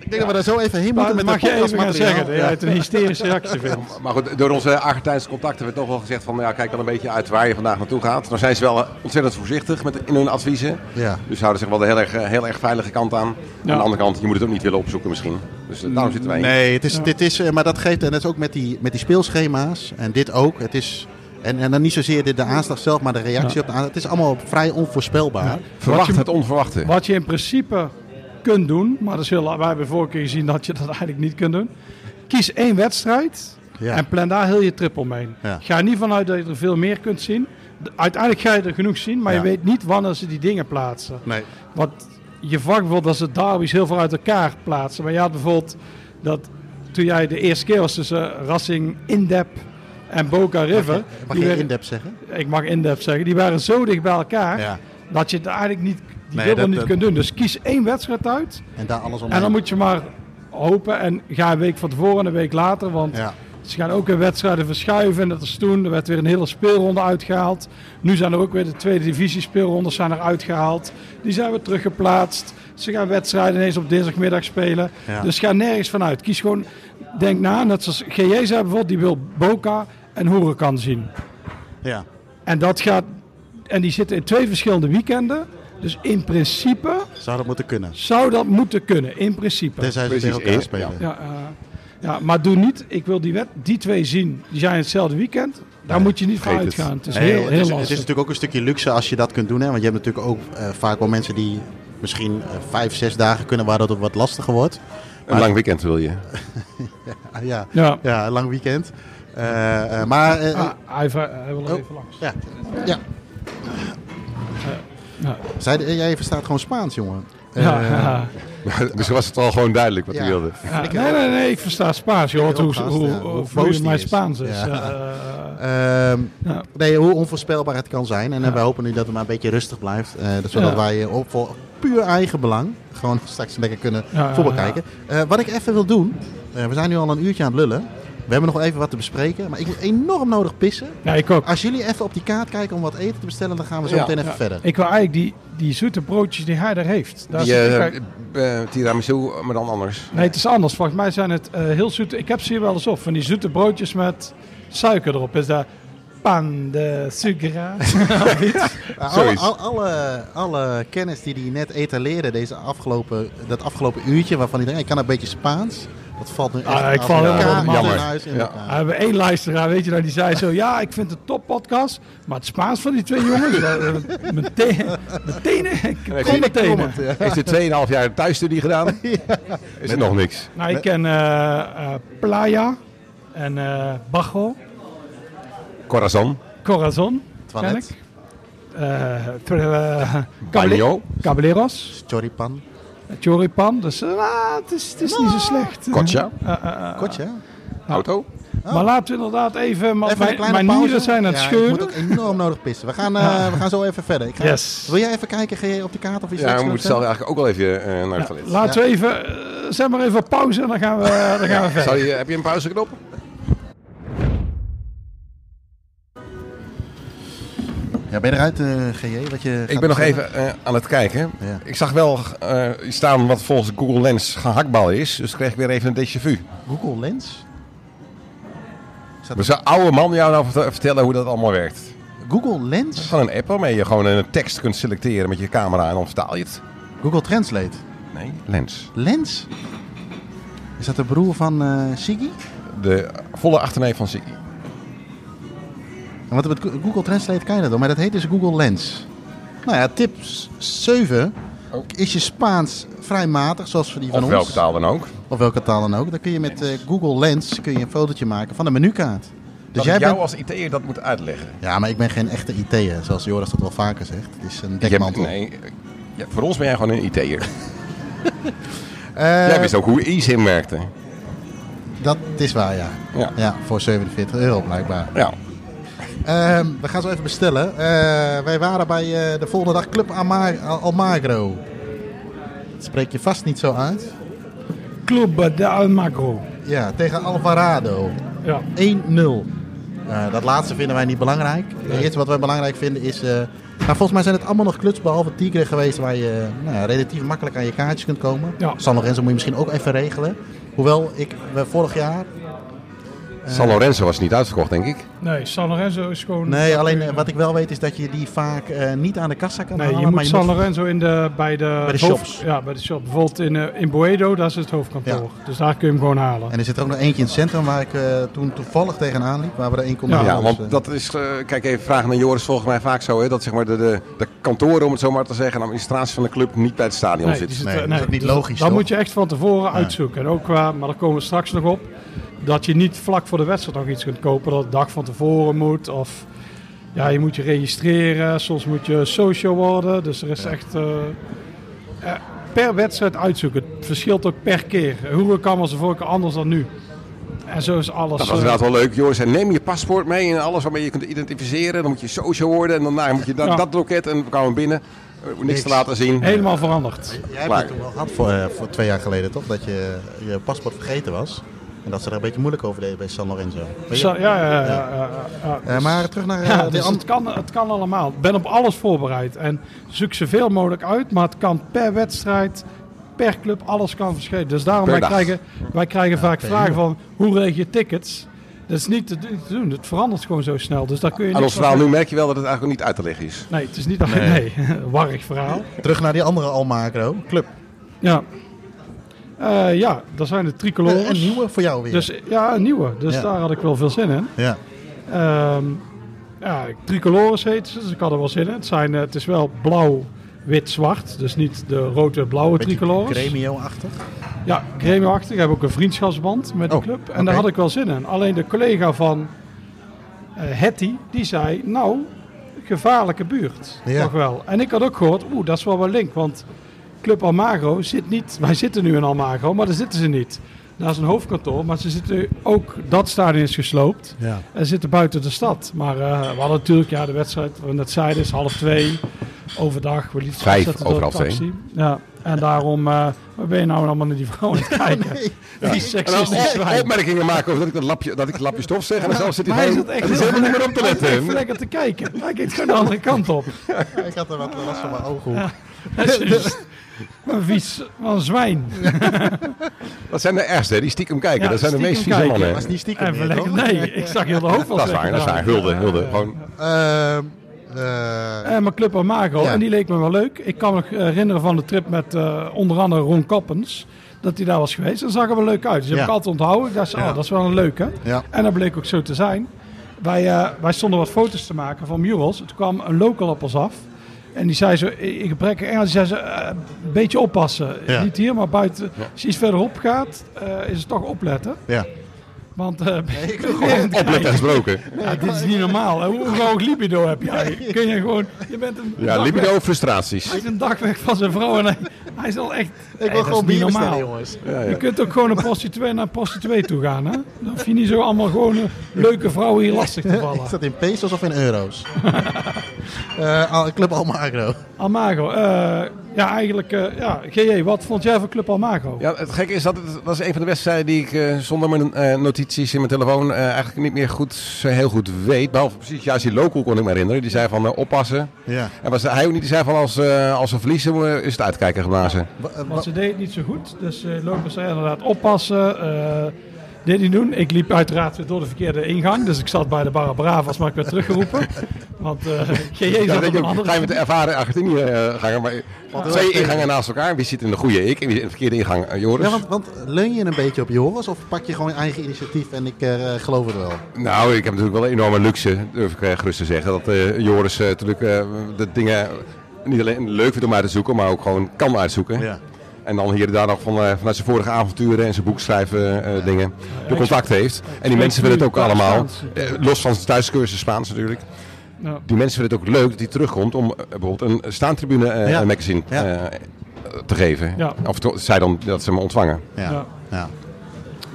Speaker 2: Ik denk dat we daar zo even heen
Speaker 3: Dat
Speaker 2: moeten met
Speaker 3: mag
Speaker 2: het
Speaker 3: je even gaan
Speaker 2: podcastmateriaal.
Speaker 3: zeggen. Ja, het een hysterische reactiefilm.
Speaker 4: Maar goed, door onze Argentijnse contacten werd nog wel gezegd van... ja, kijk dan een beetje uit waar je vandaag naartoe gaat. Dan zijn ze wel eh, ontzettend voorzichtig met, in hun adviezen.
Speaker 2: Ja.
Speaker 4: Dus ze houden zich wel de heel erg, eh, heel erg veilige kant aan.
Speaker 3: Ja.
Speaker 4: Aan de andere kant, je moet het ook niet willen opzoeken misschien. Dus eh, daarom zitten wij hier.
Speaker 2: Nee, het is, dit is, eh, maar dat geeft, en dat is ook met die, met die speelschema's en dit ook. Het is, en, en dan niet zozeer de, de aanslag zelf, maar de reactie op de aanslag. Het is allemaal vrij onvoorspelbaar.
Speaker 4: Verwacht
Speaker 3: Wat je-
Speaker 4: het onverwachte.
Speaker 3: Wat je in principe kunt doen, maar dat is heel, wij hebben vorige keer gezien dat je dat eigenlijk niet kunt doen. Kies één wedstrijd
Speaker 2: Ja.
Speaker 3: en plan daar heel je trip omheen.
Speaker 2: Ja.
Speaker 3: Ga er niet vanuit dat je er veel meer kunt zien. De- Uiteindelijk ga je er genoeg zien, maar
Speaker 2: Ja.
Speaker 3: je weet niet wanneer ze die dingen plaatsen.
Speaker 2: Nee.
Speaker 3: Wat je verwacht bijvoorbeeld dat ze derbies heel veel uit elkaar plaatsen. Maar je had bijvoorbeeld dat toen jij de eerste keer was tussen Racing Indep en Boca River.
Speaker 2: Mag
Speaker 3: die
Speaker 2: je
Speaker 3: werden-
Speaker 2: in-depth zeggen?
Speaker 3: ik mag Indep zeggen. Die waren zo dicht bij elkaar
Speaker 2: Ja.
Speaker 3: dat je het eigenlijk niet, die
Speaker 2: Nee,
Speaker 3: dubbel
Speaker 2: dat-
Speaker 3: niet
Speaker 2: dat-
Speaker 3: kunt doen. Dus kies één wedstrijd uit
Speaker 2: En daar alles om.
Speaker 3: en dan moet je maar hopen en ga een week van tevoren en een week later. Want
Speaker 2: Ja.
Speaker 3: ze gaan ook weer wedstrijden verschuiven. En dat is toen. Er werd weer een hele speelronde uitgehaald. Nu zijn er ook weer de tweede divisie speelrondes zijn er uitgehaald. Die zijn weer teruggeplaatst. Ze gaan wedstrijden ineens op dinsdagmiddag spelen.
Speaker 2: Ja.
Speaker 3: Dus ga nergens vanuit. Kies gewoon, denk na. Net zoals GJ zei bijvoorbeeld, die wil Boca en Huracan zien.
Speaker 2: Ja.
Speaker 3: En dat gaat. En die zitten in twee verschillende weekenden. Dus in principe
Speaker 2: Zou dat moeten kunnen?
Speaker 3: zou dat moeten kunnen. In principe.
Speaker 2: Tenzij ze
Speaker 4: Precies,
Speaker 2: tegen elkaar
Speaker 4: eh,
Speaker 2: spelen.
Speaker 4: ja.
Speaker 3: Ja, eh, ja, maar doe niet. Ik wil die, wet, die twee zien. Die zijn hetzelfde weekend. Daar moet je niet van
Speaker 4: vergeet het.
Speaker 3: uitgaan. Het is
Speaker 2: Nee,
Speaker 3: heel,
Speaker 2: het,
Speaker 3: heel
Speaker 2: is, het is
Speaker 3: lastig.
Speaker 2: natuurlijk ook een stukje luxe als je dat kunt doen. Hè? Want je hebt natuurlijk ook eh, vaak wel mensen die misschien eh, vijf, zes dagen kunnen waar dat het wat lastiger wordt.
Speaker 4: Een lang weekend wil je.
Speaker 2: Ah, ja.
Speaker 3: Ja.
Speaker 2: ja, een lang weekend. Eh, eh, maar eh,
Speaker 3: Ah, hij, va- hij
Speaker 2: Oh.
Speaker 3: wil er even langs.
Speaker 2: Ja. ja.
Speaker 3: Ja.
Speaker 2: Zij, eh, jij verstaat gewoon Spaans, jongen.
Speaker 3: Ja,
Speaker 2: Eh,
Speaker 3: ja.
Speaker 4: dus was het al gewoon duidelijk wat
Speaker 2: Ja.
Speaker 4: hij wilde.
Speaker 3: Ja, nee, nee, nee, ik versta Spaans. Je hoort
Speaker 2: ook
Speaker 3: hoe,
Speaker 2: gast,
Speaker 3: hoe,
Speaker 2: ja, hoe
Speaker 3: hoe
Speaker 2: boos
Speaker 3: vloeiend
Speaker 2: die
Speaker 3: mijn
Speaker 2: is.
Speaker 3: Spaans is.
Speaker 2: Ja.
Speaker 3: Ja. eh,
Speaker 2: ehm,
Speaker 3: ja.
Speaker 2: nee, hoe onvoorspelbaar het kan zijn. En eh, wij hopen nu dat het maar een beetje rustig blijft. eh, dat- zodat
Speaker 3: Ja.
Speaker 2: wij eh, op, voor puur eigen belang gewoon straks lekker kunnen
Speaker 3: Ja,
Speaker 2: voetbal
Speaker 3: ja, ja.
Speaker 2: kijken. Eh, wat ik even wil doen. eh, we zijn nu al een uurtje aan het lullen. We hebben nog even wat te bespreken. Maar ik moet enorm nodig pissen.
Speaker 3: Nou, ik ook.
Speaker 2: Als jullie even op die kaart kijken om wat eten te bestellen, dan gaan we zo
Speaker 4: Ja.
Speaker 2: meteen even
Speaker 3: Ja.
Speaker 2: verder.
Speaker 3: Ik wil eigenlijk die, die zoete broodjes die hij daar heeft. Daar
Speaker 4: Die,
Speaker 3: zit ik
Speaker 4: eh,
Speaker 3: eigenlijk-
Speaker 4: eh, tiramisu, maar dan anders.
Speaker 3: Nee, het is anders. Volgens mij zijn het eh, heel zoete. Ik heb ze hier wel eens op. Van die zoete broodjes met suiker erop. Is daar pan de sugra?
Speaker 2: Nou, Alle,
Speaker 4: Zoiets.
Speaker 2: al- alle, alle kennis die hij net etaleerde, deze afgelopen, dat afgelopen uurtje, waarvan hij denkt, ik kan een beetje Spaans. Dat valt nu echt
Speaker 3: Ah, ik
Speaker 2: af-
Speaker 3: val
Speaker 2: elkaar
Speaker 3: helemaal
Speaker 2: in
Speaker 4: jammer.
Speaker 2: huis in
Speaker 4: Ja.
Speaker 2: elkaar.
Speaker 3: We hebben één luisteraar, weet je nou, die zei zo... Ja, ik vind het een toppodcast, maar het Spaans van die twee jongens... dat- eh, dat- meteen, meteen, ik kom meteen.
Speaker 2: Comment, ja.
Speaker 4: Heeft hij 2,5 jaar thuisstudie gedaan? Is er nog niks.
Speaker 3: Nou, ik ken eh, eh, Playa en eh Bajo,
Speaker 4: Corazon.
Speaker 3: Corazon, ken
Speaker 2: Toilet.
Speaker 3: ik. Eh, ter- eh,
Speaker 4: Bagno.
Speaker 3: Caballeros,
Speaker 2: Choripan.
Speaker 3: Choripan. Dus eh, ah, het is, het is niet zo slecht.
Speaker 4: Kocha.
Speaker 3: Eh, eh, eh,
Speaker 2: Kotje, hè?
Speaker 4: Auto.
Speaker 3: Maar laten we inderdaad even... want
Speaker 2: Oh. Even een
Speaker 3: Mijn,
Speaker 2: kleine
Speaker 3: mijn
Speaker 2: pauze.
Speaker 3: nieren zijn aan het
Speaker 2: Ja,
Speaker 3: scheuren. Ah.
Speaker 2: Ik moet ook enorm nodig pissen. We gaan, eh, we gaan zo even verder. Ik ga,
Speaker 3: Yes.
Speaker 2: Wil jij even kijken ga je op de kaart of iets
Speaker 4: Ja,
Speaker 2: leuks
Speaker 4: we
Speaker 2: wil
Speaker 4: moeten zelf
Speaker 2: vertellen?
Speaker 4: eigenlijk ook wel even eh, naar het toilet.
Speaker 3: Laten we even... eh, zet maar even pauze en dan gaan we, dan gaan we verder.
Speaker 4: Zou je, heb je een pauzeknop?
Speaker 2: Ja, ben je eruit, eh, GJ? Wat je
Speaker 4: Ik
Speaker 2: gaat
Speaker 4: ben nog
Speaker 2: bestellen?
Speaker 4: even eh, aan het kijken.
Speaker 2: Ja.
Speaker 4: Ik zag wel eh, staan wat volgens Google Lens gehaktbal is. Dus kreeg ik weer even een déjà vu.
Speaker 2: Google Lens?
Speaker 4: Maar zou oude man jou nou vert- vertellen hoe dat allemaal werkt?
Speaker 2: Google Lens?
Speaker 4: Gewoon een app waarmee je gewoon een tekst kunt selecteren met je camera en dan vertaal je het.
Speaker 2: Google Translate.
Speaker 4: Nee, Lens.
Speaker 2: Lens? Is dat de broer van eh Siggy?
Speaker 4: De volle achterneef van Ziggy.
Speaker 2: En wat met Go- Google Translate kan je dat doen, maar dat heet dus Google Lens. Nou ja, tip 7.
Speaker 4: Oh.
Speaker 2: Is je Spaans vrij matig, zoals voor die van
Speaker 4: Of
Speaker 2: ons?
Speaker 4: welke taal dan ook.
Speaker 2: Of welke taal dan ook. Dan kun je met eh, Google Lens kun je een fotootje maken van de menukaart. Dus
Speaker 4: dat jij
Speaker 2: jij
Speaker 4: ik jou
Speaker 2: bent...
Speaker 4: als IT'er dat moet uitleggen.
Speaker 2: Ja, maar ik ben geen echte IT'er, zoals Joris dat wel vaker zegt. Het is een
Speaker 4: Je hebt-
Speaker 2: dekmantel.
Speaker 4: nee, ja, voor ons ben jij gewoon een IT'er.
Speaker 2: Eh,
Speaker 4: jij wist ook hoe eSIM werkte.
Speaker 2: Dat is waar, ja.
Speaker 4: Ja.
Speaker 2: Ja, voor 47 euro blijkbaar.
Speaker 4: ja.
Speaker 2: Ehm, we gaan zo even bestellen. Eh, wij waren bij eh, de volgende dag Club Ama- Almagro. Dat spreek je vast niet zo uit.
Speaker 3: Club de Almagro.
Speaker 2: Ja, tegen Alvarado.
Speaker 3: Ja.
Speaker 2: 1-0. Eh, dat laatste vinden wij niet belangrijk. Het eerste wat wij belangrijk vinden is... eh, nou, volgens mij zijn het allemaal nog kluts behalve Tigre geweest... waar je nou, ja, relatief makkelijk aan je kaartjes kunt komen.
Speaker 3: Ja.
Speaker 2: San Lorenzo moet je misschien ook even regelen. Hoewel, ik we vorig jaar...
Speaker 4: San Lorenzo was niet uitverkocht, denk ik.
Speaker 3: Nee, San Lorenzo is gewoon...
Speaker 2: Nee, alleen eh, wat ik wel weet is dat je die vaak eh, niet aan de kassa kan
Speaker 3: Nee,
Speaker 2: halen.
Speaker 3: je Nou, moet
Speaker 2: maar
Speaker 3: San Lorenzo in de, bij de,
Speaker 2: Bij de
Speaker 3: hoofd-
Speaker 2: shops.
Speaker 3: Ja, bij de shop. Bijvoorbeeld in, eh, in Boedo, daar is het hoofdkantoor. Dus daar kun je hem gewoon halen.
Speaker 2: En er zit ook nog eentje in het centrum waar ik eh, toen toevallig tegenaan liep. Waar we er 1,5
Speaker 3: Ja, dus,
Speaker 4: Ja,
Speaker 2: hadden.
Speaker 4: want dat is, eh, kijk even vragen naar Joris, volgens mij vaak zo, hè, dat zeg maar de, de, de kantoren, om het zo maar te zeggen, en de administratie van de club niet bij het stadion
Speaker 3: Nee,
Speaker 4: zit.
Speaker 3: die
Speaker 2: Nee,
Speaker 3: zitten-
Speaker 2: dat is ook niet
Speaker 3: dus dat-
Speaker 2: logisch,
Speaker 3: Dat
Speaker 2: toch?
Speaker 3: moet je echt van tevoren uitzoeken. En ook qua, maar daar komen we straks nog op. Dat je niet vlak voor de wedstrijd nog iets kunt kopen. Dat het dag van tevoren moet. Of ja, je moet je registreren. Soms moet je social worden. Dus er is echt eh, eh, per wedstrijd uitzoeken. Het verschilt ook per keer. Hoe kan was de vorige keer anders dan nu. En zo is alles.
Speaker 2: Nou,
Speaker 4: Dat was
Speaker 3: eh,
Speaker 4: inderdaad wel leuk. Joris zei, neem je paspoort mee en alles waarmee je kunt identificeren. Dan moet je social worden en daarna moet je dat,
Speaker 3: Ja.
Speaker 4: dat loket en we kwamen binnen. Eh, niks,
Speaker 2: Niks.
Speaker 4: te laten zien.
Speaker 3: helemaal veranderd.
Speaker 2: Jij hebt
Speaker 4: Klaar.
Speaker 2: het toen wel gehad voor, eh, voor twee jaar geleden, toch? Dat je je paspoort vergeten was. En dat ze daar een beetje moeilijk over deden bij San Lorenzo. Weet je?
Speaker 3: Zo- Ja, ja, ja, ja, ja, ja.
Speaker 2: Eh, maar terug naar eh,
Speaker 3: Ja,
Speaker 2: de
Speaker 3: dus
Speaker 2: andere-
Speaker 3: het kan, het kan allemaal. Ik ben op alles voorbereid. En zoek zoveel mogelijk uit. Maar het kan per wedstrijd, per club, alles kan verschillen. Dus daarom,
Speaker 4: Per
Speaker 3: wij
Speaker 4: dag.
Speaker 3: krijgen, wij krijgen vaak
Speaker 2: per
Speaker 3: vragen
Speaker 2: uur.
Speaker 3: van... Hoe regel je tickets? Dat is niet te doen- te doen. Het verandert gewoon zo snel. Dus daar kun je
Speaker 4: Aan
Speaker 3: niks
Speaker 4: ons
Speaker 3: van
Speaker 4: verhaal nu
Speaker 3: doen.
Speaker 4: merk je wel dat het eigenlijk niet uit te leggen is.
Speaker 3: Nee, het is niet... Nee, warrig verhaal.
Speaker 2: terug naar die andere Almagro. Club.
Speaker 3: Ja. Eh, ja, daar zijn de
Speaker 2: Eh, een
Speaker 3: tricolores.
Speaker 2: nieuwe voor jou weer.
Speaker 3: Dus, ja, een nieuwe. Dus
Speaker 2: Ja.
Speaker 3: daar had ik wel veel zin in.
Speaker 2: Ja.
Speaker 3: Ehm ja, tricolores heet ze, dus ik had er wel zin in. Het, zijn, eh, het is wel blauw, wit, zwart. Dus niet de rood-wit-blauwe
Speaker 2: Beetje
Speaker 3: tricolores.
Speaker 2: Gremio-achtig.
Speaker 3: Ja, gremio-achtig. Ik heb ook een vriendschapsband met
Speaker 2: Oh,
Speaker 3: de club. En
Speaker 2: oké.
Speaker 3: daar had ik wel zin in. Alleen de collega van eh Hetty, die zei... Nou, gevaarlijke buurt.
Speaker 2: Ja.
Speaker 3: Toch wel. En ik had ook gehoord... Oeh, dat is wel wel link. Want Club Almagro zit niet... Wij zitten nu in Almagro, maar daar zitten ze niet. Daar is een hoofdkantoor. Maar ze zitten nu- ook... Dat stadion is gesloopt.
Speaker 2: Ja.
Speaker 3: En zitten buiten de stad. Maar eh, we hadden natuurlijk, ja, de wedstrijd, wat we net zeiden, is half twee. Overdag, we lieten ze
Speaker 4: Vijf
Speaker 3: afzetten door
Speaker 4: over
Speaker 3: de
Speaker 4: half twee.
Speaker 3: taxi. Ja, en daarom, eh waar ben je nou allemaal naar die vrouw aan het kijken? Die
Speaker 4: En dan
Speaker 3: seksistische
Speaker 4: op-
Speaker 3: zwijn.
Speaker 4: opmerkingen maken over dat ik dat lapje, dat ik lapje stof zeg. En dan zelf zit hij
Speaker 3: Maar hij
Speaker 4: bij-
Speaker 3: zat echt
Speaker 4: Het is
Speaker 3: heel-
Speaker 4: helemaal niet meer op te
Speaker 3: Hij zit echt
Speaker 4: letten.
Speaker 3: lekker te kijken. Hij kijkt gewoon de andere kant op.
Speaker 2: Ja, ik had er wat last van mijn ogen.
Speaker 3: Dat is een vies van zwijn.
Speaker 4: Dat zijn de ergste, hè, die stiekem kijken.
Speaker 3: Ja,
Speaker 4: dat zijn de
Speaker 3: stiekem
Speaker 4: meest vieze
Speaker 3: kijken.
Speaker 4: mannen.
Speaker 2: Dat is niet stiekem
Speaker 3: En
Speaker 2: meer,
Speaker 3: verlekker-
Speaker 2: toch?
Speaker 3: nee, ik zag heel de hoofd wel
Speaker 4: Dat is waar,
Speaker 3: zeggen.
Speaker 4: dat is waar. Hulde, hulde. Gewoon
Speaker 2: Ehm, eh,
Speaker 3: Eh, mijn club Amago.
Speaker 2: Ja.
Speaker 3: En die leek me wel leuk. Ik kan me nog herinneren van de trip met eh, onder andere Ron Kappens. Dat hij daar was geweest. Dat zag er wel leuk uit. Dus dat
Speaker 2: Ja.
Speaker 3: heb ik altijd onthouden. Ik dacht, oh,
Speaker 2: Ja.
Speaker 3: dat is wel een leuke.
Speaker 2: Ja.
Speaker 3: En dat bleek ook zo te zijn. Wij, eh, wij stonden wat foto's te maken van murals. Toen kwam een local op ons af. En die zei zo, in gebrek aan Engels, die zei zo, eh, een beetje oppassen.
Speaker 2: Ja.
Speaker 3: Niet hier, maar buiten. Als je iets verderop gaat, eh, is het toch opletten.
Speaker 2: ja.
Speaker 3: Want eh,
Speaker 4: opletten gesproken.
Speaker 3: ja, dit is niet normaal. hè. Hoe hoog libido heb jij? Kun je gewoon, je bent een
Speaker 4: Ja,
Speaker 3: dag weg.
Speaker 4: libido frustraties.
Speaker 3: Hij is een dag weg van zijn vrouw en hij, hij is al echt...
Speaker 2: Ik wil gewoon bier
Speaker 3: niet
Speaker 2: bestellen,
Speaker 3: normaal.
Speaker 2: jongens.
Speaker 4: Ja, ja.
Speaker 3: Je kunt ook gewoon een prostituee naar een prostituee toe gaan. Hè? Dan hoef je niet zo allemaal gewoon eh, leuke vrouwen hier lastig te
Speaker 2: Is
Speaker 3: vallen.
Speaker 2: dat in pesos of in euro's? Eh, Al- Club Almagro.
Speaker 3: Almago, eh, ja eigenlijk, eh, ja, GJ, wat vond jij van Club Almago?
Speaker 4: Ja, het gekke is dat het dat is een van de wedstrijden die ik eh, zonder mijn eh, notities in mijn telefoon eh, eigenlijk niet meer goed, zo heel goed weet. Behalve precies, juist die local kon ik me herinneren. Die zei van eh, oppassen.
Speaker 2: Ja.
Speaker 4: En was hij ook niet die zei van als, eh, als we verliezen eh, is het uitkijken geblazen.
Speaker 2: Wa- eh, wa-
Speaker 3: Want ze deed het niet zo goed, dus eh Lopez zei inderdaad oppassen, eh dit niet doen. Ik liep uiteraard weer door de verkeerde ingang, dus ik zat bij de Barra Bravas, maar ik werd teruggeroepen. Want eh GJ
Speaker 4: Ja,
Speaker 3: zat
Speaker 4: dat
Speaker 3: op een
Speaker 4: je ook,
Speaker 3: andere
Speaker 4: ga je met de ervaren Argentinië eh, gangen, maar twee ingangen naast elkaar. Wie zit in de goede ik en wie zit in de verkeerde ingang? Eh, Joris?
Speaker 2: Ja, want, want leun je een beetje op Joris of pak je gewoon je eigen initiatief en ik eh, geloof het wel?
Speaker 4: Nou, ik heb natuurlijk wel een enorme luxe, durf ik eh, gerust te zeggen. Dat eh, Joris eh, natuurlijk eh, de dingen niet alleen leuk vindt om uit te zoeken, maar ook gewoon kan uitzoeken. En dan hier en daar nog van, eh, vanuit zijn vorige avonturen en zijn boekschrijven eh, dingen de contact heeft. En die mensen vinden het ook
Speaker 3: nu
Speaker 4: allemaal,
Speaker 3: Spaans.
Speaker 4: eh, los van zijn thuiscursus Spaans natuurlijk.
Speaker 3: Ja.
Speaker 4: Die mensen vinden het ook leuk dat hij terugkomt om eh, bijvoorbeeld een staantribune eh,
Speaker 2: Ja.
Speaker 4: magazine
Speaker 2: Ja.
Speaker 4: eh, te geven.
Speaker 3: Ja.
Speaker 4: Of to- zij dan dat ze hem ontvangen.
Speaker 2: Ja.
Speaker 3: Ja.
Speaker 2: ja.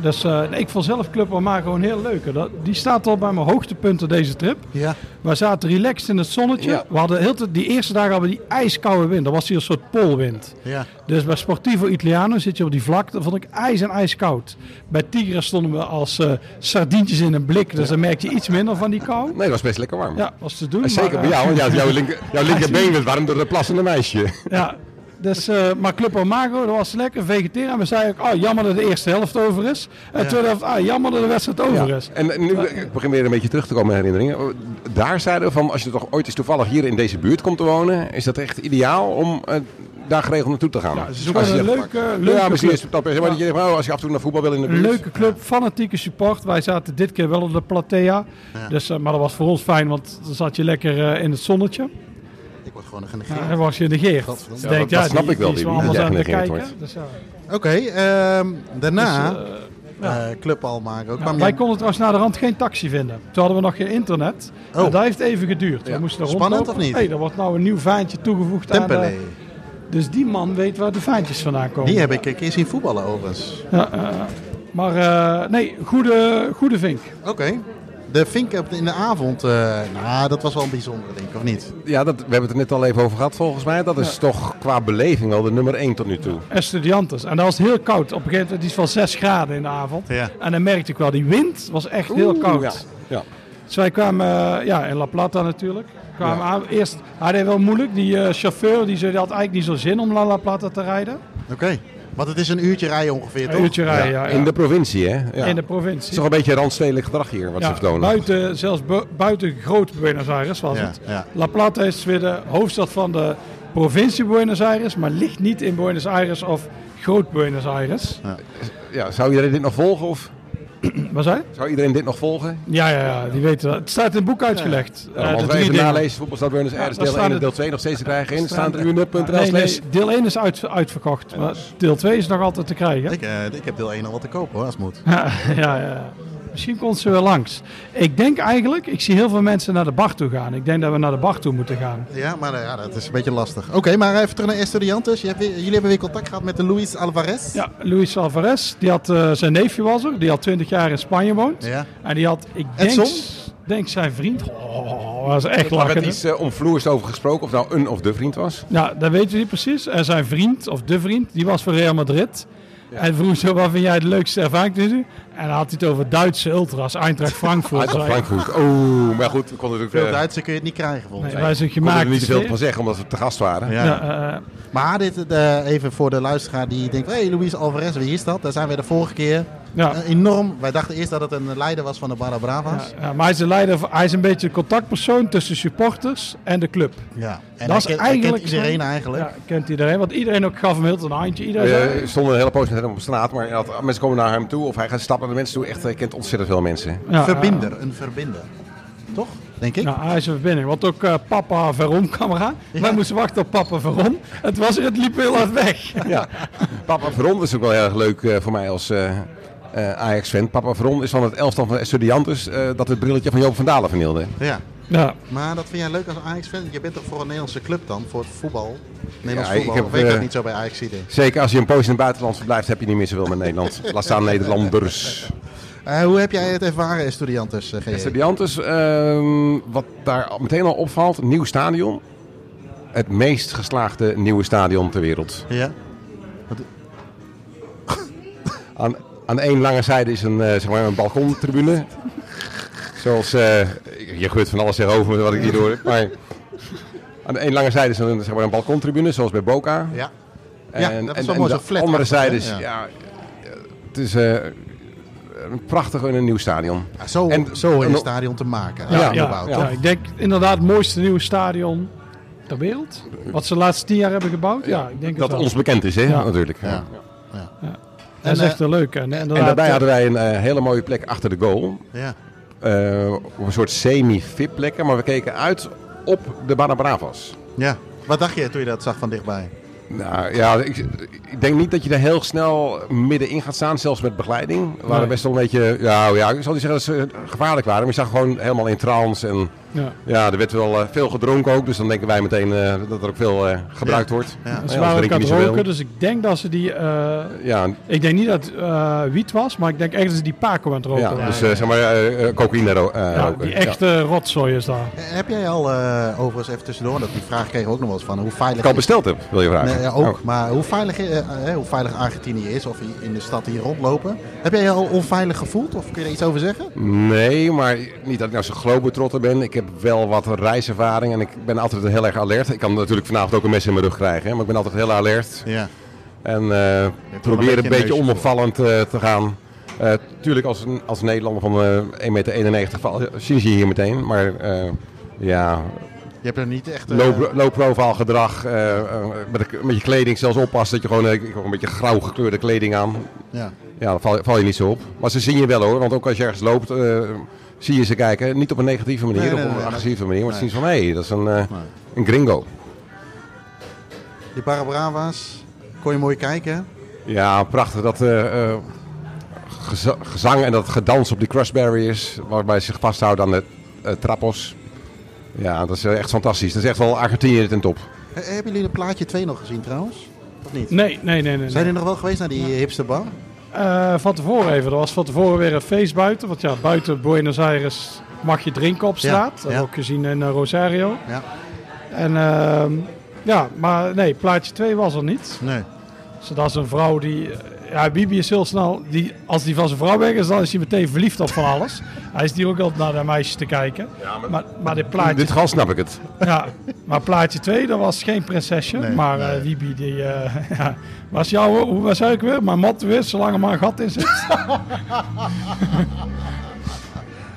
Speaker 3: Dus eh, nee, ik vond zelf Club Omaha gewoon heel leuk. Dat, die staat al bij mijn hoogtepunten deze trip.
Speaker 2: Ja.
Speaker 3: We zaten relaxed in het zonnetje.
Speaker 4: Ja.
Speaker 3: We hadden heel te- die eerste dagen hadden we die ijskoude wind. Dat was hier een soort polwind.
Speaker 2: Ja.
Speaker 3: Dus bij Sportivo Italiano zit je op die vlakte. Dat vond ik ijs en ijskoud. Bij Tigre stonden we als eh, sardientjes in een blik. Dus dan merk je iets minder van die kou.
Speaker 4: Nee, dat was best lekker warm.
Speaker 3: Ja, was te doen.
Speaker 4: En Zeker
Speaker 3: maar,
Speaker 4: bij
Speaker 3: eh,
Speaker 4: jou, want jou- jouw, linker, jouw linkerbeen werd warm door de plassende meisje.
Speaker 3: Ja, dus, eh, maar Club Omago, dat was lekker vegeteren. En we zeiden ook, oh, jammer dat de eerste helft over is. En de tweede helft, ah, jammer dat de wedstrijd over
Speaker 4: Ja.
Speaker 3: is.
Speaker 4: En nu ik begin weer een beetje terug te komen in herinneringen. Daar zeiden we van, als je toch ooit eens toevallig hier in deze buurt komt te wonen, is dat echt ideaal om eh, daar geregeld naartoe te gaan. Ja,
Speaker 3: het is ook wel een leuke- leuke
Speaker 4: Ja, misschien
Speaker 3: club.
Speaker 4: is het dat. Maar dat je denkt, oh, als je af en toe naar voetbal wil in de
Speaker 3: Een
Speaker 4: buurt.
Speaker 3: leuke club, fanatieke support. Wij zaten dit keer wel op de platea. Dus, eh, maar dat was voor ons fijn, want dan zat je lekker eh, in het zonnetje.
Speaker 2: Ik word gewoon
Speaker 3: En
Speaker 2: genegeerd.
Speaker 3: dan was je negeerd.
Speaker 2: Godverdomme.
Speaker 3: Dus
Speaker 2: Ja,
Speaker 3: denk,
Speaker 4: dat- dat snap
Speaker 3: die-
Speaker 4: ik wel,
Speaker 3: die is
Speaker 4: die-
Speaker 3: wel allemaal
Speaker 4: die
Speaker 3: aan het
Speaker 4: genegeerd
Speaker 3: kijken. Dus,
Speaker 4: wordt.
Speaker 3: ja.
Speaker 2: Oké, ehm, daarna
Speaker 3: Dus, eh,
Speaker 2: eh, Club Almaar ook.
Speaker 3: Ja,
Speaker 2: Kwam
Speaker 3: wij
Speaker 2: je-
Speaker 3: konden trouwens naar de rand geen taxi vinden. Toen hadden we nog geen internet.
Speaker 2: Oh.
Speaker 3: En dat heeft even geduurd.
Speaker 4: Ja.
Speaker 3: We moesten
Speaker 2: Spannend
Speaker 3: rondlopen.
Speaker 2: of niet?
Speaker 3: Hey, er wordt nou een nieuw vaantje toegevoegd aan
Speaker 2: Tempele.
Speaker 3: de- Dus die man weet waar de vaantjes vandaan komen.
Speaker 2: Die heb ik eh, een keer zien voetballen overigens.
Speaker 3: Ja, eh, maar eh, nee, goede, goede vink.
Speaker 2: Oké. De Vink op- in de avond, eh, nou, dat was wel een bijzondere, denk ik, of niet?
Speaker 4: Ja, dat, we hebben het er net al even over gehad volgens mij. Dat is toch qua beleving wel de nummer 1 tot nu toe.
Speaker 3: Estudiantes. En dat was heel koud. Op een gegeven moment iets van 6 graden in de avond.
Speaker 2: Ja.
Speaker 3: En dan merkte ik wel, die wind was echt heel koud.
Speaker 4: Ja. Ja.
Speaker 3: Dus wij kwamen eh, ja, in La Plata natuurlijk. Kwamen aan. Eerst, hij deed wel moeilijk. Die eh, chauffeur die zei, die had eigenlijk niet zo zin om naar La Plata te rijden.
Speaker 2: Oké. Want het is een uurtje rijden ongeveer, toch?
Speaker 3: Een uurtje rijden, ja. ja.
Speaker 4: In de provincie, hè? Ja.
Speaker 3: in de
Speaker 4: Het
Speaker 3: provincie.
Speaker 4: is toch een beetje randstedelijk gedrag hier wat ze
Speaker 3: Ja,
Speaker 4: vertonen.
Speaker 3: buiten, zelfs bu- buiten groot Buenos Aires was
Speaker 2: Ja,
Speaker 3: het.
Speaker 2: ja.
Speaker 3: La Plata is weer de hoofdstad van de provincie Buenos Aires, maar ligt niet in Buenos Aires of groot Buenos Aires.
Speaker 4: Ja, zou iedereen dit nog volgen? Of
Speaker 3: Waar zijn?
Speaker 4: zou iedereen dit nog volgen?
Speaker 3: Ja, ja, ja, die weten dat. Het staat in het boek uitgelegd. Eh,
Speaker 4: Ja, als
Speaker 3: de
Speaker 4: wij
Speaker 3: drie
Speaker 4: even
Speaker 3: dingen.
Speaker 4: nalezen, voetbalstad Buenos Aires,
Speaker 3: daar
Speaker 4: deel
Speaker 3: staan
Speaker 4: 1 en
Speaker 3: de-
Speaker 4: deel 2 nog steeds te krijgen in.
Speaker 3: Nee,
Speaker 4: Staan tribunepunt.nl
Speaker 3: nee, deel 1 is uit, uitverkocht, maar deel 2 is nog altijd te krijgen.
Speaker 2: Ik, eh, ik heb deel 1 al wat te kopen, hoor, als het moet.
Speaker 3: Ja, ja, ja. Misschien komt ze wel langs. Ik denk eigenlijk, ik zie heel veel mensen naar de bar toe gaan. Ik denk dat we naar de bar toe moeten gaan.
Speaker 2: Ja, maar eh, ja, dat is een beetje lastig. Oké, maar even terug naar Estudiantes. Je hebt weer- jullie hebben weer contact gehad met de Luis Alvarez.
Speaker 3: Ja, Luis Alvarez, die had, eh, zijn neefje was er, die al 20 jaar in Spanje woont.
Speaker 2: Ja.
Speaker 3: En die had, ik denk,
Speaker 2: Edson?
Speaker 3: denk zijn vriend, oh, was echt
Speaker 4: Daar werd
Speaker 3: lachen. hè?
Speaker 4: iets eh, omvloers over gesproken, of nou een of de vriend was.
Speaker 3: Nou, dat weten we niet precies. En zijn vriend, of de vriend, die was voor Real Madrid. En vroeg zo, wat vind jij het leukste ervaring tussen? En dan had hij het over Duitse ultras, Eintracht Frankfurt.
Speaker 4: Uit
Speaker 3: Zei- Ah.
Speaker 4: Frankfurt. Oh, maar goed, we konden
Speaker 2: Veel
Speaker 4: natuurlijk eh,
Speaker 2: Duitser kun je het niet krijgen, volgens
Speaker 3: Nee,
Speaker 2: mij.
Speaker 3: wij zijn
Speaker 4: konden
Speaker 3: gemaakt.
Speaker 4: er niet veel
Speaker 3: dus-
Speaker 4: van zeggen, omdat we te gast waren.
Speaker 2: Ja.
Speaker 3: Ja, eh,
Speaker 2: Maar dit, eh, even voor de luisteraar die denkt, hey, Luis Alvarez, wie is dat? Daar zijn we de vorige keer
Speaker 3: ja.
Speaker 2: eh, enorm... Wij dachten eerst dat het een leider was van de Barra Bravas. Ja.
Speaker 3: Ja, maar hij is, de leider, van- hij is een beetje de contactpersoon tussen supporters en de club.
Speaker 2: En
Speaker 3: Dat
Speaker 2: hij
Speaker 3: is
Speaker 2: kent, hij
Speaker 3: eigenlijk
Speaker 2: kent iedereen
Speaker 3: zijn-
Speaker 2: eigenlijk.
Speaker 3: Ja, kent iedereen, want iedereen ook gaf hem heel een handje. Iedereen zei-
Speaker 4: We Eh, stonden een hele poos met hem op straat, maar hij had- mensen komen naar hem toe of hij gaat stappen naar de mensen toe. Echt, hij kent ontzettend veel mensen.
Speaker 3: Ja,
Speaker 2: verbinder, een verbinder. Toch? Denk ik?
Speaker 3: Ja, hij is een verbinding. Want ook eh, papa Veron kwam eraan. Wij moesten wachten op papa Veron. Het was er, het liep heel hard weg.
Speaker 4: Ja. Papa Veron is ook wel heel erg leuk eh, voor mij als eh, eh, Ajax-fan. Papa Veron is van het elftal van Estudiantes eh, dat het brilletje van Joop van Dalen vernielde.
Speaker 2: Ja.
Speaker 3: Ja,
Speaker 2: Maar dat vind jij leuk als Ajax-fan? Je bent toch voor een Nederlandse club dan? Voor het voetbal? Nederlands
Speaker 4: Ja, ik
Speaker 2: voetbal?
Speaker 4: heb,
Speaker 2: of weet ik dat
Speaker 4: eh,
Speaker 2: niet zo bij ajax idee.
Speaker 4: Zeker als je een poos in het buitenland verblijft, heb je niet meer zoveel met Nederland. Laat staan Nederlanders.
Speaker 2: Eh, Hoe heb jij het ervaren, Estudiantes? eh, G.J.?
Speaker 4: Estudiantes, ehm, wat daar al meteen al opvalt, nieuw stadion. Het meest geslaagde nieuwe stadion ter wereld.
Speaker 2: Ja.
Speaker 4: Aan, aan één lange zijde is een, eh, zeg maar een balkontribune. Zoals, eh, je geurt van alles tegenover me wat ik hier hoor. Maar aan één lange zijde is een, zeg maar een balkontribune, zoals bij Boca.
Speaker 2: Ja. Ja, dat is wel mooi,
Speaker 4: de
Speaker 2: zo'n flat
Speaker 4: andere
Speaker 2: achter,
Speaker 4: zijde
Speaker 2: hè?
Speaker 4: is,
Speaker 2: Ja.
Speaker 4: ja. eh, het is eh, een prachtig en een nieuw stadion.
Speaker 2: Ja, Zo,
Speaker 4: En-
Speaker 2: zo in
Speaker 4: en-
Speaker 2: het stadion te maken.
Speaker 4: Ja,
Speaker 3: ja, ja,
Speaker 2: opgebouwd,
Speaker 3: ja. ik denk inderdaad het mooiste nieuwe stadion ter wereld. Wat ze de laatste tien jaar hebben gebouwd. Ja, ik denk
Speaker 4: Dat
Speaker 3: het wel.
Speaker 4: ons bekend is, hè?
Speaker 3: Ja.
Speaker 4: Natuurlijk.
Speaker 2: Ja.
Speaker 3: Dat is
Speaker 2: En,
Speaker 3: echt een leuk. En, inderdaad,
Speaker 4: En daarbij
Speaker 3: eh,
Speaker 4: hadden wij een eh, hele mooie plek achter de goal.
Speaker 2: Ja.
Speaker 4: Eh, op een soort semi-fit plekken, maar we keken uit op de Barra Bravas.
Speaker 2: ja. Wat dacht je toen je dat zag van dichtbij?
Speaker 4: Nou ja, ik, ik denk niet dat je daar heel snel middenin gaat staan, zelfs met begeleiding. We waren
Speaker 3: Nee.
Speaker 4: best wel een beetje, ja, oh ja, ik zal niet zeggen dat ze gevaarlijk waren, maar je zag gewoon helemaal in trance. En
Speaker 3: Ja.
Speaker 4: Oh ja, er werd wel eh, veel gedronken ook, dus dan denken wij meteen eh, dat er ook veel eh, gebruikt wordt.
Speaker 2: Ja.
Speaker 3: En
Speaker 4: anders
Speaker 3: Ze waren ook
Speaker 4: drink je
Speaker 3: aan
Speaker 4: niet
Speaker 3: het
Speaker 4: zoveel.
Speaker 3: roken, dus ik denk dat ze die... eh,
Speaker 4: Ja,
Speaker 3: ik denk niet dat het eh, wiet was, maar ik denk echt dat ze die Paco aan het roken
Speaker 4: ja,
Speaker 3: waren.
Speaker 4: dus eh, zeg maar eh, eh, cocaïne ro- eh,
Speaker 3: Ja,
Speaker 4: roken.
Speaker 3: die
Speaker 4: Ja.
Speaker 3: echte rotzooi is daar.
Speaker 2: Eh, Heb jij al, eh, overigens even tussendoor, dat die vraag kregen we ook nog wel eens van, hoe
Speaker 4: Ik
Speaker 2: veilig...
Speaker 4: al besteld heb, wil je vragen.
Speaker 2: Nee, ja, ook,
Speaker 4: Oh.
Speaker 2: maar hoe veilig, eh, eh, hoe veilig Argentinië is of i- in de stad hier rondlopen. Heb jij je al onveilig gevoeld of kun je daar iets over zeggen?
Speaker 4: Nee, maar niet dat ik nou zo globetrotter ben. Ik heb wel wat reiservaring en ik ben altijd heel erg alert. Ik kan natuurlijk vanavond ook een mes in mijn rug krijgen, hè, maar ik ben altijd heel alert.
Speaker 2: Ja.
Speaker 4: En eh,
Speaker 2: een
Speaker 4: probeer
Speaker 2: beetje
Speaker 4: een beetje
Speaker 2: neusjes
Speaker 4: onopvallend eh, te gaan. Eh, tuurlijk, als, een- als Nederlander van eh 1,91 meter val, eh, zien ze je hier meteen. Maar eh, ja,
Speaker 2: Je hebt er niet echt... eh,
Speaker 4: low, low profile gedrag. eh, eh, met, de- met je kleding zelfs oppassen dat je gewoon eh, ik heb ook een beetje grauw gekleurde kleding aan.
Speaker 2: ja.
Speaker 4: Ja, dan val, val je niet zo op. Maar ze zien je wel hoor, want ook als je ergens loopt, eh, zie je ze kijken. Niet op een negatieve manier,
Speaker 2: Nee, nee,
Speaker 4: of op
Speaker 2: nee,
Speaker 4: een
Speaker 2: nee.
Speaker 4: agressieve manier. Maar ze
Speaker 2: Nee.
Speaker 4: zien van, hé, dat is een, eh,
Speaker 2: Nee.
Speaker 4: een gringo.
Speaker 2: Die Parabrava's, kon je mooi kijken.
Speaker 4: Ja, prachtig. Dat eh, eh, geza- gezang en dat gedans op die crush barriers. Waarbij ze zich vasthouden aan de eh, trappos. Ja, dat is eh, echt fantastisch. Dat is echt wel Argentinië ten top.
Speaker 2: Eh, hebben jullie de plaatje 2 nog gezien trouwens? Of niet?
Speaker 3: Nee, nee, nee. nee,
Speaker 2: Zijn
Speaker 3: nee.
Speaker 2: jullie nog wel geweest naar die hipsterbar?
Speaker 3: Eh, van tevoren even. Er was van tevoren weer een feest buiten. Want ja, buiten Buenos Aires mag je drinken op straat.
Speaker 2: ja.
Speaker 3: Dat hebben we ook gezien in eh, Rosario.
Speaker 2: Ja.
Speaker 3: En ehm, ja, maar nee, plaatje 2 was er niet.
Speaker 2: Nee.
Speaker 3: Dus dat is een vrouw die... eh, Ja, Bibi is heel snel... Die, als die van zijn vrouw weg is, dan is hij meteen verliefd op van alles. Hij is hier ook altijd naar de meisjes te kijken. maar, maar, dit plaatje...
Speaker 4: In dit geval snap ik het.
Speaker 3: Ja, maar plaatje 2, dat was geen prinsesje.
Speaker 2: Nee,
Speaker 3: maar eh Wiebe, die eh, ja, was jou, hoe was ik weer? Mijn mat weer, zolang er maar een gat in zit. Ik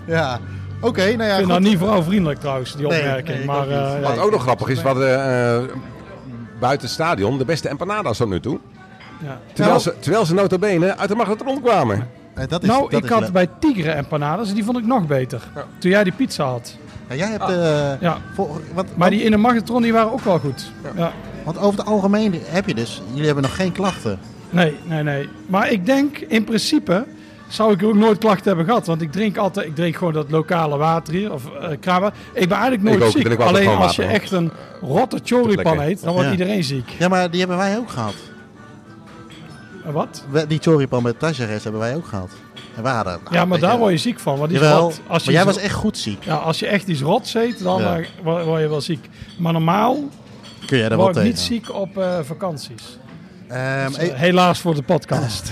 Speaker 2: Ja. Oké, nou ja.
Speaker 3: vind
Speaker 2: goed.
Speaker 3: dat niet vrouwvriendelijk trouwens, die
Speaker 2: Nee,
Speaker 3: opmerking.
Speaker 2: nee, ik
Speaker 3: maar
Speaker 2: ook niet.
Speaker 3: eh, ja,
Speaker 4: Wat ook nog grappig is, wat eh, eh, buiten het stadion de beste empanadas tot nu toe.
Speaker 3: ja.
Speaker 4: Terwijl
Speaker 2: Nou.
Speaker 4: ze, terwijl ze nota bene uit de magnetron kwamen.
Speaker 2: Eh, dat is,
Speaker 3: Nou,
Speaker 2: dat
Speaker 3: ik
Speaker 2: is
Speaker 3: had
Speaker 2: leuk.
Speaker 3: bij Tigre empanadas, die vond ik nog beter. Toen jij die pizza had.
Speaker 2: Ja, jij hebt... eh,
Speaker 3: Ah, Ja.
Speaker 2: voor- want,
Speaker 3: Maar die in de magnetron, die waren ook wel goed. Ja.
Speaker 2: want over het algemeen heb je dus... Jullie hebben nog geen klachten.
Speaker 3: Nee, nee, nee. Maar ik denk, in principe zou ik ook nooit klachten hebben gehad. Want ik drink altijd, ik drink gewoon dat lokale water hier, of eh kraanwater. Ik ben eigenlijk nooit
Speaker 4: ook,
Speaker 3: ziek.
Speaker 4: drink altijd
Speaker 3: Alleen
Speaker 4: gewoon
Speaker 3: als je
Speaker 4: water, hoor.
Speaker 3: echt een rotte choripan
Speaker 4: lekker.
Speaker 3: eet, dan wordt
Speaker 2: Ja.
Speaker 3: iedereen ziek.
Speaker 2: Ja, maar die hebben wij ook gehad.
Speaker 3: Eh, Wat?
Speaker 2: We- Die choripan met tajares hebben wij ook gehad. En wij hadden... nou,
Speaker 3: Ja, maar
Speaker 2: weet
Speaker 3: daar
Speaker 2: je-
Speaker 3: word je ziek van. Want die
Speaker 2: Jawel,
Speaker 3: rot,
Speaker 2: maar
Speaker 3: als je
Speaker 2: jij
Speaker 3: zo-
Speaker 2: was echt goed ziek.
Speaker 3: ja, als je echt iets rots eet, dan
Speaker 2: Ja.
Speaker 3: eh, word word je wel ziek. Maar normaal
Speaker 2: Kun jij daar wel
Speaker 3: word ik
Speaker 2: tegen?
Speaker 3: niet ziek op eh, vakanties.
Speaker 2: Ehm,
Speaker 3: Dus,
Speaker 2: e-
Speaker 3: eh, helaas voor de podcast.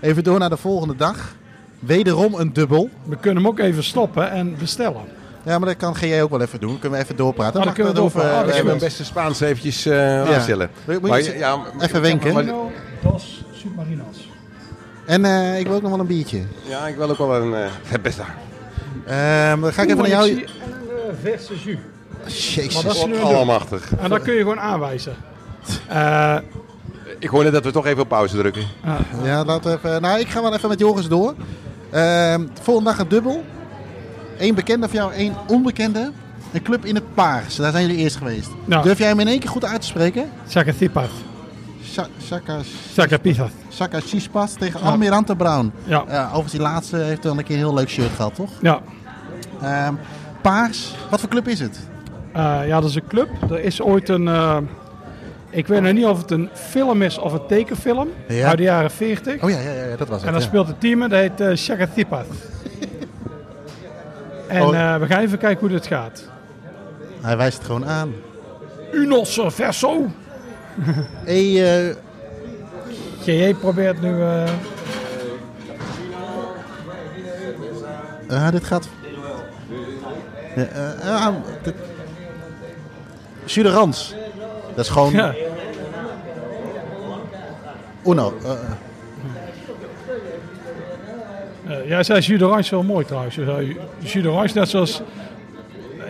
Speaker 2: even door naar de volgende dag. Wederom een dubbel.
Speaker 3: We kunnen hem ook even stoppen en bestellen.
Speaker 2: Ja, maar dat kan jij ook wel even doen. Kunnen we even doorpraten?
Speaker 3: Oh, dan kunnen we
Speaker 2: Wacht, dat
Speaker 3: doorpraten.
Speaker 2: hoeven
Speaker 4: Ik
Speaker 2: we-
Speaker 4: heb
Speaker 3: Oh,
Speaker 4: mijn
Speaker 3: dat
Speaker 4: beste Spaans eventjes eh aanstellen.
Speaker 2: Moet je- moet
Speaker 4: Maar
Speaker 2: je-
Speaker 4: ja, ja,
Speaker 2: even wenken.
Speaker 4: maar-
Speaker 3: Marino, Dos, Submarinos.
Speaker 2: En eh, ik wil ook nog wel een biertje.
Speaker 4: Ja, ik wil ook wel een... eh, het beste.
Speaker 2: Ehm, dan ga ik even naar
Speaker 3: Oeh, en
Speaker 2: jou...
Speaker 3: ik zie een, eh, verse jus. Maar dat
Speaker 2: Jezus.
Speaker 3: is nu een doen.
Speaker 4: Almachtig.
Speaker 3: En dat kun je gewoon aanwijzen. Eh,
Speaker 4: Ik hoor net dat we toch even op pauze drukken.
Speaker 2: Ja, laten we even... Nou, ik ga wel even met Joris door. Ehm, volgende dag een dubbel. Eén bekende van jou, één onbekende. Een club in het Paars. Daar zijn jullie eerst geweest.
Speaker 3: Ja.
Speaker 2: Durf jij hem in één keer goed uit te spreken?
Speaker 3: Sakatipas.
Speaker 2: Sa- Saka-
Speaker 3: Sakapitas.
Speaker 2: Saka Chispas tegen Almirante Brown.
Speaker 3: Ja.
Speaker 2: Ja, overigens, die laatste heeft wel een keer een heel leuk shirt gehad, toch?
Speaker 3: Ja.
Speaker 2: Ehm, paars, wat voor club is het?
Speaker 3: Eh, ja, dat is een club. Er is ooit een... eh, ik weet nog niet of het een film is of een tekenfilm.
Speaker 2: Ja.
Speaker 3: Uit de jaren 40.
Speaker 2: Oh ja, ja, ja dat was het.
Speaker 3: en dan
Speaker 2: ja.
Speaker 3: speelt het team en dat heet eh Sakatipas. en
Speaker 2: Oh.
Speaker 3: eh, we gaan even kijken hoe dit gaat.
Speaker 2: Hij wijst het gewoon aan.
Speaker 3: Unos verso.
Speaker 2: Hey, eh,
Speaker 3: GJ probeert nu... eh,
Speaker 2: ah, dit gaat... Ja, eh, ah, dit... Suderans. Dat is gewoon...
Speaker 3: ja.
Speaker 2: Uno. eh,
Speaker 3: Eh, jij zei jus d'orange wel mooi trouwens. Je zei ju- Jus d'orange net zoals...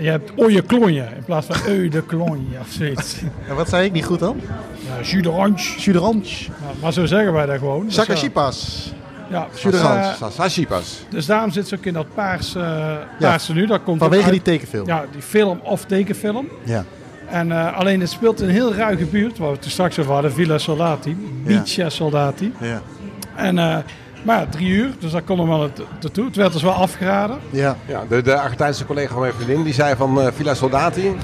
Speaker 3: Je hebt oye klonje in plaats van eu de klonje of zoiets.
Speaker 2: eh, wat zei ik niet goed dan?
Speaker 3: ja, jus d'orange.
Speaker 2: Suderans.
Speaker 3: Ja, maar zo zeggen wij dat gewoon. Dus, eh,
Speaker 2: Sakashipas.
Speaker 3: Ja,
Speaker 2: jus d'orange.
Speaker 3: eh,
Speaker 4: Sasashi pas.
Speaker 3: dus daarom zit ze ook in dat paarse, eh paarse nu. Dat komt ook
Speaker 2: Vanwege
Speaker 3: uit-
Speaker 2: die tekenfilm.
Speaker 3: Ja, die film of tekenfilm.
Speaker 2: Ja.
Speaker 3: En eh, alleen het speelt in een heel ruige buurt, waar we het er straks over hadden, Villa Soldati, Villa Soldati.
Speaker 2: Ja.
Speaker 3: En, eh, maar ja, drie uur, dus daar konden we wel nat- naartoe. Het werd dus wel afgeraden.
Speaker 2: Ja.
Speaker 4: Ja, de, de Argentijnse collega van mijn vriendin die zei van eh, Villa Soldati, eh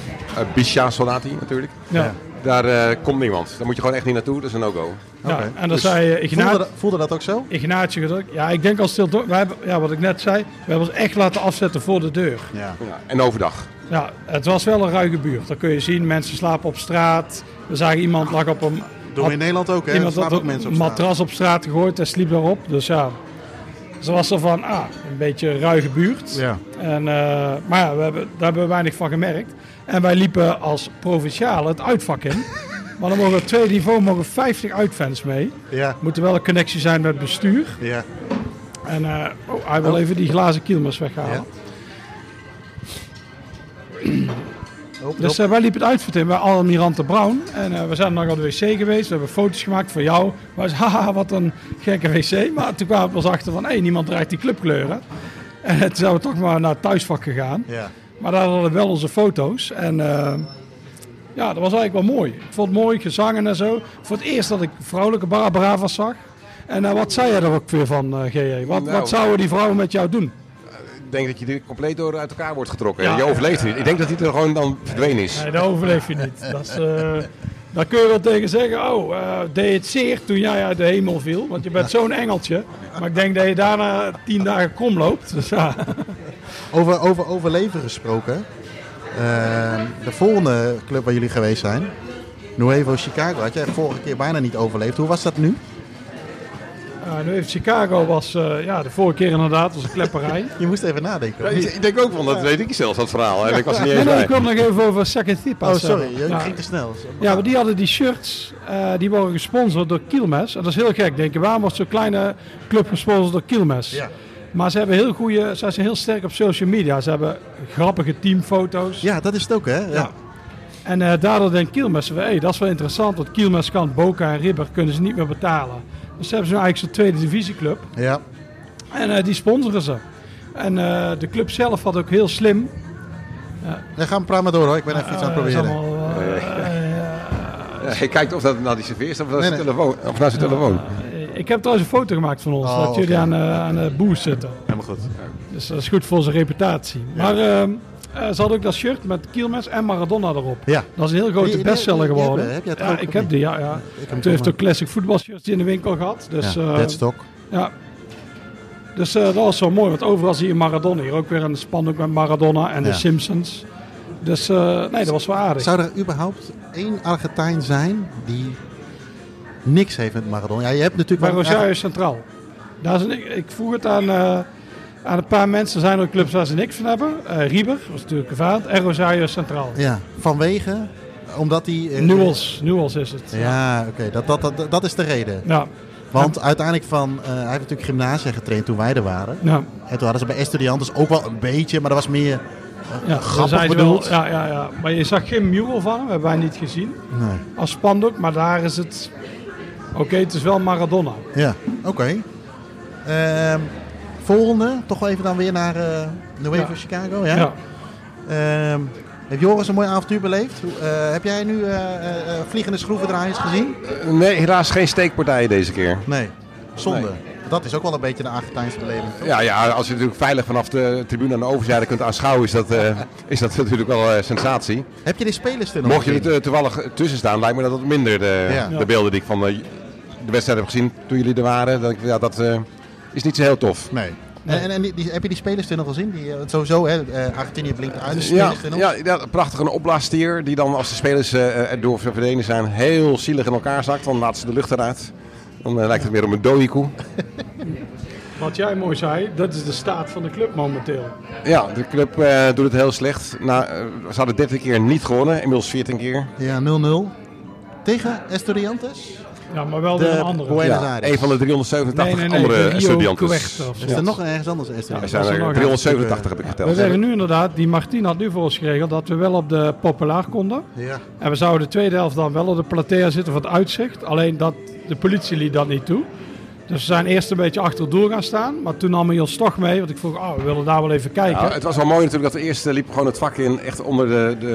Speaker 4: Bisha Soldati natuurlijk,
Speaker 3: Ja.
Speaker 2: Ja.
Speaker 4: daar eh, komt niemand. Daar moet je gewoon echt niet naartoe, dat is een no-go.
Speaker 3: Ja,
Speaker 2: Oké.
Speaker 3: En dan
Speaker 2: Dus
Speaker 3: zei eh,
Speaker 2: Voelde,
Speaker 3: Ignaat,
Speaker 2: dat- voelde dat ook zo?
Speaker 3: Ignaatje gedrukt. Ja, ik denk als stil door. Wij hebben, ja, wat ik net zei, we hebben ons echt laten afzetten voor de deur.
Speaker 2: Ja.
Speaker 4: Ja, en overdag.
Speaker 3: Ja, het was wel een ruige buurt. Dat kun je zien. Mensen slapen op straat. We zagen iemand lag op een,
Speaker 2: Doen we in Nederland ook, hè? Er
Speaker 3: iemand
Speaker 2: slapen
Speaker 3: had
Speaker 2: ook
Speaker 3: een
Speaker 2: mensen op straat.
Speaker 3: matras op straat gegooid en sliep daarop. Dus ja, ze was er van, ah, een beetje een ruige buurt.
Speaker 2: Ja.
Speaker 3: En, eh, maar ja, we hebben, daar hebben we weinig van gemerkt. En wij liepen als provinciale het uitvak in. maar dan mogen op tweede niveau mogen 50 uitfans mee.
Speaker 2: Ja.
Speaker 3: Moet er wel een connectie zijn met bestuur.
Speaker 2: Ja.
Speaker 3: En eh, oh, hij wil even die glazen kielmers weghalen.
Speaker 2: Ja. Hop,
Speaker 3: Dus
Speaker 2: hop.
Speaker 3: eh, wij liepen het uitvak in bij Almirante Brown. En eh, we zijn nog aan de wc geweest. We hebben foto's gemaakt van jou. Maar we zeiden, haha, wat een gekke wc. Maar toen kwamen we ons achter van, hé, niemand draagt die clubkleuren. En toen zijn we toch maar naar het thuisvak gegaan.
Speaker 2: Ja.
Speaker 3: Maar daar hadden we wel onze foto's. En eh, ja, dat was eigenlijk wel mooi. Ik vond het mooi, gezangen en zo. Voor het eerst dat ik vrouwelijke barabravas zag. En eh, wat zei jij er ook weer van, eh GJ? Wat,
Speaker 4: Nou.
Speaker 3: wat zouden die vrouwen met jou doen?
Speaker 4: Ik denk dat je er compleet door uit elkaar wordt getrokken.
Speaker 3: Ja.
Speaker 4: je overleeft het niet. Ik denk dat hij er gewoon dan verdwenen is.
Speaker 3: Nee, dat overleef je niet. Dat is, eh, daar kun je wel tegen zeggen, oh, eh deed het zeer toen jij uit de hemel viel. Want je bent zo'n engeltje. Maar ik denk dat je daarna tien dagen krom loopt. Dus ja,
Speaker 2: Over, over overleven gesproken. eh, de volgende club waar jullie geweest zijn, Nuevo Chicago, had jij vorige keer bijna niet overleefd. Hoe was dat nu?
Speaker 3: Eh, nu heeft Chicago was, eh, ja, de vorige keer inderdaad, was een klepperij.
Speaker 2: Je moest even nadenken.
Speaker 4: Ja,
Speaker 2: hoor.
Speaker 4: ik, ik denk ook, want dat weet ik zelfs, dat verhaal. En ik was er niet
Speaker 3: Nee,
Speaker 4: eens
Speaker 3: nee,
Speaker 4: bij.
Speaker 3: ik kwam nog even over Second Thipa.
Speaker 2: Oh, sorry, je
Speaker 3: Ja,
Speaker 2: ging te snel.
Speaker 3: ja, maar die hadden die shirts, eh, die worden gesponsord door Kielmes. En dat is heel gek, denk je. Waarom wordt zo'n kleine club gesponsord door Kielmes?
Speaker 2: Ja.
Speaker 3: Maar ze hebben heel goede, ze zijn heel sterk op social media. Ze hebben grappige teamfoto's.
Speaker 2: Ja, dat is het ook, hè? Ja.
Speaker 3: Ja. En eh, daardoor denkt Kielmes, hey, dat is wel interessant, want Kielmes kan Boca en Ribber kunnen ze niet meer betalen. Dus hebben ze nu eigenlijk zo'n tweede divisieclub
Speaker 2: Ja.
Speaker 3: en eh, die sponsoren ze. En eh, de club zelf had ook heel slim...
Speaker 2: Dan gaan we praten maar door, hoor. Ik ben even iets aan het
Speaker 3: eh, is
Speaker 2: proberen.
Speaker 3: allemaal, eh,
Speaker 4: Ja, je kijkt of dat naar die serveerst of naar
Speaker 2: Nee,
Speaker 4: zijn
Speaker 2: nee.
Speaker 4: telefoon. Of naar zijn telefoon.
Speaker 3: eh, ik heb trouwens een foto gemaakt van ons,
Speaker 2: Oh,
Speaker 3: dat
Speaker 2: oké.
Speaker 3: jullie aan, eh, aan de boer zitten.
Speaker 2: Helemaal goed.
Speaker 3: Dus dat is goed voor zijn reputatie. Maar ehm, eh, ze hadden ook dat shirt met Kielmes en Maradona erop.
Speaker 2: Ja.
Speaker 3: Dat is een heel grote
Speaker 2: Die- die-
Speaker 3: bestseller
Speaker 2: die- die
Speaker 3: geworden.
Speaker 2: hebben- heb jij het
Speaker 3: ja,
Speaker 2: ook,
Speaker 3: ik
Speaker 2: of
Speaker 3: heb
Speaker 2: niet?
Speaker 3: die, ja. ja.
Speaker 2: hem
Speaker 3: Toen heeft
Speaker 2: ook.
Speaker 3: ook classic voetbalshirts in de winkel gehad. Dus, eh,
Speaker 2: Deadstock.
Speaker 3: Ja. Dus eh, dat was zo mooi, want overal zie je Maradona. Hier ook weer een spandoek met Maradona en
Speaker 2: Ja.
Speaker 3: de Simpsons. Dus eh, nee, dat was wel aardig.
Speaker 2: Zou er überhaupt één Argentijn zijn die niks heeft met Maradona? Ja, je hebt
Speaker 3: Bij
Speaker 2: natuurlijk
Speaker 3: Rosario Centraal. Daar is een- ik vroeg het aan, eh, aan een paar mensen. Er zijn ook clubs waar ze niks van hebben. Eh, Rieber, was natuurlijk een vaat. En Rosario Centraal.
Speaker 2: Ja, vanwege, omdat die... eh,
Speaker 3: Nuels, Nuels is het.
Speaker 2: Ja, oké, dat, dat, dat, dat is de reden.
Speaker 3: Ja,
Speaker 2: Want uiteindelijk van, eh, hij heeft natuurlijk gymnasia getraind toen wij er waren.
Speaker 3: ja,
Speaker 2: En toen hadden ze bij Estudiantes ook wel een beetje, maar dat was meer...
Speaker 3: ja.
Speaker 2: Grappig
Speaker 3: Daar zijn ze wel-
Speaker 2: bedoeld.
Speaker 3: ja, ja, ja. Maar je zag geen mural van hem, hebben wij niet gezien.
Speaker 2: Nee.
Speaker 3: Als spandoek, maar daar is het... Oké, het is wel Maradona.
Speaker 2: Ja, oké. Ehm, volgende, toch wel even dan weer naar eh Nuevo
Speaker 3: Ja.
Speaker 2: Chicago. Ja?
Speaker 3: Ja.
Speaker 2: Ehm, heeft Joris een mooi avontuur beleefd? Hoe- eh, heb jij nu eh, eh, eh, vliegende schroevendraaiers gezien?
Speaker 4: Nee, helaas geen steekpartijen deze keer.
Speaker 2: Nee, zonde. Dat is ook wel een beetje de Argentijnse beleving. toch?
Speaker 4: Ja, ja, als je natuurlijk veilig vanaf de tribune aan de overzijde kunt aanschouwen, is dat, eh, is dat natuurlijk wel eh, sensatie.
Speaker 2: Heb je die spelers er nog
Speaker 4: Mocht je er
Speaker 2: gezien?
Speaker 4: eh, toevallig tussen staan, lijkt me dat wat minder de,
Speaker 2: Ja.
Speaker 4: de beelden die ik van de, de wedstrijd heb gezien toen jullie er waren. Dat, ik- ja, dat eh, is niet zo heel tof.
Speaker 2: Nee. En, en, en die, die- heb je die spelers er nog gezien? Die, eh, sowieso, hè, eh, Argentinië blinkt uit. de
Speaker 4: Ja,
Speaker 2: spelers er nog?
Speaker 4: ja, ja, prachtig. Een opblaastier die dan als de spelers eh, erdoor verdwenen zijn heel zielig in elkaar zakt. Dan laat ze de lucht eruit. Dan eh, lijkt het weer op een dooiekoe.
Speaker 3: Wat jij mooi zei, dat is de staat van de club momenteel.
Speaker 4: Ja, de club eh, doet het heel slecht. Na, eh, ze hadden 13 keer niet gewonnen, inmiddels 14 keer.
Speaker 2: Ja, 0-0. Tegen Estudiantes?
Speaker 3: Ja, maar wel
Speaker 2: De-
Speaker 3: weer een andere.
Speaker 2: hoe heet-
Speaker 3: Nee,
Speaker 2: Buenos
Speaker 4: Ja,
Speaker 2: Aires.
Speaker 4: een van de 387
Speaker 3: nee, nee. de
Speaker 4: andere
Speaker 3: Rio
Speaker 4: studiantes.
Speaker 3: Cuesta of zo.
Speaker 2: Is er nog ergens anders een
Speaker 4: Er
Speaker 2: Estudiantes?
Speaker 4: zijn
Speaker 3: Dat is
Speaker 4: er
Speaker 3: nog een-
Speaker 4: 387 heb ik
Speaker 3: We
Speaker 4: geteld.
Speaker 3: zeggen nu inderdaad, die Martin had nu voor ons geregeld dat we wel op de Populaar konden.
Speaker 2: Ja.
Speaker 3: En we zouden de tweede helft dan wel op de platea zitten voor het uitzicht. Alleen dat de politie liet dat niet toe. Dus we zijn eerst een beetje achter het doel gaan staan. Maar toen nam hij ons toch mee. Want ik vroeg, oh, we willen daar wel even kijken.
Speaker 4: Nou, het was wel mooi natuurlijk dat de eerste liep gewoon het vak in, echt onder de, de,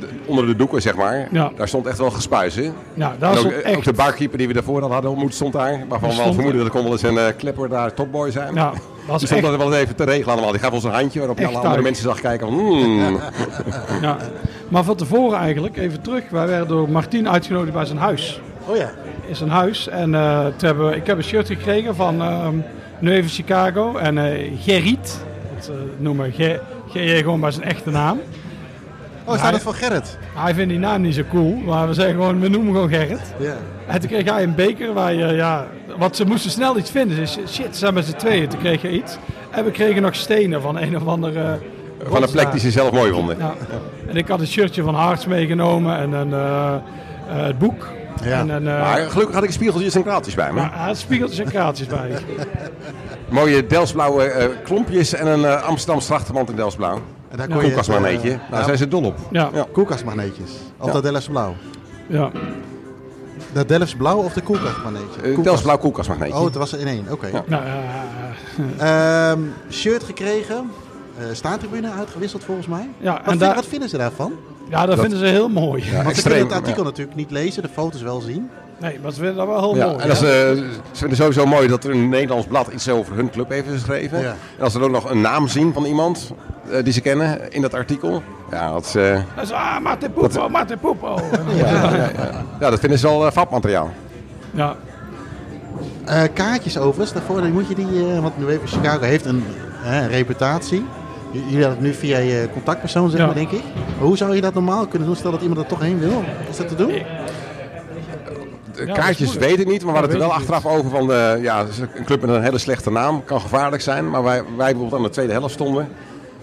Speaker 4: de- onder de doeken, zeg maar.
Speaker 3: Ja.
Speaker 4: Daar stond echt wel gespuis in.
Speaker 3: nou,
Speaker 4: En
Speaker 3: daar
Speaker 4: ook, eh,
Speaker 3: stond
Speaker 4: ook
Speaker 3: echt...
Speaker 4: de barkeeper die we daarvoor al hadden ontmoet stond daar. Waarvan we al
Speaker 3: stond-
Speaker 4: vermoeden dat er kon wel eens een eh, klepper daar topboy zijn.
Speaker 3: Ja, dat
Speaker 4: Die
Speaker 3: is
Speaker 4: stond
Speaker 3: echt...
Speaker 4: dat wel even te regelen allemaal. Die gaf ons een handje waarop je
Speaker 3: Echt
Speaker 4: alle andere
Speaker 3: uit.
Speaker 4: mensen zag kijken van... hmm.
Speaker 3: Ja. Maar van tevoren eigenlijk, even terug. Wij werden door Martien uitgenodigd bij zijn huis.
Speaker 2: Oh ja.
Speaker 3: is een huis. En eh, toen hebben, we- ik heb een shirt gekregen van ehm Nu Even Chicago en eh Gerrit. Dat eh, noemen we G.J. gewoon bij zijn echte naam.
Speaker 2: Oh, staat het voor Gerrit?
Speaker 3: Hij vindt die naam niet zo cool, maar we zeggen gewoon, we noemen hem gewoon Gerrit.
Speaker 2: Ja.
Speaker 3: En toen kreeg hij een beker waar je, ja, want ze moesten snel iets vinden. Dus shit, ze zijn met z'n tweeën. Toen kreeg je iets. En we kregen nog stenen van een of andere... eh,
Speaker 4: Van een plek die ze zelf mooi vonden.
Speaker 3: Ja. En ik had een shirtje van Harts meegenomen en een, eh, eh, het boek.
Speaker 2: Ja.
Speaker 3: En een, eh,
Speaker 4: Maar gelukkig had ik spiegeltjes en kraaltjes bij me.
Speaker 3: ja, hij had spiegeltjes en kraaltjes bij.
Speaker 4: Mooie Delfsblauwe eh, klompjes en een eh, Amsterdam strachtermand in Delfsblauw.
Speaker 2: En daar
Speaker 4: Koek als maar een eetje.
Speaker 2: eh,
Speaker 4: Daar Nou, zijn ze dol op.
Speaker 3: Ja.
Speaker 4: Ja.
Speaker 2: Koelkastmagneetjes. Of
Speaker 4: Ja.
Speaker 2: dat Delfts Blauw.
Speaker 3: Ja.
Speaker 2: Dat Delfts Blauw of de koelkastmagnetje?
Speaker 4: Eh,
Speaker 2: Koelkast.
Speaker 4: Delfsblauw koelkastmagneetje.
Speaker 2: Oh, het was er in één. Oké.
Speaker 4: Ja.
Speaker 3: Nou, eh,
Speaker 2: Ehm, shirt gekregen. Eh staantribune uitgewisseld volgens mij.
Speaker 3: Ja,
Speaker 2: wat,
Speaker 3: en
Speaker 2: vind-
Speaker 3: daar-
Speaker 2: wat vinden ze daarvan?
Speaker 3: ja, dat, vinden ze heel mooi.
Speaker 4: Ja,
Speaker 2: Want ze
Speaker 4: extreem,
Speaker 2: kunnen het artikel
Speaker 4: ja.
Speaker 2: natuurlijk niet lezen, de foto's wel zien.
Speaker 3: Nee, maar ze vinden dat wel heel
Speaker 4: Ja,
Speaker 3: mooi.
Speaker 4: en eh, als,
Speaker 3: hè?
Speaker 4: ze ze vinden sowieso mooi dat er in een Nederlands blad iets over hun club heeft geschreven.
Speaker 2: Ja.
Speaker 4: En als ze dan ook nog een naam zien van iemand eh, die ze kennen in dat artikel. Ja, dat, is, eh,
Speaker 3: Dan ze, ah, Mate Poepo, Mate Poepo. En-
Speaker 4: ja. Ja, ja, dat vinden ze wel eh, vatmateriaal.
Speaker 3: ja,
Speaker 2: Eh, kaartjes overigens, daarvoor dan moet je die, eh, want nu even Chicago heeft een eh, reputatie. J- Jullie hadden het nu via je contactpersoon, zeg
Speaker 3: Ja.
Speaker 2: maar, denk ik. Maar hoe zou je dat normaal kunnen doen, stel dat iemand er toch heen wil? Is dat te doen?
Speaker 4: De
Speaker 3: Ja, dat is
Speaker 4: Eh, kaartjes
Speaker 3: moeilijk.
Speaker 4: weet ik niet, maar we
Speaker 3: Ja,
Speaker 4: hadden het er
Speaker 3: weet
Speaker 4: wel
Speaker 3: ik
Speaker 4: achteraf over van eh, ja, een club met een hele slechte naam. Kan gevaarlijk zijn, maar wij, wij bijvoorbeeld aan de tweede helft stonden.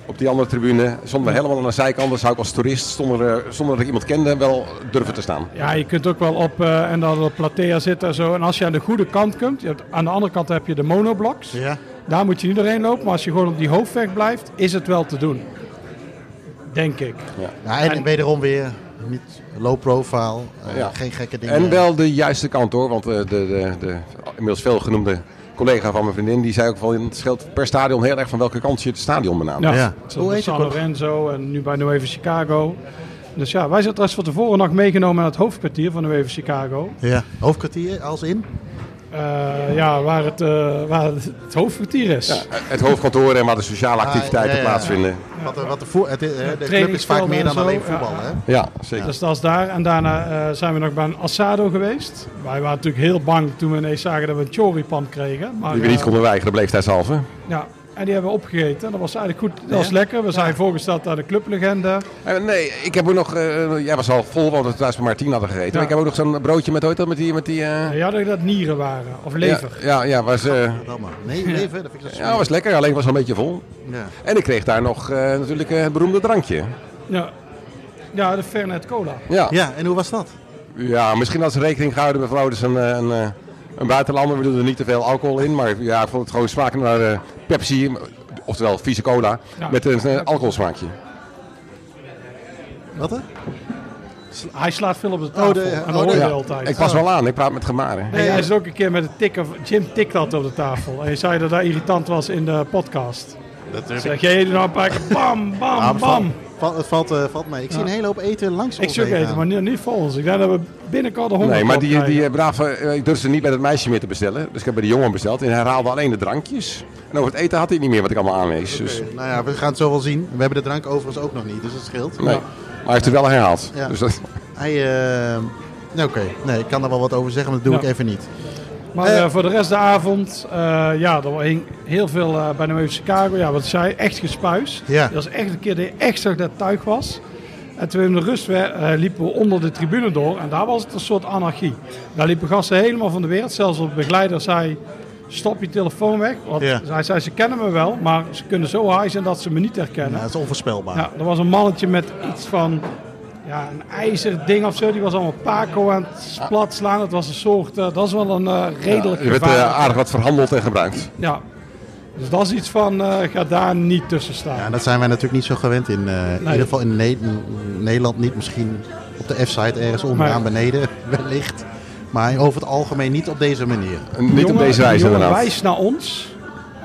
Speaker 4: Op die andere tribune stonden we helemaal aan de zijkant. Dan zou ik als toerist, zonder, eh, zonder dat ik iemand kende, wel durven te staan.
Speaker 3: ja, je kunt ook wel op eh, en dan op platea zitten en zo. En als je aan de goede kant komt, je hebt, aan de andere kant heb je de monoblocks.
Speaker 2: Ja.
Speaker 3: Daar moet je niet doorheen lopen, maar als je gewoon op die hoofdweg blijft, is het wel te doen. Denk ik.
Speaker 2: Ja, Nou, en, wederom weer niet low profile, eh,
Speaker 4: Ja.
Speaker 2: geen gekke dingen.
Speaker 4: En wel de juiste kant hoor, want eh, de, de, de inmiddels veel genoemde collega van mijn vriendin, die zei ook van het scheelt per stadion heel erg van welke kant je het stadion benaamt.
Speaker 3: Ja,
Speaker 2: Ja.
Speaker 3: zoals
Speaker 2: Hoe
Speaker 3: bij
Speaker 2: heet
Speaker 3: San
Speaker 2: het ook?
Speaker 3: Lorenzo en nu bij New Even Chicago. Dus ja, wij zijn trouwens van tevoren nog meegenomen naar het hoofdkwartier van New Even Chicago.
Speaker 2: Ja, hoofdkwartier als in.
Speaker 3: Eh, ja, waar het, eh, waar het hoofdkwartier is.
Speaker 4: Ja, het hoofdkantoor en waar de sociale activiteiten
Speaker 2: Ah, ja, ja, ja.
Speaker 4: plaatsvinden.
Speaker 2: Wat, de- wat de, voer- het, eh, de club is vaak
Speaker 3: trainingsvelden
Speaker 2: meer
Speaker 3: en
Speaker 2: dan
Speaker 3: zo,
Speaker 2: alleen
Speaker 3: ja.
Speaker 2: voetbal. Hè?
Speaker 4: Ja, zeker.
Speaker 3: Dus dat is daar. En daarna eh, zijn we nog bij een Asado geweest. Wij waren natuurlijk heel bang toen we ineens zagen dat we een choripan kregen. Maar,
Speaker 4: Die we niet
Speaker 3: eh,
Speaker 4: konden weigeren, bleefheidshalve.
Speaker 3: Ja, en die hebben we opgegeten. Dat was eigenlijk goed. Dat was lekker. We zijn voorgesteld aan de clublegende.
Speaker 4: Eh, Nee, ik heb ook nog, eh, jij was al vol, want we thuis bij Martien hadden gegeten. Maar ik heb ook nog zo'n broodje met, hoe heet dat, met die, met die eh,
Speaker 3: Ja, dat dat nieren waren. Of lever.
Speaker 4: Ja, ja, ja, was, eh,
Speaker 2: Verdamme. Nee, leven, dat vind ik zo
Speaker 4: ja, was lekker, alleen was wel een beetje vol.
Speaker 2: smerig. Ja.
Speaker 4: En ik kreeg daar nog eh, natuurlijk eh, het beroemde drankje.
Speaker 3: Ja, ja de Fernet Cola.
Speaker 4: Ja,
Speaker 2: ja, en hoe was dat?
Speaker 4: Ja, misschien had ze rekening gehouden met vrouw, dus een, eh, een, eh, een buitenlander. We doen er niet te veel alcohol in, maar ja, ik vond het gewoon smaken naar eh, Pepsi, oftewel vieze cola,
Speaker 3: Ja.
Speaker 4: met een eh, alcoholsmaakje.
Speaker 2: Wat hè?
Speaker 3: Hij slaat veel op de tafel.
Speaker 2: de-
Speaker 3: en dat
Speaker 2: oh,
Speaker 3: hoor je
Speaker 4: Ja,
Speaker 3: altijd.
Speaker 4: ik pas wel aan, ik praat met gemaren.
Speaker 3: En jij zit ook een keer met een tikken. Jim tikt dat op de tafel. En je zei dat dat irritant was in de podcast.
Speaker 2: Dat
Speaker 3: Zeg jij doet nou een paar keer bam, bam, bam.
Speaker 2: het valt, eh, valt mee. Ik zie een hele hoop eten langs
Speaker 3: Ik
Speaker 2: ons
Speaker 3: zoek
Speaker 2: heen
Speaker 3: eten,
Speaker 2: gaan.
Speaker 3: maar niet, niet voor ons. Ik denk dat we binnenkort de honger
Speaker 4: Nee, maar
Speaker 3: op
Speaker 4: die,
Speaker 3: krijgen.
Speaker 4: die eh, brave, eh, ik durfde niet bij dat meisje meer te bestellen. Dus ik heb bij de jongen besteld en hij herhaalde alleen de drankjes. En over het eten had hij niet meer wat ik allemaal aanwees. Dus,
Speaker 2: Nou ja, we gaan het zo wel zien. We hebben de drank overigens ook nog niet, dus dat scheelt.
Speaker 4: nee. Maar hij heeft het wel herhaald.
Speaker 2: Ja.
Speaker 4: Dus dat,
Speaker 2: Hij, eh, nee, Oké, nee, ik kan er wel wat over zeggen, maar dat doe
Speaker 3: Ja.
Speaker 2: ik even niet.
Speaker 3: Maar
Speaker 2: Eh,
Speaker 3: eh, voor de rest de avond, eh, ja, er hing heel veel eh, bij de New Chicago. Ja, wat ik zei, echt gespuis.
Speaker 2: Ja.
Speaker 3: Dat was echt een keer dat je echt zag dat het tuig was. En toen we in de rust weer, eh, liepen we onder de tribune door. En daar was het een soort anarchie. Daar liepen gasten helemaal van de wereld. Zelfs op begeleider zei, stop je telefoon weg. Want
Speaker 2: Ja.
Speaker 3: hij zei, ze kennen me wel, maar ze kunnen zo high zijn dat ze me niet herkennen.
Speaker 2: Nou, het is onvoorspelbaar.
Speaker 3: Ja, er was een mannetje met iets van ja, een ijzer ding of zo. Die was allemaal Paco aan het plat slaan. Dat was een soort, eh, dat is wel een eh, redelijk
Speaker 4: er werd eh,
Speaker 3: gevaar.
Speaker 4: aardig wat verhandeld en gebruikt.
Speaker 3: Ja. Dus dat is iets van, eh, ga daar niet tussen
Speaker 2: Ja,
Speaker 3: staan.
Speaker 2: en dat zijn wij natuurlijk niet zo gewend in, eh, in
Speaker 3: Nee.
Speaker 2: ieder geval in Ne- Nederland niet. Misschien op de F-site ergens onderaan beneden wellicht. Maar over het algemeen niet op deze manier.
Speaker 4: Niet op
Speaker 3: Jongen-
Speaker 4: deze wijze
Speaker 3: jongen
Speaker 4: inderdaad.
Speaker 3: wijst naar ons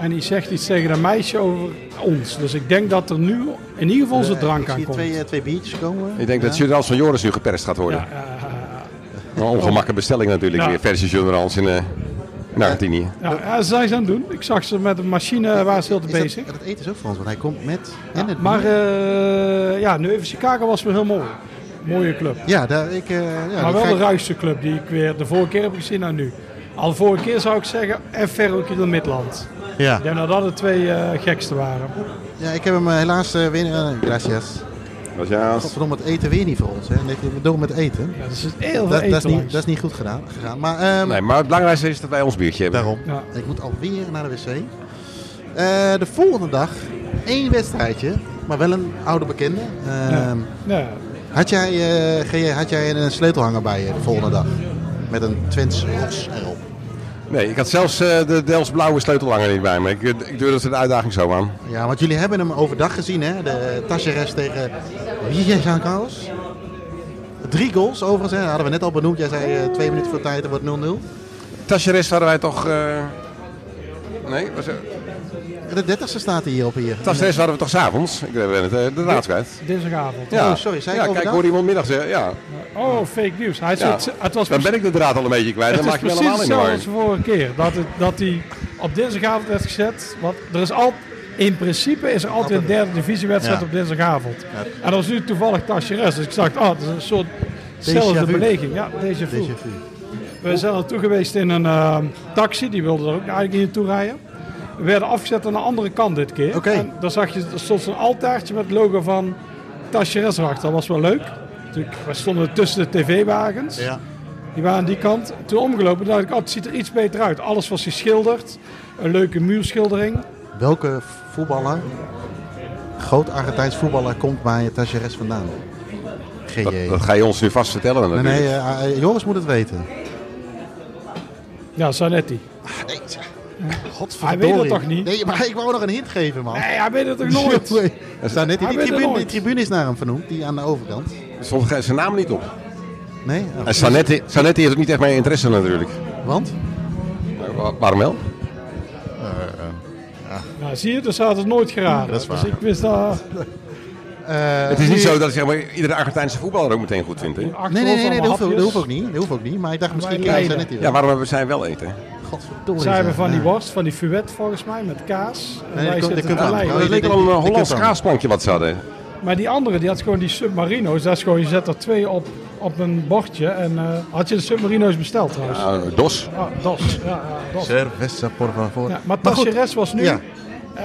Speaker 3: en die zegt iets tegen een meisje over ons. Dus ik denk dat er nu in ieder geval zijn drank
Speaker 2: Ik
Speaker 3: aan
Speaker 2: zie
Speaker 3: komt.
Speaker 2: twee, eh, twee biertjes komen.
Speaker 4: Ik denk dat Journals van Joris nu geperst gaat worden.
Speaker 3: Ja, eh,
Speaker 4: Een ongemakkelijke bestelling natuurlijk
Speaker 3: Ja.
Speaker 4: weer. Versus Journals in, eh, in Argentinië.
Speaker 3: ja, ja, ze zijn ze aan het doen. Ik zag ze met een machine, eh, waar ze heel te
Speaker 2: Is dat-
Speaker 3: bezig.
Speaker 2: Dat, eten is ook Frans, want hij komt met en het
Speaker 3: Maar
Speaker 2: bier.
Speaker 3: eh ja, nu even Chicago was wel heel mooi. Mooie club.
Speaker 2: ja, daar, ik, eh, ja, dat
Speaker 3: maar wel
Speaker 2: ga
Speaker 3: de
Speaker 2: ik-
Speaker 3: ruigste club die ik weer de vorige keer heb gezien en nu. Al de vorige keer zou ik zeggen, en Ferrokiel Midland.
Speaker 2: ja.
Speaker 3: Ik denk dat dat de twee eh, gekste waren.
Speaker 2: ja, ik heb hem eh, helaas eh, weer... eh, gracias.
Speaker 4: Dat is juist.
Speaker 2: Godverdomme, het eten weer niet voor ons. Hè. En ik ben door met eten.
Speaker 3: Ja, dat is heel veel
Speaker 2: Dat, dat, is
Speaker 3: eten
Speaker 2: niet,
Speaker 3: langs.
Speaker 2: dat is niet goed gedaan. gegaan. Maar ehm,
Speaker 4: Nee, maar het belangrijkste is dat wij ons biertje hebben.
Speaker 2: daarom.
Speaker 3: Ja.
Speaker 2: Ik moet alweer naar de wc. Eh, de volgende dag één wedstrijdje, maar wel een oude bekende. Ehm,
Speaker 3: Ja,
Speaker 2: had, jij, eh, ga jij- had jij een sleutelhanger bij je de volgende dag? Met een Twents ros erop.
Speaker 4: Nee, ik had zelfs eh, de Dels blauwe sleutelhanger niet bij me. Ik, eh, ik durfde het een uitdaging zo aan.
Speaker 2: Ja, want jullie hebben hem overdag gezien, hè? De Tacheres tegen Wie Jean-Carlos. Drie goals overigens, hè? Dat hadden we net al benoemd. Jij zei eh, twee minuten voor tijd, er wordt 0-0.
Speaker 4: Tacheres hadden wij toch... eh, Nee, was er...
Speaker 2: De dertigste staat hij hier op hier.
Speaker 4: Tacheres hadden we toch s'avonds? Ik ben het eh, de draad kwijt.
Speaker 3: dinsdagavond.
Speaker 4: Ja,
Speaker 2: Oh, sorry, zei ik
Speaker 4: ja kijk,
Speaker 2: overdag?
Speaker 4: ik hoorde iemand middag zeggen. Ja,
Speaker 3: Oh, fake news. Hij
Speaker 4: ja.
Speaker 3: zit, het was
Speaker 4: dan ben ik de draad al een beetje kwijt. Dan
Speaker 3: Het
Speaker 4: maak
Speaker 3: is
Speaker 4: je me
Speaker 3: precies
Speaker 4: helemaal in de war.
Speaker 3: hetzelfde als de vorige keer. Dat, het, dat die op dinsdagavond werd gezet. Want er is al, in principe is er altijd een derde divisiewedstrijd
Speaker 2: Ja.
Speaker 3: op dinsdagavond. En dat is nu toevallig Tacheres. Dus ik dacht, oh, dat is een soort zelfde
Speaker 2: vu.
Speaker 3: beleving. Ja, deze vu.
Speaker 2: Déjà vu.
Speaker 3: We zijn er toe geweest in een eh, taxi. Die wilde er ook eigenlijk niet naartoe rijden. We werden afgezet aan de andere kant dit keer.
Speaker 2: Oké.
Speaker 3: En daar zag je er stond zo'n altaartje met het logo van Tacheres erachter. Dat was wel leuk. Natuurlijk, we stonden tussen de tv-wagens.
Speaker 2: Ja.
Speaker 3: Die waren aan die kant. Toen omgelopen dacht ik, oh, het ziet er iets beter uit. Alles was geschilderd. Een leuke muurschildering.
Speaker 2: Welke voetballer, groot Argentijns voetballer, komt bij Tacheres vandaan? Geen idee.
Speaker 4: Dat, dat ga je ons nu vast vertellen.
Speaker 2: Nee,
Speaker 4: Natuurlijk.
Speaker 2: nee eh, eh, Joris moet het weten.
Speaker 3: Ah, Ja, Zanetti.
Speaker 2: Nee,
Speaker 3: Hij weet het toch niet?
Speaker 2: Nee, maar ik wou nog een hint geven, man.
Speaker 3: Nee, hij weet het toch nooit?
Speaker 2: Er staat net, die,
Speaker 3: Hij weet het
Speaker 2: tribune, die
Speaker 3: nooit.
Speaker 2: tribune is naar hem vernoemd, die aan de overkant.
Speaker 4: Er stond geen- zijn naam niet op.
Speaker 2: Nee? Oh.
Speaker 4: En eh, Sanetti, Sanetti heeft ook niet echt mijn interesse natuurlijk.
Speaker 2: Want?
Speaker 4: Nou, wa- Waarom wel?
Speaker 3: Nou, zie je, dus hij had het nooit geraden.
Speaker 2: Dat is waar.
Speaker 3: Dus ik wist dat...
Speaker 4: het is niet zo dat zeg maar, iedere Argentijnse voetballer ook meteen goed vindt. Hè?
Speaker 2: Nee, nee, nee, nee dat, hoeft, ook- dat hoeft ook niet. Dat hoeft ook niet. Maar ik dacht, misschien
Speaker 3: wij
Speaker 2: kan je
Speaker 3: leiden.
Speaker 2: Zanetti
Speaker 4: Ja,
Speaker 2: wel.
Speaker 4: waarom hebben zij wel eten?
Speaker 2: Godverdorie.
Speaker 3: Zijn we
Speaker 2: zeg.
Speaker 3: van die
Speaker 2: Ja.
Speaker 3: worst, van die fuet volgens mij, met kaas.
Speaker 2: Nee,
Speaker 3: En wij
Speaker 2: die komt- die
Speaker 3: zitten
Speaker 2: komt
Speaker 3: te
Speaker 2: aan.
Speaker 3: lijden.
Speaker 2: Oh,
Speaker 4: Het
Speaker 2: die-
Speaker 4: leek wel
Speaker 2: die-
Speaker 4: een
Speaker 2: die-
Speaker 4: eh,
Speaker 2: die
Speaker 4: Hollands
Speaker 2: kant dan.
Speaker 4: kaasplankje wat ze hadden.
Speaker 3: Maar die andere, die had gewoon die submarino's. Dat is gewoon, je zet er twee op, op een bordje. En eh, had je de submarino's besteld trouwens?
Speaker 4: Ah, dos.
Speaker 3: Ah, dos. Ja, ja, dos.
Speaker 2: Cerveza, por favor.
Speaker 3: Ja, maar
Speaker 2: goed,
Speaker 3: Tacheres was nu...
Speaker 2: Ja.
Speaker 3: eh,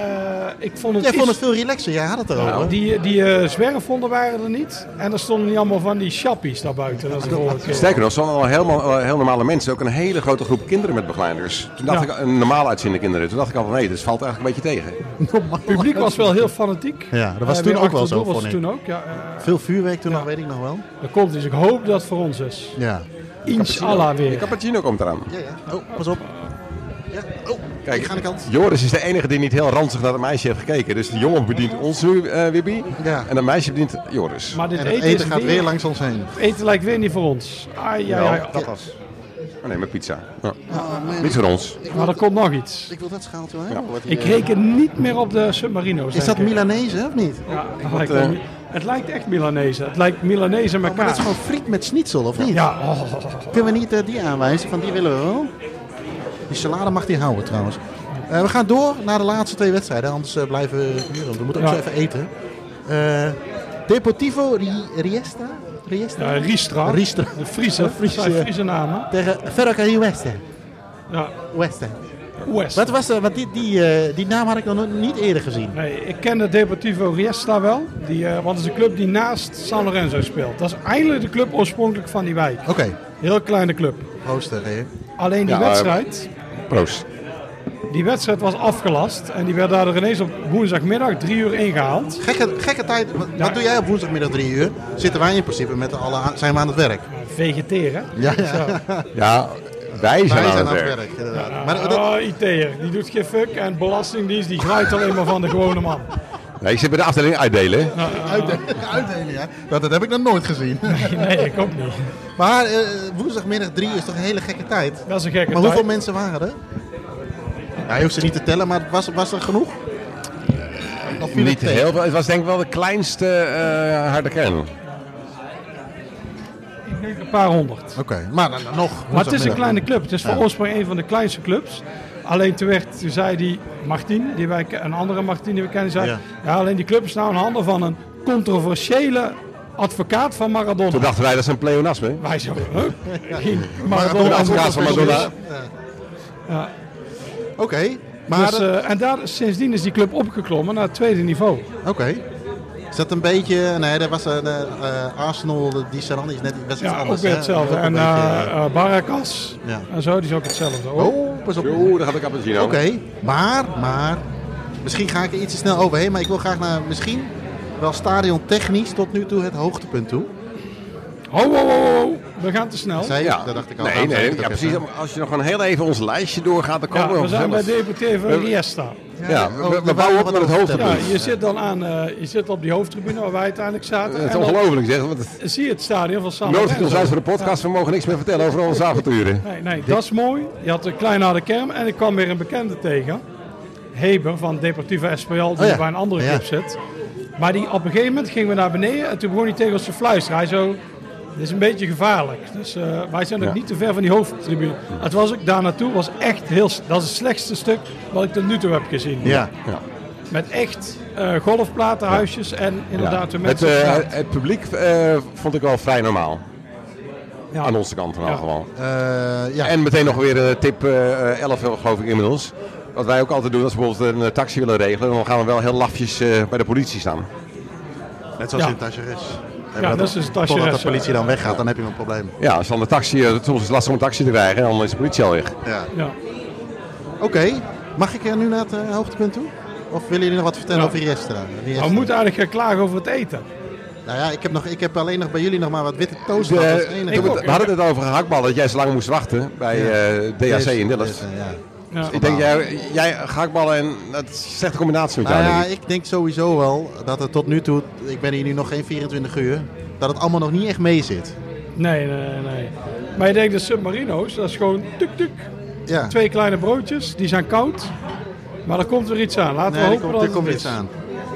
Speaker 3: ik vond het
Speaker 2: Jij vond
Speaker 3: iets-
Speaker 2: het veel relaxer, jij had het erover.
Speaker 3: Nou, die die eh, zwerfhonden waren er niet. En er stonden niet allemaal van die chappies daar buiten. Dat is de vorige keer.
Speaker 4: Sterker nog, ze hadden al helemaal, eh, heel normale mensen. Ook een hele grote groep kinderen met begeleiders. Toen dacht
Speaker 3: Ja.
Speaker 4: ik, een normaal uitziende kinderen. Toen dacht ik al van, nee, dit valt eigenlijk een beetje tegen.
Speaker 3: Het publiek was wel heel fanatiek.
Speaker 2: Ja, dat was
Speaker 3: Eh,
Speaker 2: toen
Speaker 3: weer
Speaker 2: ook wel
Speaker 3: achter het
Speaker 2: zo,
Speaker 3: doel Was
Speaker 2: vond
Speaker 3: het
Speaker 2: ik.
Speaker 3: toen ook, ja. eh,
Speaker 2: Veel vuurwerk toen
Speaker 3: Ja.
Speaker 2: nog, weet ik nog wel.
Speaker 3: dat komt dus. Ik hoop dat het voor ons is.
Speaker 2: Ja.
Speaker 3: Inshallah
Speaker 4: De
Speaker 3: weer.
Speaker 4: cappuccino komt eraan.
Speaker 2: Ja, ja. Oh, pas op. Ja. Oh,
Speaker 4: Kijk,
Speaker 2: ik ga aan de kant.
Speaker 4: Joris is de enige die niet heel ranzig naar het meisje heeft gekeken. Dus de jongen bedient ons nu, eh Wibby.
Speaker 2: Ja.
Speaker 4: En dat meisje bedient Joris.
Speaker 3: Maar dit
Speaker 2: En
Speaker 3: eten,
Speaker 2: het eten
Speaker 3: is
Speaker 2: gaat
Speaker 3: weer-
Speaker 2: weer langs ons heen.
Speaker 3: Eten lijkt weer niet voor ons. Ai, ja, ja,
Speaker 4: dat was... Oh nee, met pizza. Ja. Niet voor ons.
Speaker 3: Maar er komt nog iets.
Speaker 2: Oh, Ik wil dat schaaltje wel
Speaker 4: Ja.
Speaker 2: hebben.
Speaker 3: Ik reken niet meer op de submarino's.
Speaker 2: Is
Speaker 3: denk
Speaker 2: dat
Speaker 3: ik.
Speaker 2: Milanese of niet?
Speaker 3: Ja, het, lijkt wel
Speaker 4: eh,
Speaker 3: Mi- het lijkt echt Milanese. Het lijkt Milanese met
Speaker 2: Oh, Maar dat
Speaker 3: kaas.
Speaker 2: is gewoon friet met schnitzel, of niet?
Speaker 3: Ja, oh.
Speaker 2: Kunnen we niet eh, die aanwijzen, van die willen we wel. Die salade mag die houden trouwens. Eh, we gaan door naar de laatste twee wedstrijden, anders eh, blijven we hier. want We moeten ook
Speaker 3: Ja.
Speaker 2: zo even eten. Eh, Deportivo Ri- Riesta? Riesta?
Speaker 3: Ja, Riestra.
Speaker 2: Riestra.
Speaker 3: De Friese. Dat
Speaker 2: Friese,
Speaker 3: zijn
Speaker 2: ja.
Speaker 3: Friese namen.
Speaker 2: Tegen Ferrocarril Westen.
Speaker 3: Ja,
Speaker 2: Westen.
Speaker 3: West.
Speaker 2: Wat was er? Want die, die, eh, die naam had ik nog nooit- niet eerder gezien.
Speaker 3: Nee, ik ken de Deportivo Riesta wel. Die, eh, want het is een club die naast San Lorenzo speelt. Dat is eigenlijk de club oorspronkelijk van die wijk.
Speaker 2: Oké,
Speaker 3: Heel kleine club.
Speaker 2: proosten. hè.
Speaker 3: Alleen die
Speaker 4: Ja,
Speaker 3: wedstrijd...
Speaker 4: Proost.
Speaker 3: Die wedstrijd was afgelast en die werd daardoor ineens op woensdagmiddag drie uur ingehaald.
Speaker 2: Gekke, gekke tijd. Wat,
Speaker 3: Ja.
Speaker 2: wat doe jij op woensdagmiddag drie uur? Zitten wij in principe met de alle aan- zijn we aan het werk?
Speaker 3: Vegeteren.
Speaker 2: Ja, ja.
Speaker 4: Ja, wij zijn,
Speaker 2: Wij
Speaker 4: aan
Speaker 2: zijn
Speaker 4: het werk.
Speaker 2: inderdaad. Maar dat,
Speaker 3: Maar oh, IT'er, die doet geen fuck en belastingdienst die graait alleen maar van de gewone man.
Speaker 4: Nee, ik zit bij de afdeling uitdelen. hè?
Speaker 2: Uitdelen,
Speaker 3: Oh.
Speaker 2: uitdelen, ja. Dat, dat heb ik nog nooit gezien.
Speaker 3: Nee, ik ook niet.
Speaker 2: Maar eh, woensdagmiddag 3 is toch een hele gekke tijd?
Speaker 3: Dat is een gekke
Speaker 2: Maar
Speaker 3: tijd.
Speaker 2: hoeveel mensen waren er? Ja, je hoeft ze niet te tellen, maar was, was er genoeg? Of viel het
Speaker 4: Niet
Speaker 2: tegen?
Speaker 4: heel veel. Het was denk ik wel de kleinste eh, harde kern.
Speaker 3: Ik denk een paar honderd.
Speaker 2: Oké, maar dan- dan nog.
Speaker 3: Maar het is een
Speaker 2: woensdagmiddag.
Speaker 3: kleine club. Het is voor
Speaker 2: Ja.
Speaker 3: oorsprong een van de kleinste clubs. Alleen toen, werd, toen zei die Martin, die wij, ke- een andere Martin die we kennen, zei...
Speaker 2: Ja.
Speaker 3: Ja. alleen die club is nou in handen van een controversiële advocaat van Maradona.
Speaker 4: Toen dachten wij, dat is een pleonasme.
Speaker 3: Wij zo, huh? Geen
Speaker 2: Maradona
Speaker 3: Maradona.
Speaker 2: advocaat
Speaker 4: advocaat van Maradona.
Speaker 2: Oké, maar...
Speaker 3: Dus,
Speaker 2: dat-
Speaker 3: eh, en daar, sindsdien is die club opgeklommen naar het tweede niveau.
Speaker 2: Oké. Is dat een beetje... Nee, dat was een eh, eh, Arsenal, die Sarandi is net was iets
Speaker 3: Ja, ook
Speaker 2: anders.
Speaker 3: weer
Speaker 2: hè?
Speaker 3: hetzelfde.
Speaker 2: Ook
Speaker 3: En
Speaker 2: een
Speaker 3: eh
Speaker 2: beetje,
Speaker 3: eh, Barracas
Speaker 2: Ja.
Speaker 3: en zo, die is ook hetzelfde.
Speaker 2: eh,
Speaker 3: Ook.
Speaker 2: oh, pas op.
Speaker 4: Oeh, daar gaat de cappuccino.
Speaker 2: Oké, maar, maar... Misschien ga ik er iets te snel overheen, maar ik wil graag naar misschien wel stadion technisch tot nu toe het hoogtepunt toe.
Speaker 3: Ho, ho, ho, ho, we gaan te snel.
Speaker 2: Zij,
Speaker 4: Ja,
Speaker 2: dat dacht ik al.
Speaker 4: Nee,
Speaker 2: Daarom zei
Speaker 4: nee,
Speaker 2: ik het
Speaker 4: ja,
Speaker 2: ook
Speaker 4: precies.
Speaker 2: even.
Speaker 4: Als je nog gewoon heel even ons lijstje doorgaat, dan komen
Speaker 3: Ja,
Speaker 4: we
Speaker 3: we zijn bij
Speaker 4: vanzelf.
Speaker 3: DPT
Speaker 4: We-
Speaker 2: Eh,
Speaker 3: van Riesta.
Speaker 4: Ja, we-
Speaker 2: oh,
Speaker 4: we,
Speaker 2: daar
Speaker 4: bouwen op
Speaker 2: waren wat
Speaker 4: naar het
Speaker 2: over te
Speaker 3: Ja,
Speaker 4: hoogtepunt.
Speaker 2: vertellen.
Speaker 3: je zit dan aan, eh, je zit op die hoofdtribune waar wij uiteindelijk zaten.
Speaker 4: Het is
Speaker 3: en dan
Speaker 4: ongelooflijk zeg. Want het
Speaker 3: zie je het stadion van San
Speaker 4: nodigt ons
Speaker 3: Lorenzo.
Speaker 4: uit voor de podcast. We mogen niks meer vertellen over onze avonturen.
Speaker 3: Nee, nee, dat is mooi. Je had een klein harde kerm en ik kwam weer een bekende tegen. Heber van Deportivo Espanyol, die
Speaker 2: Oh ja.
Speaker 3: bij een andere
Speaker 2: Ja.
Speaker 3: club zit. Maar die, op een gegeven moment gingen we naar beneden en toen begon hij tegen ons te fluisteren. Hij zo, dit is een beetje gevaarlijk. Dus eh, wij zijn nog
Speaker 4: Ja.
Speaker 3: niet te ver van die hoofdtribune. Het was ook daar naartoe, was echt heel, s- dat is het slechtste stuk wat ik tot nu toe heb gezien.
Speaker 2: Ja,
Speaker 4: Ja.
Speaker 3: Met echt eh golfplatenhuisjes en inderdaad de
Speaker 4: Het,
Speaker 3: mensen.
Speaker 4: eh,
Speaker 3: ja.
Speaker 4: het publiek eh, vond ik wel vrij normaal.
Speaker 3: Ja.
Speaker 4: Aan onze kant in
Speaker 3: Ja.
Speaker 4: ieder geval.
Speaker 2: eh, ja.
Speaker 4: En meteen nog weer een tip eh, eh, 11 geloof ik inmiddels. Wat wij ook altijd doen als we bijvoorbeeld een eh, taxi willen regelen. Dan gaan we wel heel lafjes eh, bij de politie staan.
Speaker 2: Net zoals
Speaker 3: Ja.
Speaker 2: in Tacheres.
Speaker 3: dat is eh. een Tacheres,
Speaker 2: Totdat de
Speaker 3: ja.
Speaker 2: politie dan weggaat, dan heb je een probleem.
Speaker 4: Ja, als dan de taxi, eh, soms is het lastig om een taxi te krijgen. En dan is de politie al weg.
Speaker 2: Ja.
Speaker 3: Ja.
Speaker 2: Oké, mag ik eh, nu naar het eh, hoogtepunt toe? Of willen jullie nog wat vertellen
Speaker 3: Ja.
Speaker 2: over Riestra? Riestra.
Speaker 3: Maar we moeten eigenlijk gaan klagen over het eten.
Speaker 2: Nou ja, ik heb, nog, ik heb alleen nog bij jullie nog maar wat witte toast.
Speaker 4: Dus,
Speaker 2: gehad,
Speaker 4: eh,
Speaker 2: dat is het enige.
Speaker 3: ik
Speaker 4: we,
Speaker 3: ook.
Speaker 4: we hadden het over gehaktbal dat jij zo lang moest wachten bij eh, DHC in Dillers.
Speaker 2: Deze, ja.
Speaker 3: Ja.
Speaker 4: Ik denk, jij, jij gehaktballen en dat is een slechte combinatie met jou.
Speaker 2: Nou ja,
Speaker 4: denk ik.
Speaker 2: ik denk sowieso wel dat het tot nu toe, ik ben hier nu nog geen 24 uur, dat het allemaal nog niet echt mee zit.
Speaker 3: Nee, nee, nee. Maar je denkt de submarino's, dat is gewoon tuk tuk.
Speaker 2: Ja.
Speaker 3: Twee kleine broodjes, die zijn koud. Maar er komt weer iets aan. Laten
Speaker 2: Nee,
Speaker 3: we
Speaker 2: er
Speaker 3: hopen
Speaker 2: komt,
Speaker 3: dat
Speaker 2: er
Speaker 3: het
Speaker 2: komt
Speaker 3: is.
Speaker 2: iets aan.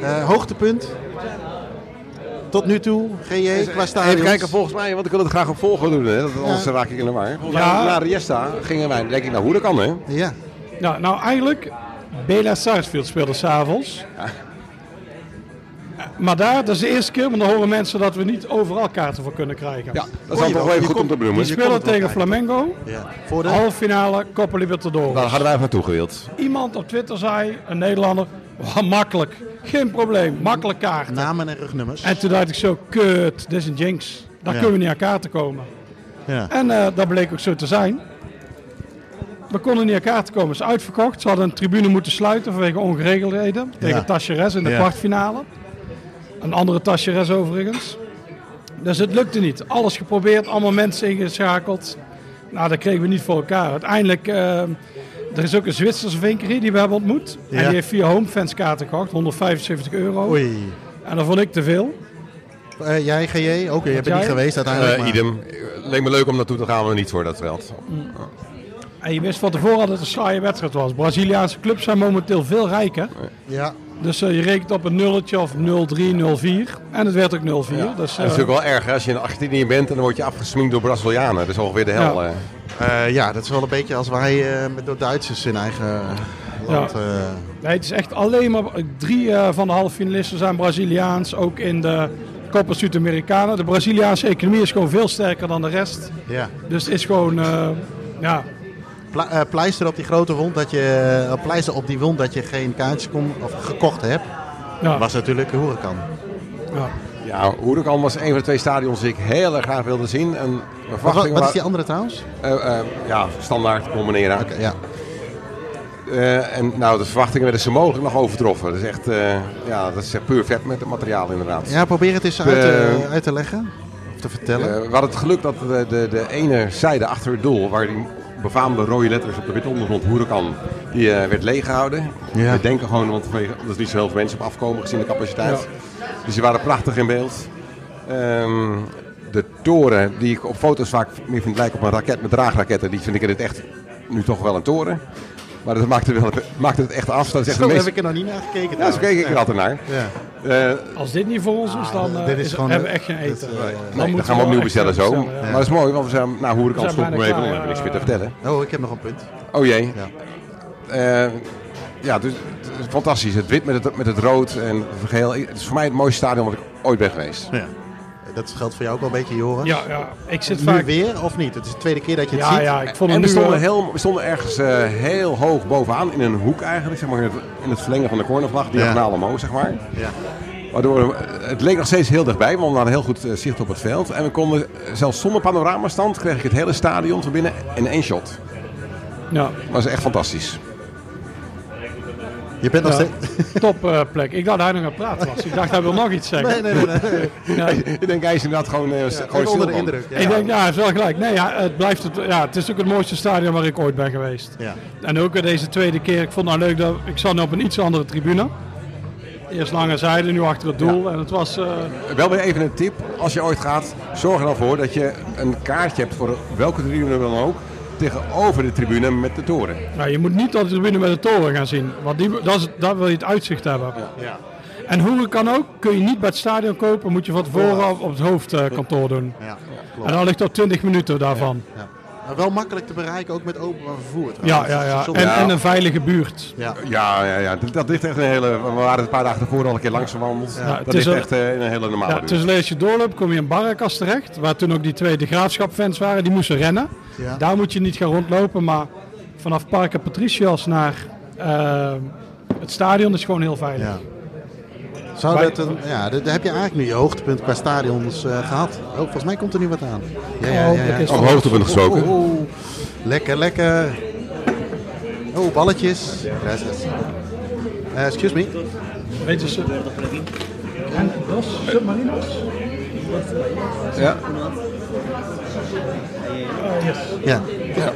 Speaker 2: Eh, hoogtepunt. Tot nu toe, GJ, qua stadions.
Speaker 4: Even kijken, volgens mij, want ik wil het graag op volgen doen, hè, dat- anders
Speaker 2: Ja.
Speaker 4: raak ik in de war. Volgens
Speaker 3: Ja.
Speaker 4: mij, na Riesta gingen wij, denk ik, nou hoe dat kan, hè?
Speaker 2: Ja,
Speaker 3: Nou, nou eigenlijk, Bela Sarsfield speelde s'avonds. Maar daar, dat is de eerste keer, want dan horen mensen dat we niet overal kaarten voor kunnen krijgen.
Speaker 4: Ja, dat is
Speaker 2: Oh,
Speaker 4: dan
Speaker 2: je
Speaker 4: toch
Speaker 2: wel-
Speaker 4: wel even
Speaker 2: je
Speaker 4: goed om
Speaker 2: komt-
Speaker 4: te
Speaker 3: Die
Speaker 4: benoemen.
Speaker 2: je
Speaker 3: spelen
Speaker 2: komt er wel
Speaker 3: tegen
Speaker 2: kijken.
Speaker 3: Flamengo,
Speaker 2: ja. Voor de...
Speaker 3: halve finale Copa Libertadores.
Speaker 4: Daar hadden wij even naartoe gewild.
Speaker 3: Iemand op Twitter zei, een Nederlander, "Wah, makkelijk, geen probleem, makkelijk kaart.
Speaker 2: Namen en rugnummers.
Speaker 3: En toen dacht ik zo, kut, dit is een jinx. Daar
Speaker 2: Ja.
Speaker 3: kunnen we niet aan kaarten komen.
Speaker 2: Ja.
Speaker 3: En eh, dat bleek ook zo te zijn. We konden niet aan kaarten komen. Het is uitverkocht. Ze hadden een tribune moeten sluiten vanwege ongeregeldheden. Tegen
Speaker 2: Ja.
Speaker 3: Tacheres in de
Speaker 2: Ja.
Speaker 3: kwartfinale. Een andere Tacheres overigens. Dus het lukte niet. Alles geprobeerd, allemaal mensen ingeschakeld. Nou, dat kregen we niet voor elkaar. Uiteindelijk, eh, er is ook een Zwitserse vinkerie die we hebben ontmoet.
Speaker 2: Ja.
Speaker 3: En die heeft via Homefans kaarten gekocht, 175 euro.
Speaker 2: Oei.
Speaker 3: En dat vond ik te veel.
Speaker 2: Eh, jij, GJ, ook. je bent
Speaker 3: jij?
Speaker 2: niet geweest uiteindelijk.
Speaker 4: Eh
Speaker 2: maar-
Speaker 4: idem. Leek me leuk om naartoe te gaan, maar niet voor dat veld.
Speaker 3: En je wist van tevoren dat het een saaie wedstrijd was. Braziliaanse clubs zijn momenteel veel rijker.
Speaker 2: Ja.
Speaker 3: Dus eh, je rekent op een nulletje of 0-3, 0-4. En het werd ook 0-4. Dus,
Speaker 4: Dat
Speaker 3: eh,
Speaker 4: is natuurlijk wel erg, hè, als je in Argentinië bent en dan word je afgesminkt door Brazilianen. Dat is ongeveer de hel.
Speaker 3: Ja.
Speaker 4: eh.
Speaker 2: Eh, ja, dat is wel een beetje als wij eh, met de Duitsers in eigen land. eh,
Speaker 3: nee, het is echt alleen maar... Drie eh, van de halve finalisten zijn Braziliaans. Ook in de Copa Sudamericana. De Braziliaanse economie is gewoon veel sterker dan de rest.
Speaker 2: ja.
Speaker 3: Dus het is gewoon... eh, ja,
Speaker 2: Pla- eh, pleister op die grote wond dat je eh, pleister op die wond dat je geen kaartje kon of gekocht hebt,
Speaker 3: ja,
Speaker 2: was natuurlijk een hoerenkan.
Speaker 3: ja.
Speaker 4: Ja, Huracan was een van de twee stadions die ik heel erg graag wilde zien. En mijn
Speaker 2: Wat, wat,
Speaker 4: verwachtingen
Speaker 2: wat is die
Speaker 4: waren-
Speaker 2: andere trouwens?
Speaker 4: eh, eh, ja, standaard, combineren.
Speaker 2: Oké, ja.
Speaker 4: Eh, en nou, de verwachtingen werden zo mogelijk nog overtroffen. Dat is echt, eh, ja, dat is echt puur vet met het materiaal inderdaad.
Speaker 2: ja, probeer het eens uit, te- uit te leggen of te
Speaker 4: Eh,
Speaker 2: vertellen.
Speaker 4: we hadden het geluk dat de, de, de ene zijde achter het doel, waar die befaamde rode letters op de witte ondergrond Huracan Die eh, werd leeggehouden.
Speaker 2: Ja.
Speaker 4: We denken gewoon, want vanwege- dat er niet zo heel veel mensen op afkomen gezien de capaciteit. Dus die waren prachtig in beeld. Ehm, de toren, die ik op foto's vaak meer vind lijken op een raket met draagraketten, die vind ik in het echt nu toch wel een toren. Maar dat maakt het, wel, maakt het echt af. Dat is echt de
Speaker 2: Zo heb
Speaker 4: meest...
Speaker 2: ik er nog niet naar gekeken.
Speaker 4: Ja, zo keek ik er altijd naar.
Speaker 2: Ja.
Speaker 4: Eh,
Speaker 3: Als dit niet voor ons is, dan
Speaker 2: Ah,
Speaker 3: eh,
Speaker 2: dit is
Speaker 3: is
Speaker 2: gewoon-
Speaker 3: hebben we echt geen
Speaker 2: dit,
Speaker 3: eten.
Speaker 2: eh,
Speaker 3: Dan
Speaker 2: nee,
Speaker 4: nee,
Speaker 3: moeten
Speaker 4: dan
Speaker 3: we
Speaker 4: gaan we
Speaker 3: wel
Speaker 4: opnieuw
Speaker 3: echt
Speaker 4: bestellen
Speaker 3: gaan
Speaker 4: zo.
Speaker 3: bestellen, ja.
Speaker 4: Maar dat is mooi, want we zijn, nou, hoer ik
Speaker 3: We
Speaker 4: al
Speaker 3: zijn
Speaker 4: stoppen
Speaker 3: bijna
Speaker 4: even, dan
Speaker 3: klaar,
Speaker 4: hebben we niks meer te
Speaker 3: eh.
Speaker 4: vertellen.
Speaker 2: Oh, ik heb nog een punt.
Speaker 4: Oh jee.
Speaker 2: Ja.
Speaker 4: Eh, ja, dus het is fantastisch. Het wit met het, met het rood en het geel. Het is voor mij het mooiste stadion wat ik ooit ben geweest.
Speaker 2: Ja. Eh, Dat geldt voor jou ook wel een beetje, Joris.
Speaker 3: Ja, ja, ik zit
Speaker 2: nu
Speaker 3: vaak...
Speaker 2: weer of niet? Het is de tweede keer dat je het
Speaker 3: Ja,
Speaker 2: ziet.
Speaker 3: ja, ik vond
Speaker 4: en
Speaker 3: hem
Speaker 4: we
Speaker 3: nu...
Speaker 4: stonden,
Speaker 3: eh,
Speaker 4: heel, we stonden ergens eh, heel hoog bovenaan, in een hoek eigenlijk, zeg maar, in het, in het verlengen van de cornervlag, diagonaal omhoog, zeg maar.
Speaker 2: Ja.
Speaker 4: Waardoor we- het leek nog steeds heel dichtbij, want we hadden heel goed eh, zicht op het veld. En we konden, eh, zelfs zonder panoramastand, kreeg ik het hele stadion van binnen in één shot.
Speaker 3: ja,
Speaker 4: Dat was echt fantastisch.
Speaker 2: Je bent nog
Speaker 3: ja,
Speaker 2: steeds...
Speaker 3: top eh, plek. Ik dacht dat hij nog aan het praten was. Ik dacht hij wil nog iets zeggen.
Speaker 2: Nee, nee, nee. nee, nee.
Speaker 3: Ja.
Speaker 4: Ik denk, hij is inderdaad gewoon, eh, st-
Speaker 2: Ja,
Speaker 4: gewoon
Speaker 2: even onder de
Speaker 4: stil van.
Speaker 2: indruk. Ja.
Speaker 3: Ik denk, ja, hij is wel gelijk. Nee, ja, het, blijft het, ja, het is ook het mooiste stadion waar ik ooit ben geweest.
Speaker 2: Ja.
Speaker 3: En ook deze tweede keer, ik vond het nou leuk dat ik zat nu op een iets andere tribune. Eerst lange zijde, nu achter het doel. En het was, eh,
Speaker 4: Wel weer even een tip. Als je ooit gaat, zorg er dan voor dat je een kaartje hebt voor welke tribune dan ook. Tegenover de tribune met de toren.
Speaker 3: nou, je moet niet op de tribune met de toren gaan zien. Want die, dat is, daar wil je het uitzicht hebben.
Speaker 2: Ja.
Speaker 3: En hoe het kan ook, kun je niet bij het stadion kopen, moet je van tevoren op, op het hoofdkantoor doen.
Speaker 2: Ja,
Speaker 3: En
Speaker 2: klopt.
Speaker 3: dan ligt dat 20 minuten daarvan.
Speaker 2: Ja. Maar wel makkelijk te bereiken, ook met openbaar vervoer.
Speaker 3: Ja,
Speaker 2: trouwens.
Speaker 3: ja, ja.
Speaker 2: Soms-
Speaker 3: En, en een veilige buurt.
Speaker 2: ja.
Speaker 4: Ja, ja, ja. Dat, dat ligt echt een hele... We waren een paar dagen ervoor al een keer langs gewandeld.
Speaker 3: het
Speaker 4: dat
Speaker 3: is
Speaker 4: ligt
Speaker 3: wel-
Speaker 4: echt eh, in een hele normale
Speaker 3: Ja,
Speaker 4: buurt.
Speaker 3: tussen als je doorloopt, kom je in Barrakas terecht. Waar toen ook die twee de graafschapfans waren, die moesten rennen.
Speaker 2: Ja.
Speaker 3: Daar moet je niet gaan rondlopen, maar vanaf Parque Patricias naar eh, het stadion is gewoon heel veilig.
Speaker 2: Ja. Zou
Speaker 3: Wij-
Speaker 2: dat een, ja, dat- daar heb je eigenlijk nu je hoogtepunt qua stadions eh, gehad. Oh, volgens mij komt er nu wat aan. Ja, ja,
Speaker 3: Oh,
Speaker 2: ja, ja.
Speaker 3: dat is-
Speaker 4: Over hoogtepunt gesproken.
Speaker 2: Oh, oh, oh. Lekker, lekker. Oh, balletjes. Gracias. Eh, excuse me.
Speaker 3: Weet je, ze- en Dos Submarinos?
Speaker 4: Ja.
Speaker 2: Ja. ja.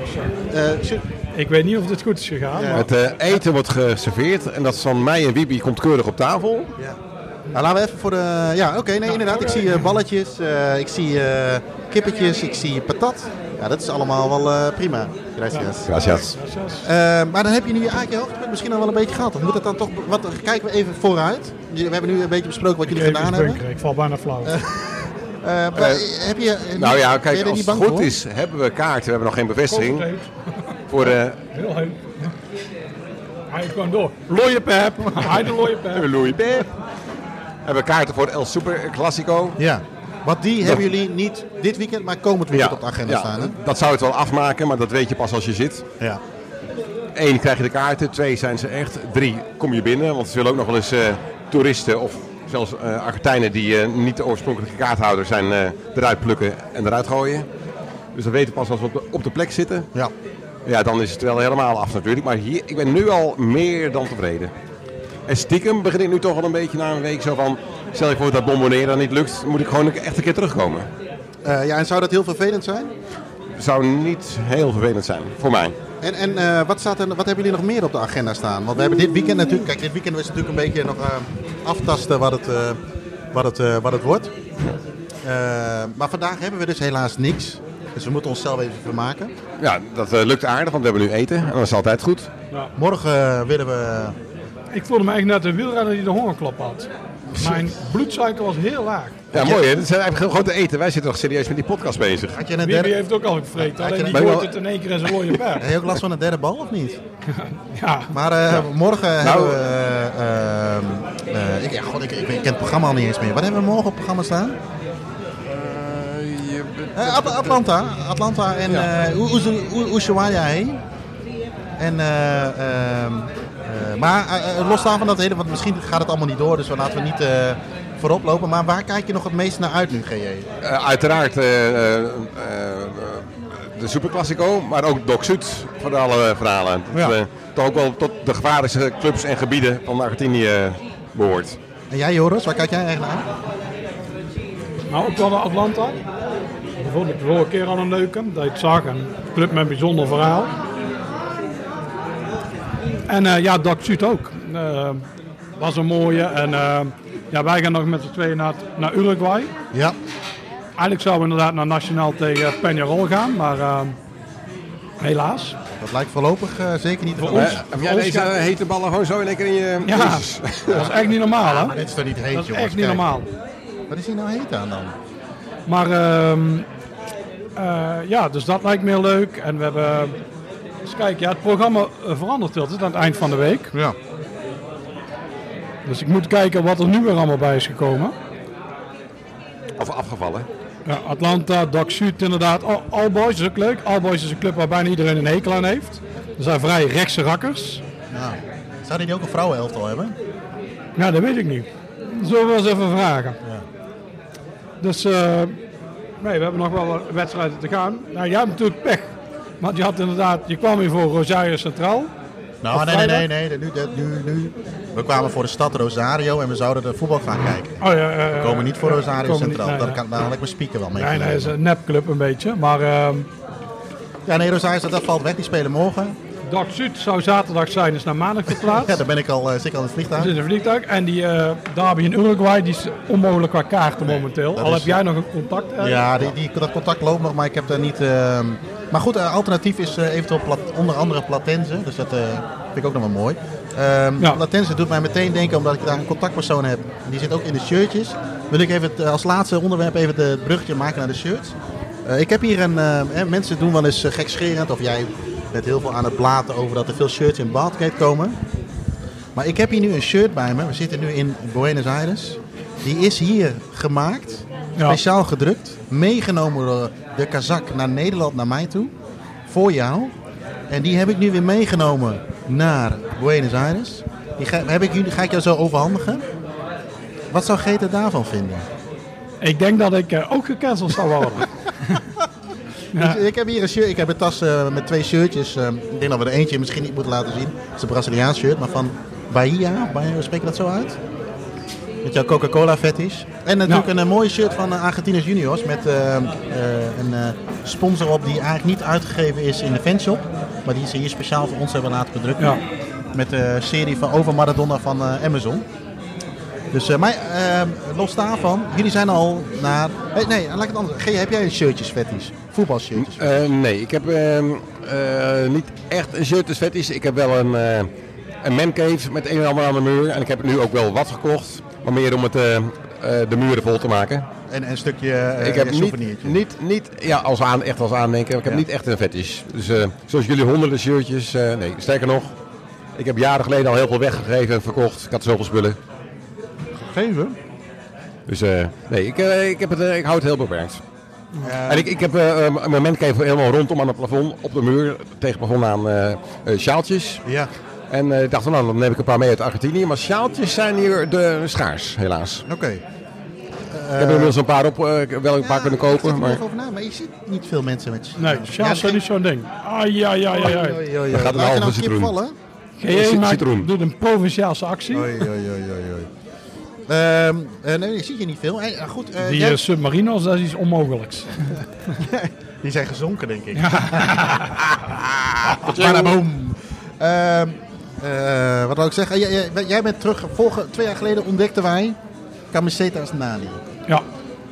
Speaker 2: Eh, su-
Speaker 3: Ik weet niet of dit goed is gegaan. maar-
Speaker 4: Het eh, eten wordt geserveerd. En dat is van mij en Wiebe komt keurig op tafel.
Speaker 2: ja. Nou, laten we even voor de... Ja, oké, nee, inderdaad. Ik zie eh, balletjes, eh, ik zie eh, kippetjes, ik zie patat. Ja, dat is allemaal wel eh, prima. Gracias.
Speaker 4: Gracias.
Speaker 2: Eh, maar dan heb je nu eigenlijk je hoogtepunt misschien al wel een beetje gehad. Of moet het dan toch... Wat, kijken we even vooruit. We hebben nu een beetje besproken wat jullie
Speaker 3: Even
Speaker 2: gedaan hebben.
Speaker 3: bunkeren, Ik val bijna flauw.
Speaker 2: Eh, maar, eh, heb je, eh,
Speaker 4: Nou
Speaker 2: niet-
Speaker 4: ja,
Speaker 2: ben je
Speaker 4: kijk,
Speaker 2: er
Speaker 4: als
Speaker 2: niet
Speaker 4: het
Speaker 2: bang
Speaker 4: goed
Speaker 2: voor?
Speaker 4: is, hebben we kaarten. We hebben nog geen bevestiging.
Speaker 3: Heel
Speaker 4: Voor, eh
Speaker 3: heuk. Hij is gewoon door. Looie pep. Hij de looie pep.
Speaker 4: Louis Pep. Hebben we kaarten voor El Super Classico.
Speaker 2: Ja. Want die hebben jullie niet dit weekend, maar komend weekend op de agenda
Speaker 4: ja,
Speaker 2: staan. Hè?
Speaker 4: Dat zou het wel afmaken, maar dat weet je pas als je zit.
Speaker 2: Ja.
Speaker 4: Eén, krijg je de kaarten. Twee, zijn ze echt. Drie, kom je binnen. Want ze willen ook nog wel eens eh, toeristen of zelfs eh, Argentijnen die eh, niet de oorspronkelijke kaarthouder zijn eh, eruit plukken en eruit gooien. Dus dat weten we pas als we op de, op de plek zitten.
Speaker 2: ja.
Speaker 4: Ja, dan is het wel helemaal af natuurlijk. Maar hier, ik ben nu al meer dan tevreden. En stiekem begin ik nu toch wel een beetje na een week zo van... Stel je voor dat bomboneren niet lukt, moet ik gewoon echt een keer terugkomen.
Speaker 2: Eh, ja, en zou dat heel vervelend zijn?
Speaker 4: Zou niet heel vervelend zijn, voor mij.
Speaker 2: En, en eh, wat, staat er, wat hebben jullie nog meer op de agenda staan? Want we hebben dit weekend natuurlijk... Kijk, dit weekend is natuurlijk een beetje nog eh, aftasten wat het, eh, wat het, eh, wat het wordt. Eh, maar vandaag hebben we dus helaas niks. Dus we moeten onszelf even vermaken.
Speaker 4: Ja, dat eh, lukt aardig, want we hebben nu eten. En dat is altijd goed.
Speaker 2: Morgen eh, willen we...
Speaker 3: Ik voelde me eigenlijk net een wielrenner die de hongerklap had. Mijn bloedsuiker was heel laag.
Speaker 4: Ja, mooi hè. Dat zijn eigenlijk gewoon te eten. Wij zitten toch serieus met die podcast bezig.
Speaker 2: Had je een
Speaker 3: Bibi
Speaker 2: derde...
Speaker 3: heeft ook al gevreten, alleen die
Speaker 2: Maar
Speaker 4: wel-
Speaker 3: gooit het in één keer in zijn looie pep.
Speaker 2: Heb je ook last van een derde bal of niet?
Speaker 3: Ja,
Speaker 2: Maar eh, morgen hebben we... eh, eh, eh, ik, ja, god, ik, ik, ik ken het programma al niet eens meer. Wat hebben we morgen op het programma staan? Eh, At- Atlanta. Atlanta en eh, U- Uzu- U- Ushuaia heen. En, eh, ehm, eh, maar eh, eh, los daarvan dat hele, want misschien gaat het allemaal niet door, dus we laten we niet eh, voorop lopen. Maar waar kijk je nog het meest naar uit nu, GJ?
Speaker 4: Eh, uiteraard eh, eh, eh, de Superclassico, maar ook Doc Sud voor alle verhalen. Dat,
Speaker 3: Ja.
Speaker 4: eh, toch ook wel tot de gevaarlijkste clubs en gebieden van Argentinië eh, behoort.
Speaker 2: En jij, Joris, waar kijk jij eigenlijk naar?
Speaker 3: nou ook wel naar Atlanta. Dat vond ik de vorige keer al een leuke, dat je het zag. Een club met een bijzonder verhaal. En eh, ja, Dak Zuid ook. Eh, was een mooie. En eh, ja, wij gaan nog met z'n tweeën naar, naar Uruguay.
Speaker 2: Ja,
Speaker 3: Eigenlijk zouden we inderdaad naar Nationaal tegen Peñarol gaan, maar eh, helaas.
Speaker 2: dat lijkt voorlopig eh, zeker niet
Speaker 3: Voor
Speaker 2: de
Speaker 3: ons-
Speaker 2: vraag.
Speaker 4: Heb jij deze eh, hete ballen gewoon zo in één keer in je...
Speaker 3: Ja,
Speaker 4: Jezus.
Speaker 3: dat is echt niet normaal hè.
Speaker 2: Dit is toch niet heet,
Speaker 3: Dat is
Speaker 2: jongens?
Speaker 3: echt niet
Speaker 2: Kijk,
Speaker 3: normaal.
Speaker 2: Wat is hier nou heet aan dan?
Speaker 3: Maar ehm, eh, ja, dus dat lijkt me heel leuk. En we hebben. Dus kijk, ja, het programma eh, verandert heel. Het is aan het eind van de week.
Speaker 2: Ja.
Speaker 3: Dus ik moet kijken wat er nu weer allemaal bij is gekomen.
Speaker 4: Of afgevallen.
Speaker 3: Ja, Atlanta, Doc Sud inderdaad. Al- All Boys is ook leuk. All Boys is een club waar bijna iedereen een hekel aan heeft. Er zijn vrij rechtse rakkers.
Speaker 2: Nou, zouden die ook een vrouwenelftal hebben?
Speaker 3: Ja, dat weet ik niet. Zullen we eens even vragen. Dus eh, nee, we hebben nog wel wat wedstrijden te gaan. Nou, jij hebt natuurlijk pech. Want je had inderdaad, je kwam hier voor Rosario Centraal.
Speaker 2: Nou,
Speaker 3: Op
Speaker 2: nee, nee, nee,
Speaker 3: vrijdag?
Speaker 2: nee. Nu, dat- nu, nu. We kwamen voor de stad Rosario en we zouden de voetbal gaan kijken.
Speaker 3: Oh, ja, eh,
Speaker 2: We komen niet voor
Speaker 3: ja,
Speaker 2: Rosario
Speaker 3: komen niet,
Speaker 2: Centraal.
Speaker 3: nee,
Speaker 2: daar,
Speaker 3: nee.
Speaker 2: kan, daar had ik mijn speaker wel mee.
Speaker 3: Nee, nee,
Speaker 2: genomen.
Speaker 3: het is een nepclub een beetje. Maar ehm
Speaker 2: Ja, nee, Rosario dat, dat valt weg. Die spelen morgen.
Speaker 3: Dag Zuid zou zaterdag zijn, is naar maandag verplaatst.
Speaker 2: Ja, daar ben ik al, eh zit ik al in het vliegtuig.
Speaker 3: Het is een vliegtuig. En die eh derby in Uruguay, die is onmogelijk qua kaarten momenteel.
Speaker 2: dat
Speaker 3: Al
Speaker 2: is-
Speaker 3: heb jij nog een contact. eh?
Speaker 2: Ja, die, die, dat contact loopt nog, maar ik heb daar niet... ehm, Maar goed, eh, alternatief is eh, eventueel plat- onder andere Platense. Dus dat eh, vind ik ook nog wel mooi. Ehm,
Speaker 3: Ja.
Speaker 2: Platense doet mij meteen denken, omdat ik daar een contactpersoon heb. Die zit ook in de shirtjes. Wil ik even het, eh, als laatste onderwerp even de- het eh, bruggetje maken naar de shirts. Eh, ik heb hier een... eh, eh, mensen doen wel eens eh, gekscherend, of jij bent heel veel aan het blaten over dat er veel shirts in Badgate komen. Maar ik heb hier nu een shirt bij me. We zitten nu in Buenos Aires. Die is hier gemaakt,
Speaker 3: Ja.
Speaker 2: speciaal gedrukt, meegenomen door de Kazak naar Nederland, naar mij toe, voor jou. En die heb ik nu weer meegenomen naar Buenos Aires. Die ga, heb ik, jullie- ga ik jou zo overhandigen. Wat zou Greta daarvan vinden?
Speaker 3: Ik denk dat ik eh, ook gecanceld zou worden. Ja.
Speaker 2: Dus ik heb hier een shirt, ik heb een tas eh, met twee shirtjes. eh, ik denk dat we er eentje misschien niet moeten laten zien. Het is een Braziliaans shirt, maar van Bahia. Bahia hoe spreek je dat zo uit? Met jouw Coca-Cola fetish. En natuurlijk
Speaker 3: Ja.
Speaker 2: een, eh, mooie shirt van eh, Argentinos Juniors. Met eh, eh, een eh, sponsor op die eigenlijk niet uitgegeven is in de fanshop. Maar die ze hier speciaal voor ons hebben laten bedrukken.
Speaker 3: Ja.
Speaker 2: Met de serie van Over Maradona van eh, Amazon. Dus eh, maar eh, los daarvan, jullie zijn al naar... Hey, nee, laat ik het anders. G, heb jij een shirtjes fetish? Voetbalshirtjes?
Speaker 4: Eh, nee, ik heb ehm, eh, niet echt een shirt als fetish. Ik heb wel een, eh een mancave met een en ander aan de muur. En ik heb nu ook wel wat gekocht. Maar meer om het, eh, eh, de muren vol te maken.
Speaker 2: En, en een stukje eh
Speaker 4: ik heb niet,
Speaker 2: souvenirtje.
Speaker 4: niet, niet ja, als aan, echt als aandenken. maar Ik heb
Speaker 2: Ja.
Speaker 4: niet echt een fetish. Dus eh, zoals jullie honderden shirtjes. eh, nee, sterker nog. Ik heb jaren geleden al heel veel weggegeven en verkocht. Ik had zoveel spullen.
Speaker 2: gegeven.
Speaker 4: Dus eh, nee, ik, eh, ik, heb het, eh, ik hou het heel beperkt. En ik, ik heb eh, eh, mijn mancave helemaal rondom aan het plafond, op de muur, tegen het plafond aan eh, eh, sjaaltjes.
Speaker 2: ja,
Speaker 4: En eh, ik dacht, van, nou, dan neem ik een paar mee uit Argentinië. Maar sjaaltjes zijn hier eh, de schaars, helaas.
Speaker 2: oké.
Speaker 4: ik heb er inmiddels een paar op, eh, ik heb wel een paar kunnen kopen. Maar
Speaker 2: Maar... Over na, maar je ziet niet veel mensen met
Speaker 3: Nee,
Speaker 2: Ja,
Speaker 3: Charles is niet zo'n ding. Ai, ja, ja, ja,
Speaker 2: Oei,
Speaker 3: ja.
Speaker 2: oei, oei,
Speaker 4: Dan gaat een
Speaker 2: Laat je
Speaker 4: halve
Speaker 2: nou kip
Speaker 4: citroen.
Speaker 2: vallen.
Speaker 3: GE
Speaker 4: Cit-
Speaker 3: maakt,
Speaker 4: citroen.
Speaker 3: doet een provinciaalse actie.
Speaker 2: Oei, oei, oei, oei, oei. Ehm, eh, nee, je ziet je niet veel. Hey, eh, goed, eh,
Speaker 3: Die
Speaker 2: jij-
Speaker 3: eh, submarinos, dat is iets onmogelijks.
Speaker 2: die zijn gezonken, denk ik. Badaboom. Ehm, eh, wat wil ik zeggen? Jij, jij- jij bent terug. Vorige, twee jaar geleden ontdekten wij Camisetas Nani.
Speaker 3: Ja,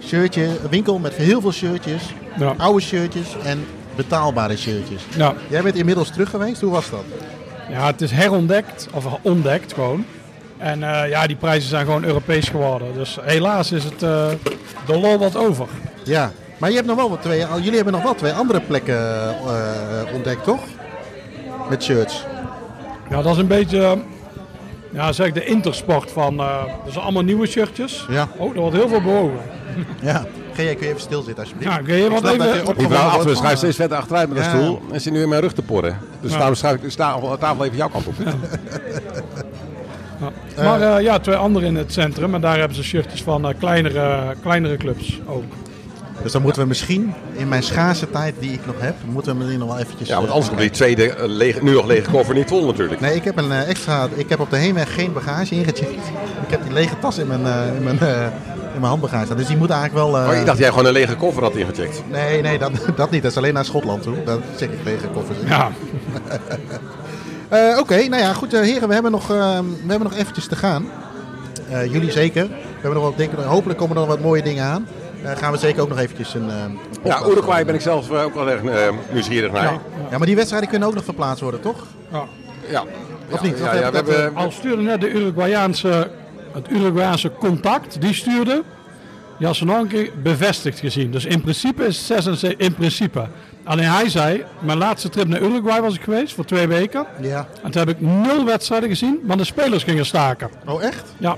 Speaker 2: Shirtje, een winkel met heel veel shirtjes.
Speaker 3: Ja.
Speaker 2: Oude shirtjes en betaalbare shirtjes.
Speaker 3: ja.
Speaker 2: Jij bent inmiddels terug geweest, hoe was dat?
Speaker 3: ja, het is herontdekt, of ontdekt gewoon. En eh, ja, die prijzen zijn gewoon Europees geworden. Dus helaas is het eh, de lol wat over.
Speaker 2: Ja, maar je hebt nog wel wat twee, oh, jullie hebben nog wel twee andere plekken eh, ontdekt, toch? Met shirts.
Speaker 3: Ja, dat is een beetje eh, ja, zeg de intersport van. eh dat zijn allemaal nieuwe shirtjes.
Speaker 2: Ja.
Speaker 3: Oh, er wordt heel veel bewogen.
Speaker 2: Ja. G, jij kun je even stilzitten alsjeblieft?
Speaker 3: Ja, kun je
Speaker 2: Ik
Speaker 3: wat
Speaker 2: snap
Speaker 3: even-
Speaker 2: dat je opgewonden
Speaker 4: Die vrouw
Speaker 2: wordt
Speaker 4: achter me
Speaker 2: van,
Speaker 4: schuift steeds verder achteruit met de
Speaker 2: Ja.
Speaker 4: stoel en zit nu in mijn rug te porren. Dus daarom schuif ik de sta- tafel even jouw kant op.
Speaker 3: Ja. Maar eh, ja, twee anderen in het centrum. En daar hebben ze shirtjes van eh, kleinere, kleinere clubs ook.
Speaker 2: eh, Dus dan moeten we misschien, in mijn schaarse tijd die ik nog heb, moeten we misschien nog wel eventjes...
Speaker 4: Ja, want
Speaker 2: eh,
Speaker 4: anders komt die tweede eh, lege- nu nog lege koffer niet vol natuurlijk.
Speaker 2: Nee, ik heb, een eh, extra, ik heb op de heenweg geen bagage ingecheckt. Ik heb die lege tas in mijn, eh, in mijn, eh, in mijn handbagage staan. Dus die moet eigenlijk wel... eh,
Speaker 4: Oh, ik dacht jij gewoon een lege koffer had ingecheckt.
Speaker 2: Nee, nee dat, dat niet. Dat is alleen naar Schotland toe. Dan check ik lege koffers in.
Speaker 3: Ja,
Speaker 2: Eh, Oké, nou ja, goed. eh, heren, we hebben, nog, eh, we hebben nog eventjes te gaan. Eh, jullie zeker. We hebben nog wel, denken, hopelijk komen er nog wat mooie dingen aan. Eh, gaan we zeker ook nog eventjes een... eh, een podcast
Speaker 4: Ja, Uruguay
Speaker 2: doen.
Speaker 4: ben ik zelf eh, ook wel erg eh, nieuwsgierig naar.
Speaker 3: Ja.
Speaker 2: Ja, maar die wedstrijden kunnen ook nog verplaatst worden, toch?
Speaker 3: Ja.
Speaker 4: Ja.
Speaker 2: Of
Speaker 4: Ja,
Speaker 2: niet?
Speaker 4: Ja,
Speaker 2: Of
Speaker 4: ja,
Speaker 2: heb
Speaker 4: we
Speaker 2: ik dat,
Speaker 4: hebben...
Speaker 3: Al stuurde net de Uruguayaanse, het Uruguayaanse contact, die stuurde Jasonanke bevestigd gezien. Dus in principe is het 76, in principe. Alleen hij zei, mijn laatste trip naar Uruguay was ik geweest voor twee weken.
Speaker 2: Ja.
Speaker 3: En toen heb ik nul wedstrijden gezien, maar de spelers gingen staken.
Speaker 2: Oh, echt?
Speaker 3: Ja,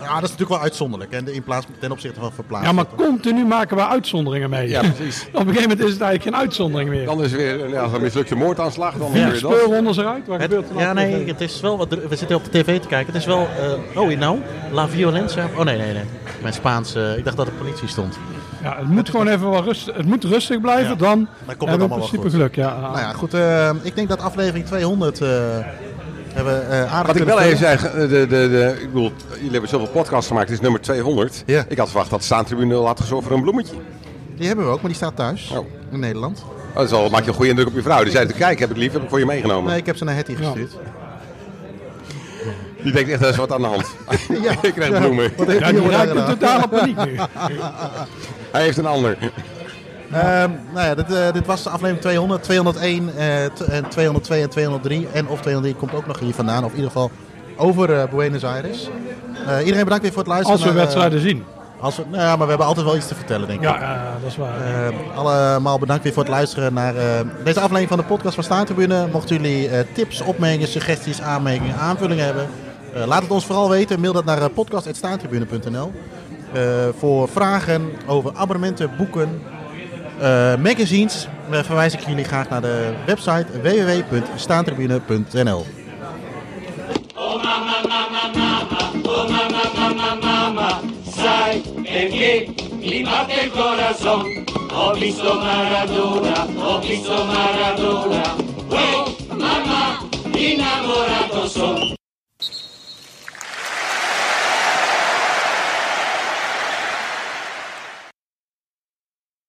Speaker 2: Ja, dat is natuurlijk wel uitzonderlijk. En in plaats, ten opzichte van verplaatsen.
Speaker 3: ja maar continu maken we uitzonderingen mee.
Speaker 4: Ja, precies.
Speaker 3: Op een gegeven moment is het eigenlijk geen uitzondering meer.
Speaker 2: eh,
Speaker 4: Dan is er weer ja, een mislukte moordaanslag. Dan
Speaker 3: Vier
Speaker 4: weer dat.
Speaker 3: speelrondes eruit, wat gebeurt er dan?
Speaker 5: ja, nee, het is wel wat. dru- We zitten op de tv te kijken. Het is wel. eh, oh, nou? La Violencia. Oh, nee, nee, nee. Mijn Spaans. eh, ik dacht dat de politie stond.
Speaker 3: Ja, het moet gewoon even wel rustig, het moet rustig blijven,
Speaker 2: Ja.
Speaker 3: dan,
Speaker 2: het
Speaker 3: hebben we in
Speaker 2: allemaal wel
Speaker 3: principe
Speaker 2: goed.
Speaker 3: geluk. Ja,
Speaker 2: Nou ja, goed. eh, ik denk dat aflevering 200 eh, hebben we, eh aardig
Speaker 4: Wat ik
Speaker 2: kunnen
Speaker 4: wel even
Speaker 2: vullen.
Speaker 4: zeg, de, de, de, ik bedoel, jullie hebben zoveel podcasts gemaakt, dit is nummer 200.
Speaker 2: Ja.
Speaker 4: Ik had verwacht dat het staantribuneel had gezorgd voor een bloemetje.
Speaker 2: Die hebben we ook, maar die staat thuis.
Speaker 4: Oh.
Speaker 2: In Nederland.
Speaker 4: Oh, dat is wel, maak je een goede indruk op je vrouw. Die zei, kijk, heb ik lief, heb ik voor je meegenomen.
Speaker 2: Nee, ik heb ze naar Hetty gestuurd.
Speaker 4: Die denkt echt, er is wat aan de hand. ik krijg bloemen.
Speaker 2: Wat heeft
Speaker 3: Ja,
Speaker 2: die
Speaker 3: die
Speaker 2: jongen daar
Speaker 3: raakt in
Speaker 2: gedaan?
Speaker 3: totale paniek nu.
Speaker 4: Hij heeft een ander.
Speaker 2: Ehm, nou ja, dit, eh, dit was de aflevering 200, 201, eh, t- en 202 en 203. En of 203 komt ook nog hier vandaan. Of in ieder geval over eh, Buenos Aires. Eh, iedereen bedankt weer voor het luisteren.
Speaker 3: Als we
Speaker 2: naar, eh,
Speaker 3: wedstrijden zien.
Speaker 2: als we, nou ja, maar we hebben altijd wel iets te vertellen, denk ik.
Speaker 3: Ja, eh, dat is waar.
Speaker 2: Eh, allemaal bedankt weer voor het luisteren naar eh, deze aflevering van de podcast van Staantribune. Mochten jullie eh, tips, opmerkingen, suggesties, aanmerkingen, aanvullingen hebben, eh, laat het ons vooral weten. Mail dat naar eh, podcast.staantribune.nl Eh, Voor vragen over abonnementen, boeken, eh, magazines eh, verwijs ik jullie graag naar de website www.staantribune.nl.
Speaker 1: Oh mamma, mamma, mamma, oh mamma, mamma, mamma, sai perché mi batte il corazon? Ho visto Oh, Maradona, ho visto Maradona, oh mamma, innamorato Oh, son.